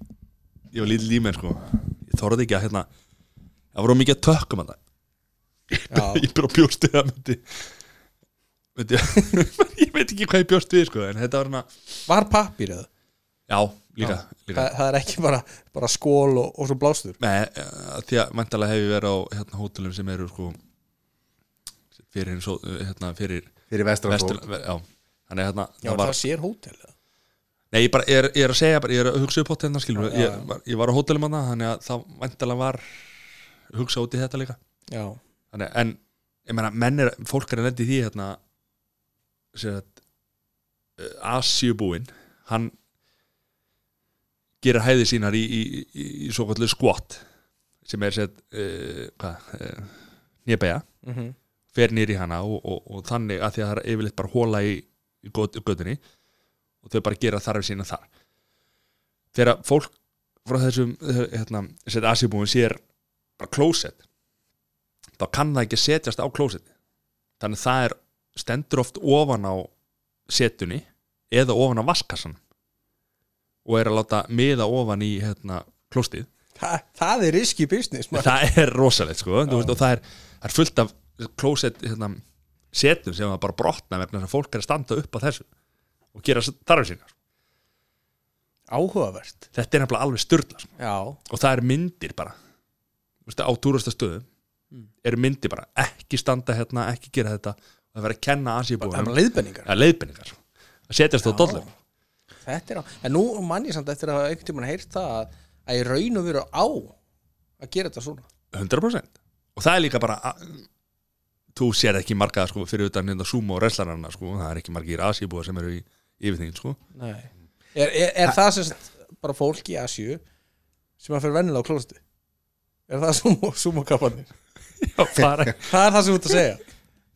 Speaker 3: Ég var lítið límenn sko Ég þorði ekki að hérna Það voru mikið að tökkum hann
Speaker 4: já,
Speaker 3: [LAUGHS] Ég bara bjóst við að myndi, myndi [LAUGHS] Ég veit ekki hvað ég bjóst við sko En þetta var hérna
Speaker 4: var pappir eða
Speaker 3: Já, líka, líka.
Speaker 4: það, það er ekki bara, bara skól og, og svo blástur
Speaker 3: Nei, eh, því að mæntalega hef ég verið á hérna, hótelum sem eru sko fyrir, hins hó- hérna, fyrir
Speaker 2: Fyrir
Speaker 3: vestur,
Speaker 2: vestransból
Speaker 3: já, þannig að hérna
Speaker 4: já,
Speaker 3: það
Speaker 4: það,
Speaker 3: var,
Speaker 4: það sér hótel eða?
Speaker 3: nei, ég bara, ég er, ég er að segja bara, ég er að hugsa upp á þetta skilur,
Speaker 4: Já, já,
Speaker 3: ég,
Speaker 4: já.
Speaker 3: var- ég var á hótelum hana þannig að það mæntalega var hugsa út í þetta líka
Speaker 4: já,
Speaker 3: þannig, að- en, ég meina, menn er fólk er að lendi því hérna sér að Asiubúin, hann gerir hæði sínar í, í, í, í svo kallu skvott sem er sér uh, hvað, uh, nýjabæja
Speaker 4: mm
Speaker 3: fer nýri í hana og, og, og þannig að því að það er yfirleitt bara hóla í, í göt- götunni og þau bara gera þarf sína þar þegar fólk frá þessum hérna, set asibúin sér bara klósett þá kann það ekki setjast á klósetti þannig að það er stendur oft ofan á setunni eða ofan á vaskassan og er að láta miða ofan í hérna, klóstið
Speaker 4: Þa, það er riski business maður.
Speaker 3: það er rosalegt sko þú veist, og það er, það er fullt af klósett hérna, setum sem það bara brotna vegna þess að fólk er að standa upp á þessu og gera þarfið sína
Speaker 4: áhugavert
Speaker 3: þetta er nefnilega alveg styrla sko.
Speaker 4: já,
Speaker 3: og það er myndir bara Þú veist, á túrastastöðum
Speaker 4: Mm.
Speaker 3: eru myndir bara ekki standa hérna, ekki gera þetta og það verður að kenna
Speaker 4: það er
Speaker 3: Asíubúinum
Speaker 4: bara leiðbenningar
Speaker 3: að leiðbendingar sko. að setjast á
Speaker 4: Já.
Speaker 3: dollum
Speaker 4: Þetta er á, en nú mann ég samt eftir að hafa einhvern tímann heyrt það að, að ég raun og veru á að gera þetta svona
Speaker 3: 100% og það er líka bara að, þú sér ekki marga sko, fyrir utan hérna sumo og reslarana sko. það er ekki margir Asíubúar sem eru í yfirþingin sko.
Speaker 4: Nei. Er, er, er það sem sagt bara fólk í Asju sem að fyrir vennilega á klósti Er það sumo, sumokapparnir?
Speaker 3: Já, bara
Speaker 4: Það er það sem þú ert að segja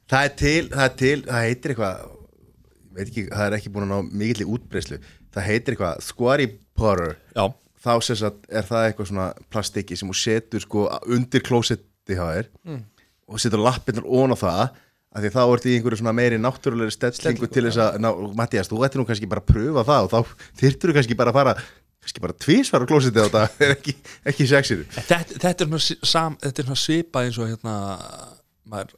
Speaker 2: Það er til, það er til, það heitir eitthvað ég veit ekki, það er ekki búin að ná mikill í útbreyslu það heitir eitthvað squari porrer
Speaker 3: Já,
Speaker 2: þá sem sagt er það eitthvað svona plastikki sem þú setur sko undir klósetti hjá þér og setur lappirnar ón á það af því þá ertu í einhverju svona meiri náttúrulegri stellingu til þess að, ná, Mattias, þú ættir nú kannski bara að pröfa það og þá þyrftur þú kannski bara að fara kannski bara tvísvar á klósetti á [LAUGHS] það en ekki, ekki sexinu
Speaker 3: þetta, þetta, er svona, si- sam, þetta er svona svipað eins og hérna maður,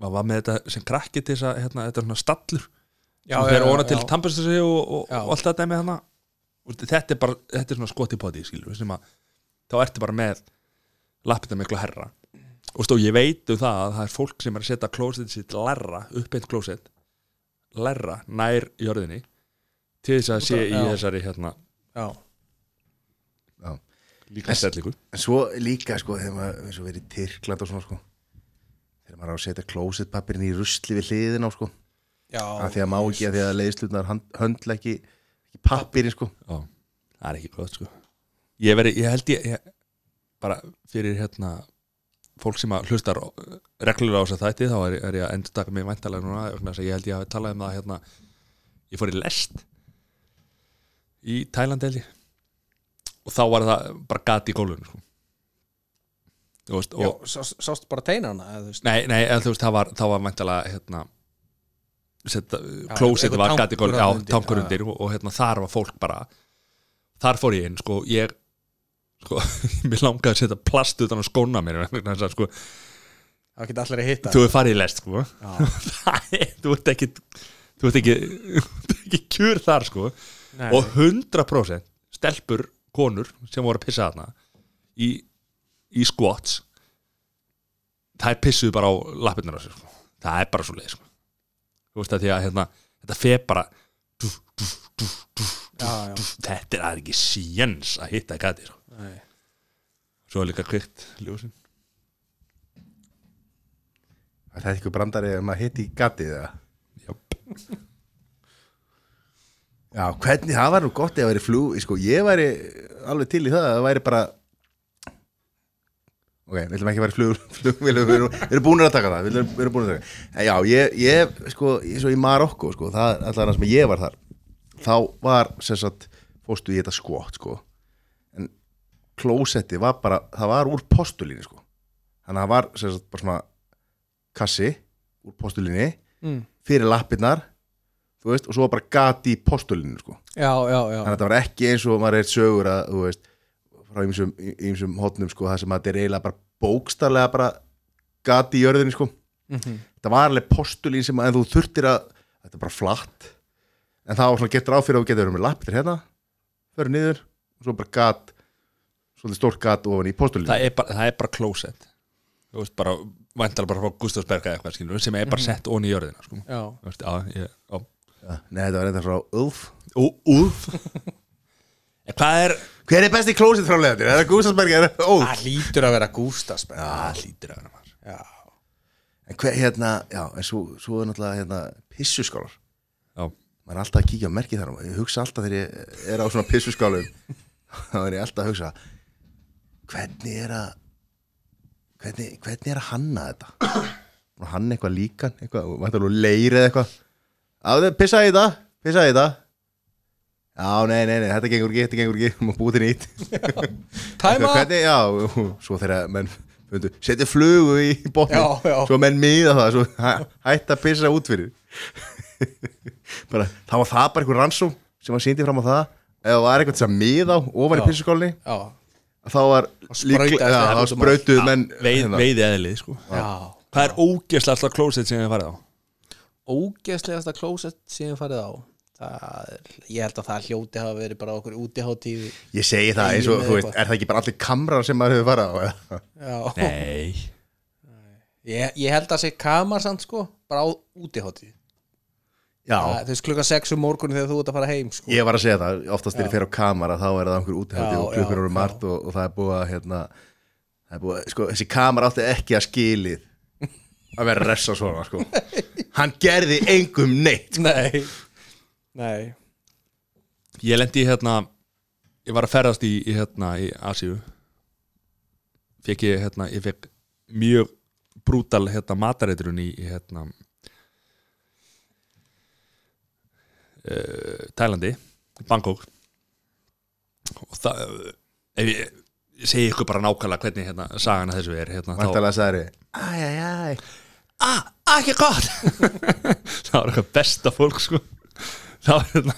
Speaker 3: maður var með þetta sem krakki til þess að hérna, þetta er svona stallur sem
Speaker 4: Já, já,
Speaker 3: fer
Speaker 4: já,
Speaker 3: óna til
Speaker 4: já.
Speaker 3: tampastassi og, og,
Speaker 4: Já.
Speaker 3: og allt þetta með hana Og þetta er bara, þetta er svona skoti poti skilur, við, sem að þá ertu bara með lappina miklu herra og stóð ég veit um það að það er fólk sem er að setja klósett sitt lærra, uppeint klósett lærra nær jörðinni til þess að sé í
Speaker 4: Já.
Speaker 3: þessari hérna
Speaker 4: Já,
Speaker 2: Já.
Speaker 3: líka stellingu
Speaker 2: En svo líka sko þegar maður eins og verið í Tyrkland og svona sko þegar maður á að setja klósettpapirinn í rusli við hliðin á sko
Speaker 4: já
Speaker 2: að því að má ekki að því að leiðslutnar höndla ekki, ekki papirinn sko
Speaker 3: Já, það er ekki gott sko Ég, veri, ég held ég, ég bara fyrir hérna fólk sem að hlustar reglulega á þess að þætti þá er, er ég að endur taka mig væntalega núna vegna þess að ég held ég hafi talað um það hérna ég fór í lest í Tælandi held ég og þá var það bara gat í gólfinu sko Þú veist,
Speaker 4: já
Speaker 3: og,
Speaker 4: sá, Sást bara teinana eða þú veist
Speaker 3: Nei, nei, eða, þú veist, það var, það var mæntalega hérna setta,
Speaker 4: Já,
Speaker 3: klósið
Speaker 4: eitthvað
Speaker 3: var gæti
Speaker 4: tankur
Speaker 3: gólf,
Speaker 4: þarna
Speaker 3: já,
Speaker 4: undir,
Speaker 3: tankur
Speaker 4: já.
Speaker 3: undir og, og hérna þar var fólk bara þar fór ég inn, sko, ég sko, [LAUGHS] mér langaði að setja plast utan að skóna mér, vegna þess að sko
Speaker 4: Það geta allir að hitta
Speaker 3: þú er farið í lest, sko
Speaker 4: Já.
Speaker 3: [LAUGHS] það er, þú ert ekki þú ert ekki, þú ert ekki kjur þar, sko
Speaker 4: Nei.
Speaker 3: og 100% stelpur, konur sem voru að pissa þarna í, í squats það er pissuð bara á lappirnar á sér sko. það er bara svo leið sko. þú veist að því að hérna, þetta fer bara duf, duf, duf, duf,
Speaker 4: Já, já.
Speaker 3: duf, þetta er það er ekki síjens að hitta í gati sko.
Speaker 4: Nei.
Speaker 3: svo er líka kvikt ljósin
Speaker 2: Er Það er eitthvað brandari ef maður hitti í gatið eða?
Speaker 3: Jöp.
Speaker 2: [LAUGHS] Já, hvernig, það var nú gott ef það væri flú, sko, ég væri alveg til í það, að það væri bara Ok, við ætlum ekki að vera í flug, [LAUGHS] flugvélum, við erum, við erum búin að taka það, við erum, við erum búin að taka það. En Já, ég, ég, sko, eins og í Marokko, sko, það allar það sem ég var þar, þá var, sem sagt, fórstu í þetta skott, sko, en klósetti var bara, það var úr postulínu, sko, þannig að það var, sem sagt, bara svona kassi úr postulínu,
Speaker 4: Mm.
Speaker 2: fyrir lappirnar, þú veist, og svo var bara gati í postulínu, sko
Speaker 4: já, já, já,
Speaker 2: þannig að þetta var ekki eins og maður er sögur að, þú veist, frá ýmsum, ýmsum hotnum, sko, það sem að þetta er eiginlega bara bókstarlega bara gati í jörðinni, sko.
Speaker 4: Mhm,
Speaker 2: Þetta var alveg postulín sem að en þú þurftir að, þetta er bara flatt, en það var svona getur áfyrir að þú getur verið með lappir hérna, fyrir niður, og svo bara gat, svolítið stórt gat ofan í postulín.
Speaker 3: það er bara, það er bara klósett þú veist bara, væntar bara frá Gustafsberga eitthvað skilur, sem er bara sett onni í jörðina sko.
Speaker 4: já.
Speaker 3: Þú veist, á, ég, á.
Speaker 2: Nei, þetta var reynda frá Ulf.
Speaker 3: Ú, úf En hvað er
Speaker 2: Hver er besti klósið frálegandir? Er það Gúsasberg? Er það Ulf?
Speaker 4: Það hlýtur að vera Gústas Já,
Speaker 3: það lítur að vera maður
Speaker 2: En hver, hérna, já, en svo, svo er náttúrulega, hérna, pissuskálar.
Speaker 3: já,
Speaker 2: maður er alltaf að kíkja á merki þar og ég hugsa alltaf þegar ég er á svona pissuskálum [LAUGHS] þá er ég alltaf að hugsa hvernig er að hvernig, hvernig er að hanna þetta og hann eitthvað líkan eitthvað, og mætti alveg leir eða eitthvað að þau pissa í þetta, pissa í þetta já, nei, nei, nei, þetta gengur ekki þetta gengur ekki, [LAUGHS] maður búið til nýtt
Speaker 4: Time out.
Speaker 2: hvernig, já, svo þegar menn fundu, setja flugu í botni,
Speaker 4: Já, já.
Speaker 2: svo menn miða það svo hæ, hætta að pissa út fyrir [LAUGHS] bara, þá var það bara einhver rannsókn sem var síndi fram á það ef það var eitthvað sem miða á ofan í
Speaker 4: Já.
Speaker 2: pissuskólinni
Speaker 4: já,
Speaker 2: þá var
Speaker 4: sprautaðist
Speaker 2: líklega- já,
Speaker 4: það út um
Speaker 2: þá
Speaker 4: allt.
Speaker 2: sprautuð menn
Speaker 3: veið,
Speaker 2: hérna.
Speaker 3: veiði eðlið sko.
Speaker 4: já.
Speaker 3: hvað er ógeðslega alltaf klósett sem þið farið á
Speaker 4: Ógeðslegasta klósett sem ég farið á það er, Ég held að það hljóti hafa verið bara okkur útiháttíð
Speaker 2: ég segi það eins og
Speaker 4: Eigum
Speaker 2: þú
Speaker 4: eða
Speaker 2: veist,
Speaker 4: eitthvað.
Speaker 2: er það ekki bara allir kamrar sem maður hefur farað á eða?
Speaker 4: Já
Speaker 3: nei,
Speaker 4: ég, ég held að sé kamar samt sko bara á útiháttíð
Speaker 2: já,
Speaker 4: Það- Þú veist klukka 6 um morgunni þegar þú ert að fara heim sko
Speaker 2: ég var að segja það oftast þegar ég fer á kamara þá er það einhver útihaldi
Speaker 4: Já,
Speaker 2: og klukkur
Speaker 4: já,
Speaker 2: eru um margt og, og það er búið að hérna, það er búið, að- sko, þessi kamara átti ekki að skilið að vera ressa svona
Speaker 4: [LAUGHS]
Speaker 2: sko. hann gerði engum neitt sko,
Speaker 4: Nei Nei
Speaker 3: ég lendi í hérna ég var að ferðast í, í hérna í Asíu fekk ég hérna, ég fekk mjög brútal hérna matareitrun í í, hérna uh, Tælandi Bangkok og það eh, ef ég, ég segi ykkur bara nákvæmlega hvernig hérna sagan að þessu er hérna, þá-
Speaker 2: vantalega sagði æjæjæj
Speaker 3: ah, ekki gott [LAUGHS] það var eitthvað besta fólk sko það var hérna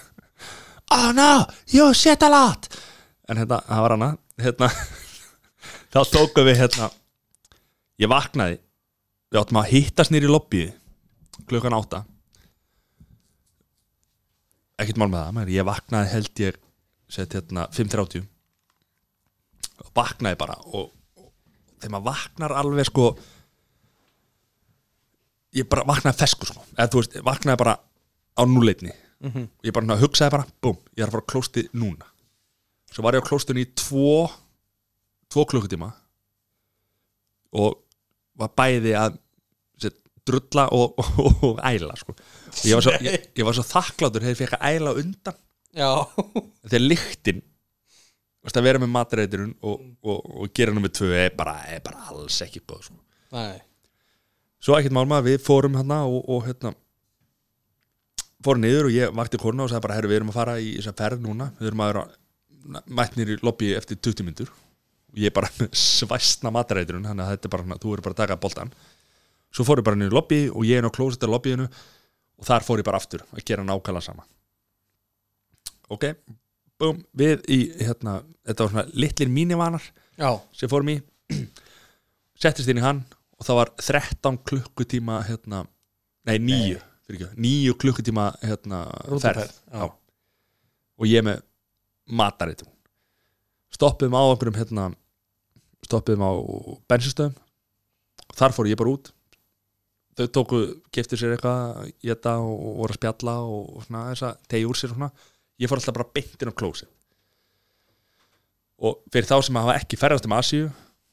Speaker 3: oh no, you shit a lot en hérna, það var hana hérna, [LAUGHS] þá tókum við hérna ég vaknaði við áttum að hittast nýri í lobbyið klukkan átta ekkert mál með það menn ég vaknaði held ég sett hérna 5.30 og vaknaði bara og, og þegar maður vaknar alveg sko ég bara vaknaði fesku sko eða þú veist, vaknaði bara á núleitni og ég bara svona hugsaði bara, búm, ég er að fara á klósti núna svo var ég á klóstinu í tvo tvo klukkutíma og var bæði að sér, drulla og, [LAUGHS] og, og æla sko. og ég var, svo, ég, ég var svo þakklátur þegar ég fekk að æla á undan
Speaker 4: Já
Speaker 3: þegar lyktin þú veist, að vera með matreiturinn og, og, og gera nummer tvö er bara, er bara alls ekki bóð sko
Speaker 4: [LAUGHS] Nei
Speaker 3: svo ekkert málma, við fórum hérna og, og hérna fórum niður og ég vakti kona og sagði bara herru, við erum að fara í þessa ferð núna við erum að vera mætnir í lobby eftir 20 myndur og ég bara [LAUGHS] með svæstna matræturinn þannig að þetta er bara, svona, þú eru bara að taka boltan svo fór ég bara niður í lobby og ég er á klósetta lobbyinu og þar fór ég bara aftur að gera nákvæmlega sama ok, búm, við í hérna, þetta var svona litlir mínivanar
Speaker 4: Já
Speaker 3: sem fórum í [CLEARS THROAT] settist inn í hann og það var 13 klukkutíma hérna, nei 9 fyrir ekki, 9 klukkutíma hérna,
Speaker 4: Rútuferð, já.
Speaker 3: já. og ég með mataritum stoppiðum á einhverjum hérna, stoppiðum á bensinstöðum og þar fór ég bara út þau tóku, keftu sér eitthvað geta og voru að spjalla og, og svona þess að tegja úr sér og svona ég fór alltaf bara beintin á klósi og fyrir þá sem hafa ekki ferðast um Asíu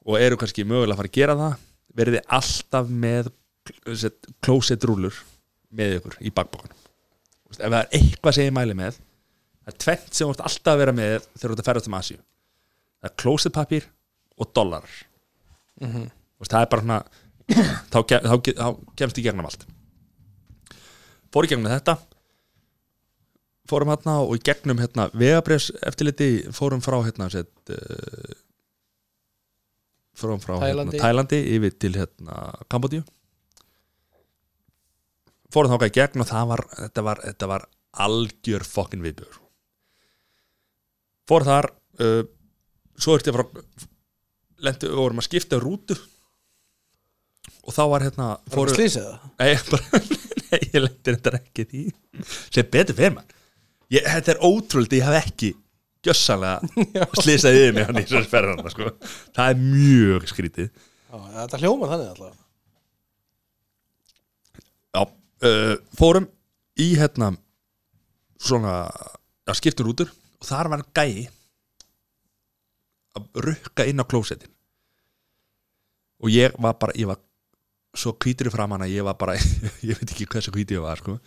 Speaker 3: og eru kannski mögulega að fara að gera það verðið alltaf með klósett rúlur með ykkur í bakbókan ef það er eitthvað sem ég mæli með það er tvent sem þú ert alltaf að vera með þegar þú ert að ferðast um Asíu það er klósettpapír og dólarar Þú veist, það er bara svona þá, ke- þá, ke- þá kemst ég gegnum allt fór í gegnum þetta fórum hérna og í gegnum hérna vegabrefs eftirliti fórum frá hérna set, uh, fórum frá
Speaker 4: Tælandi.
Speaker 3: Hérna, Tælandi yfir til hérna Kambodíu fórum þá í gegn og það var þetta var, þetta var algjör fokkin viðbjör fórum þar uh, svo ertu frá lendi og vorum að skipta rútur og þá var hérna
Speaker 4: Fóru
Speaker 3: fórum-
Speaker 4: slýsið það?
Speaker 3: Nei, [LAUGHS] bara, nei ég lendir þetta ekki í því sem betur fyrir mann ég, þetta er ótrúld, ég haf ekki gjössalega slýsað yfir mig hann í þessu ferðarna sko. það er mjög skrítið
Speaker 4: Já, þetta hljómar þannig alltaf
Speaker 3: já, uh, fórum í hérna svona já, skiptum rútur og þar var gæi að rukka inn á klósettin og ég var bara ég var svo hvítur í framan að ég var bara [LAUGHS] ég veit ekki hversu hvítur ég var sko.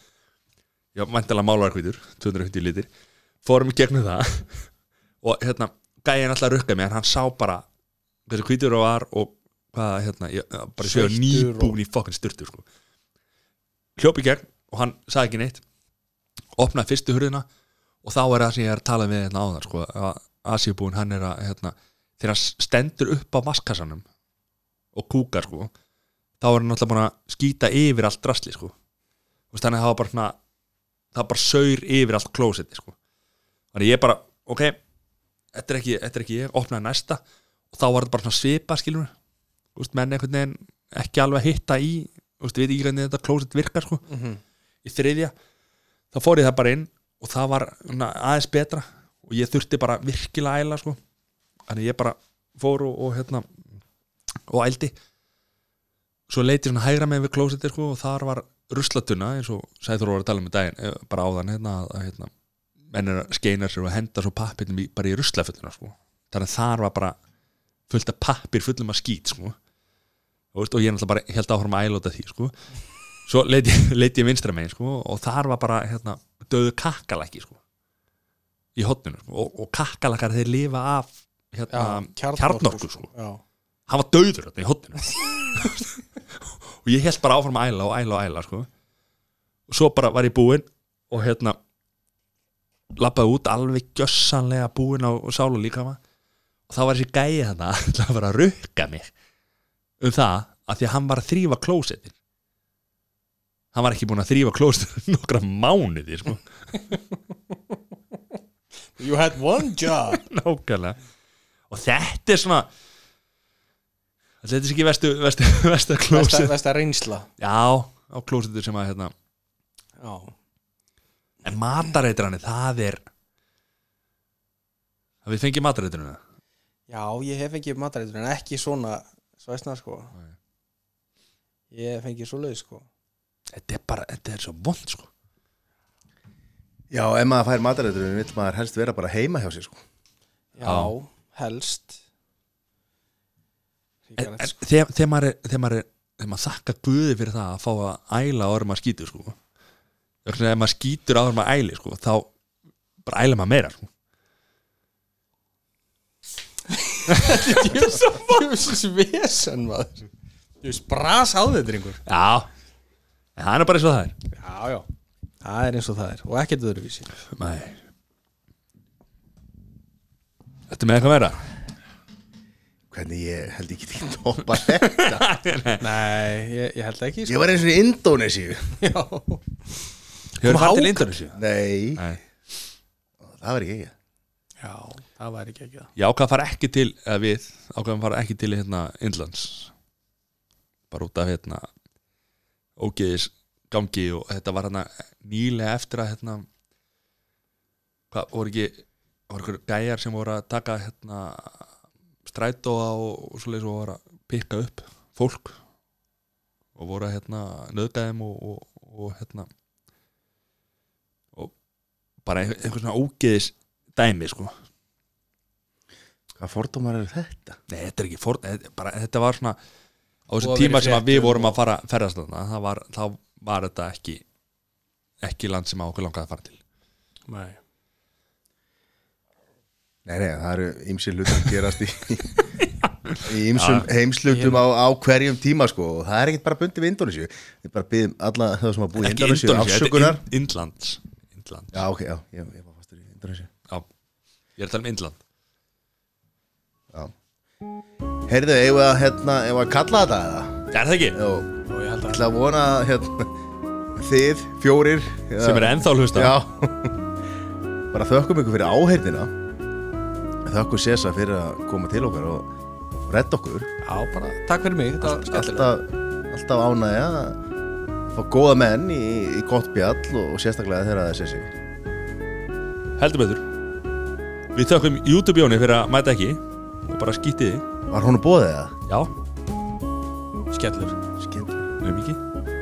Speaker 3: ég var mæntalega málar hvítur 250 litir, fórum í gegnum það [LAUGHS] og hérna gæin alltaf rukkaði mig en hann sá bara hversu hvítur ég var og hvað hérna ég, bara séu
Speaker 4: Sveittur og-
Speaker 3: nýbúin í fokkin styrtu sko. hljóp í gegn og hann sagði ekki neitt opnaði fyrstu hurðina og þá er það sem ég er að tala við hérna áðan sko, að Asíubúin hann er að hérna, þegar hann stendur upp á vaskassanum og kúkar sko þá er hann alltaf búin að skýta yfir allt drasli sko Þú veist, þannig að það var bara svona það var bara saur yfir allt klósetti sko þannig ég bara, ok þetta er ekki, þetta er ekki ég, opnaði næsta og þá var þetta bara svona svipa skilur veist, menn einhvern veginn ekki alveg að hitta í þú veist, við ekki hvernig þetta klósett virkar sko
Speaker 4: Mhm.
Speaker 3: í þriðja þá fór ég það bara inn og það var na, aðeins betra og ég þurfti bara virkilega að æla sko. þannig ég bara fór og, og hérna og ældi svo leiti svona hægra með við klósetti sko, og þar var ruslatunna eins og Sæþór var að tala um í daginn eh, bara áðan hérna, að- að, hérna menn er að skeina sér og henda svo pappirnum í, bara í ruslafulluna sko. þannig að þar var bara fullt af pappir fullum af skít sko. og, veist, og ég náttúrulega bara held áfram að ælóta því sko svo leiti, leiti ég [LAUGHS] vinstra megin sko, og þar var bara hérna, döðu kakkalaki sko, í hotninu sko, og, og kakkalakar þeir lifa af hérna, kjarnorku sko.
Speaker 4: Já.
Speaker 3: hann var döður hérna, í hotninu [LAUGHS] og ég held bara áfram að æla og æla og æla sko. og svo bara var ég búinn og hérna lappaði út alveg gjössanlega búinn á sálu líkama og þá var þessi gæi þarna [LAUGHS] ætlaði að vera að rukka mig um það að því að hann var að þrýfa klósetin hann var ekki búinn að þrýfa klósetin [LAUGHS] nokkra mánuði sko. [LAUGHS]
Speaker 4: You had one
Speaker 3: [LAUGHS]
Speaker 4: job
Speaker 3: nákvæmlega og þetta er svona þetta er ekki vestu, vestu, vestu
Speaker 4: Vesta,
Speaker 3: klóset
Speaker 4: vesta reynsla
Speaker 3: já, á klósetu sem að hérna,
Speaker 4: Já,
Speaker 3: en matareitrani, það er að við fengjum matareitrana
Speaker 4: Já ég hef fengið matareitur en ekki svona svæsna sko
Speaker 3: Nei.
Speaker 4: Ég hef fengið svo leið sko
Speaker 3: þetta er bara, þetta er svo vond sko
Speaker 2: Já, ef maður fær matarætturinn vill maður helst vera bara heima hjá sér sko.
Speaker 4: Já,
Speaker 3: Já.
Speaker 4: helst
Speaker 3: en,
Speaker 4: Ríkalegt,
Speaker 3: en
Speaker 4: sko.
Speaker 3: þegar, þegar maður er, þegar maður er þegar maður þakka guði fyrir það að fá að æla áður en maður skýtur sko þegar þegar maður skýtur áður en maður æli sko þá bara æla maður meira sko
Speaker 4: Ég er svo Jöfis vesen maður Jöfis bras á þetta drengur
Speaker 3: já, en það er nú bara eins og það er
Speaker 4: Já, já Það er eins og það er og ekkert öðruvísi
Speaker 3: Nei Þetta með eitthvað meira
Speaker 2: Hvernig ég held ég get ekki [LAUGHS] topa þetta
Speaker 4: Nei, ég, ég held ekki sko.
Speaker 2: Ég var eins og í Indonesíu
Speaker 4: Já
Speaker 3: Hefur
Speaker 4: hák?
Speaker 3: farið til Indonesia?
Speaker 2: Nei,
Speaker 3: Nei
Speaker 2: það var ekki ég
Speaker 4: Já, það væri ekki ekki það
Speaker 3: Ég ákvað að fara ekki til, eða við ákvað að fara ekki til hérna Indlands bara út af hérna ógeðis gangi og þetta var hérna nýlega eftir að hérna hvað voru ekki voru ykkur gæjar sem voru að taka hérna strætóa og, og svoleiðis og voru að pikka upp fólk og voru að hérna nöðgæðum og, og, og hérna og bara einhver, einhver svona ógeðis dæmi sko
Speaker 2: Hvað fordómar eru þetta?
Speaker 3: Nei, þetta er ekki fórn, þetta, er bara, þetta var svona á þessum
Speaker 4: Búið að
Speaker 3: tíma
Speaker 4: vera í
Speaker 3: sem að við
Speaker 4: fréttum
Speaker 3: vorum að fara ferðast þarna, það var, þá var þetta ekki ekki land sem að okkur langaði að fara til
Speaker 4: Nei
Speaker 3: [LAUGHS]
Speaker 2: Nei, nei, það eru ymsi hlutir að gerast í í ymsum heimslutum á, á hverjum tíma sko og það er ekkert bara bundið við Indonesia við bara byggjum alla það sem að búið í
Speaker 3: Ekki
Speaker 2: Indonesia
Speaker 3: Indonesia, þetta er
Speaker 2: afsökunar
Speaker 3: Ind- Indlands Indland,
Speaker 2: Já, ok, já, ég, ég var fastur í Indonesia
Speaker 3: já Ég er að tala um Indland
Speaker 2: Heyrðu, eigum við að, hérna, eigum við að kalla þetta eða?
Speaker 3: Er það ekki?
Speaker 2: Jó,
Speaker 5: og ég held
Speaker 2: ég
Speaker 5: að
Speaker 2: ætla að vona að, hérna, þið, fjórir eða-
Speaker 3: Sem er ennþá að hlusta
Speaker 2: Já [LAUGHS] Bara þökkum ykkur fyrir áheyrnina Þökkum Sessa fyrir að koma til okkar og redda okkur
Speaker 4: Já, bara takk fyrir mig, þetta var skemmtilegt
Speaker 2: alltaf, alltaf ánægja að fá góða menn í, í gott bjall og, og sérstaklega þegar það sé sig
Speaker 3: Heldur betur Við þökkum YouTube Jóni fyrir að mæta ekki og bara skýtti þig
Speaker 2: Var hún að bóða það?
Speaker 3: Já,
Speaker 5: skellur
Speaker 2: Skemmt
Speaker 3: mjög mikið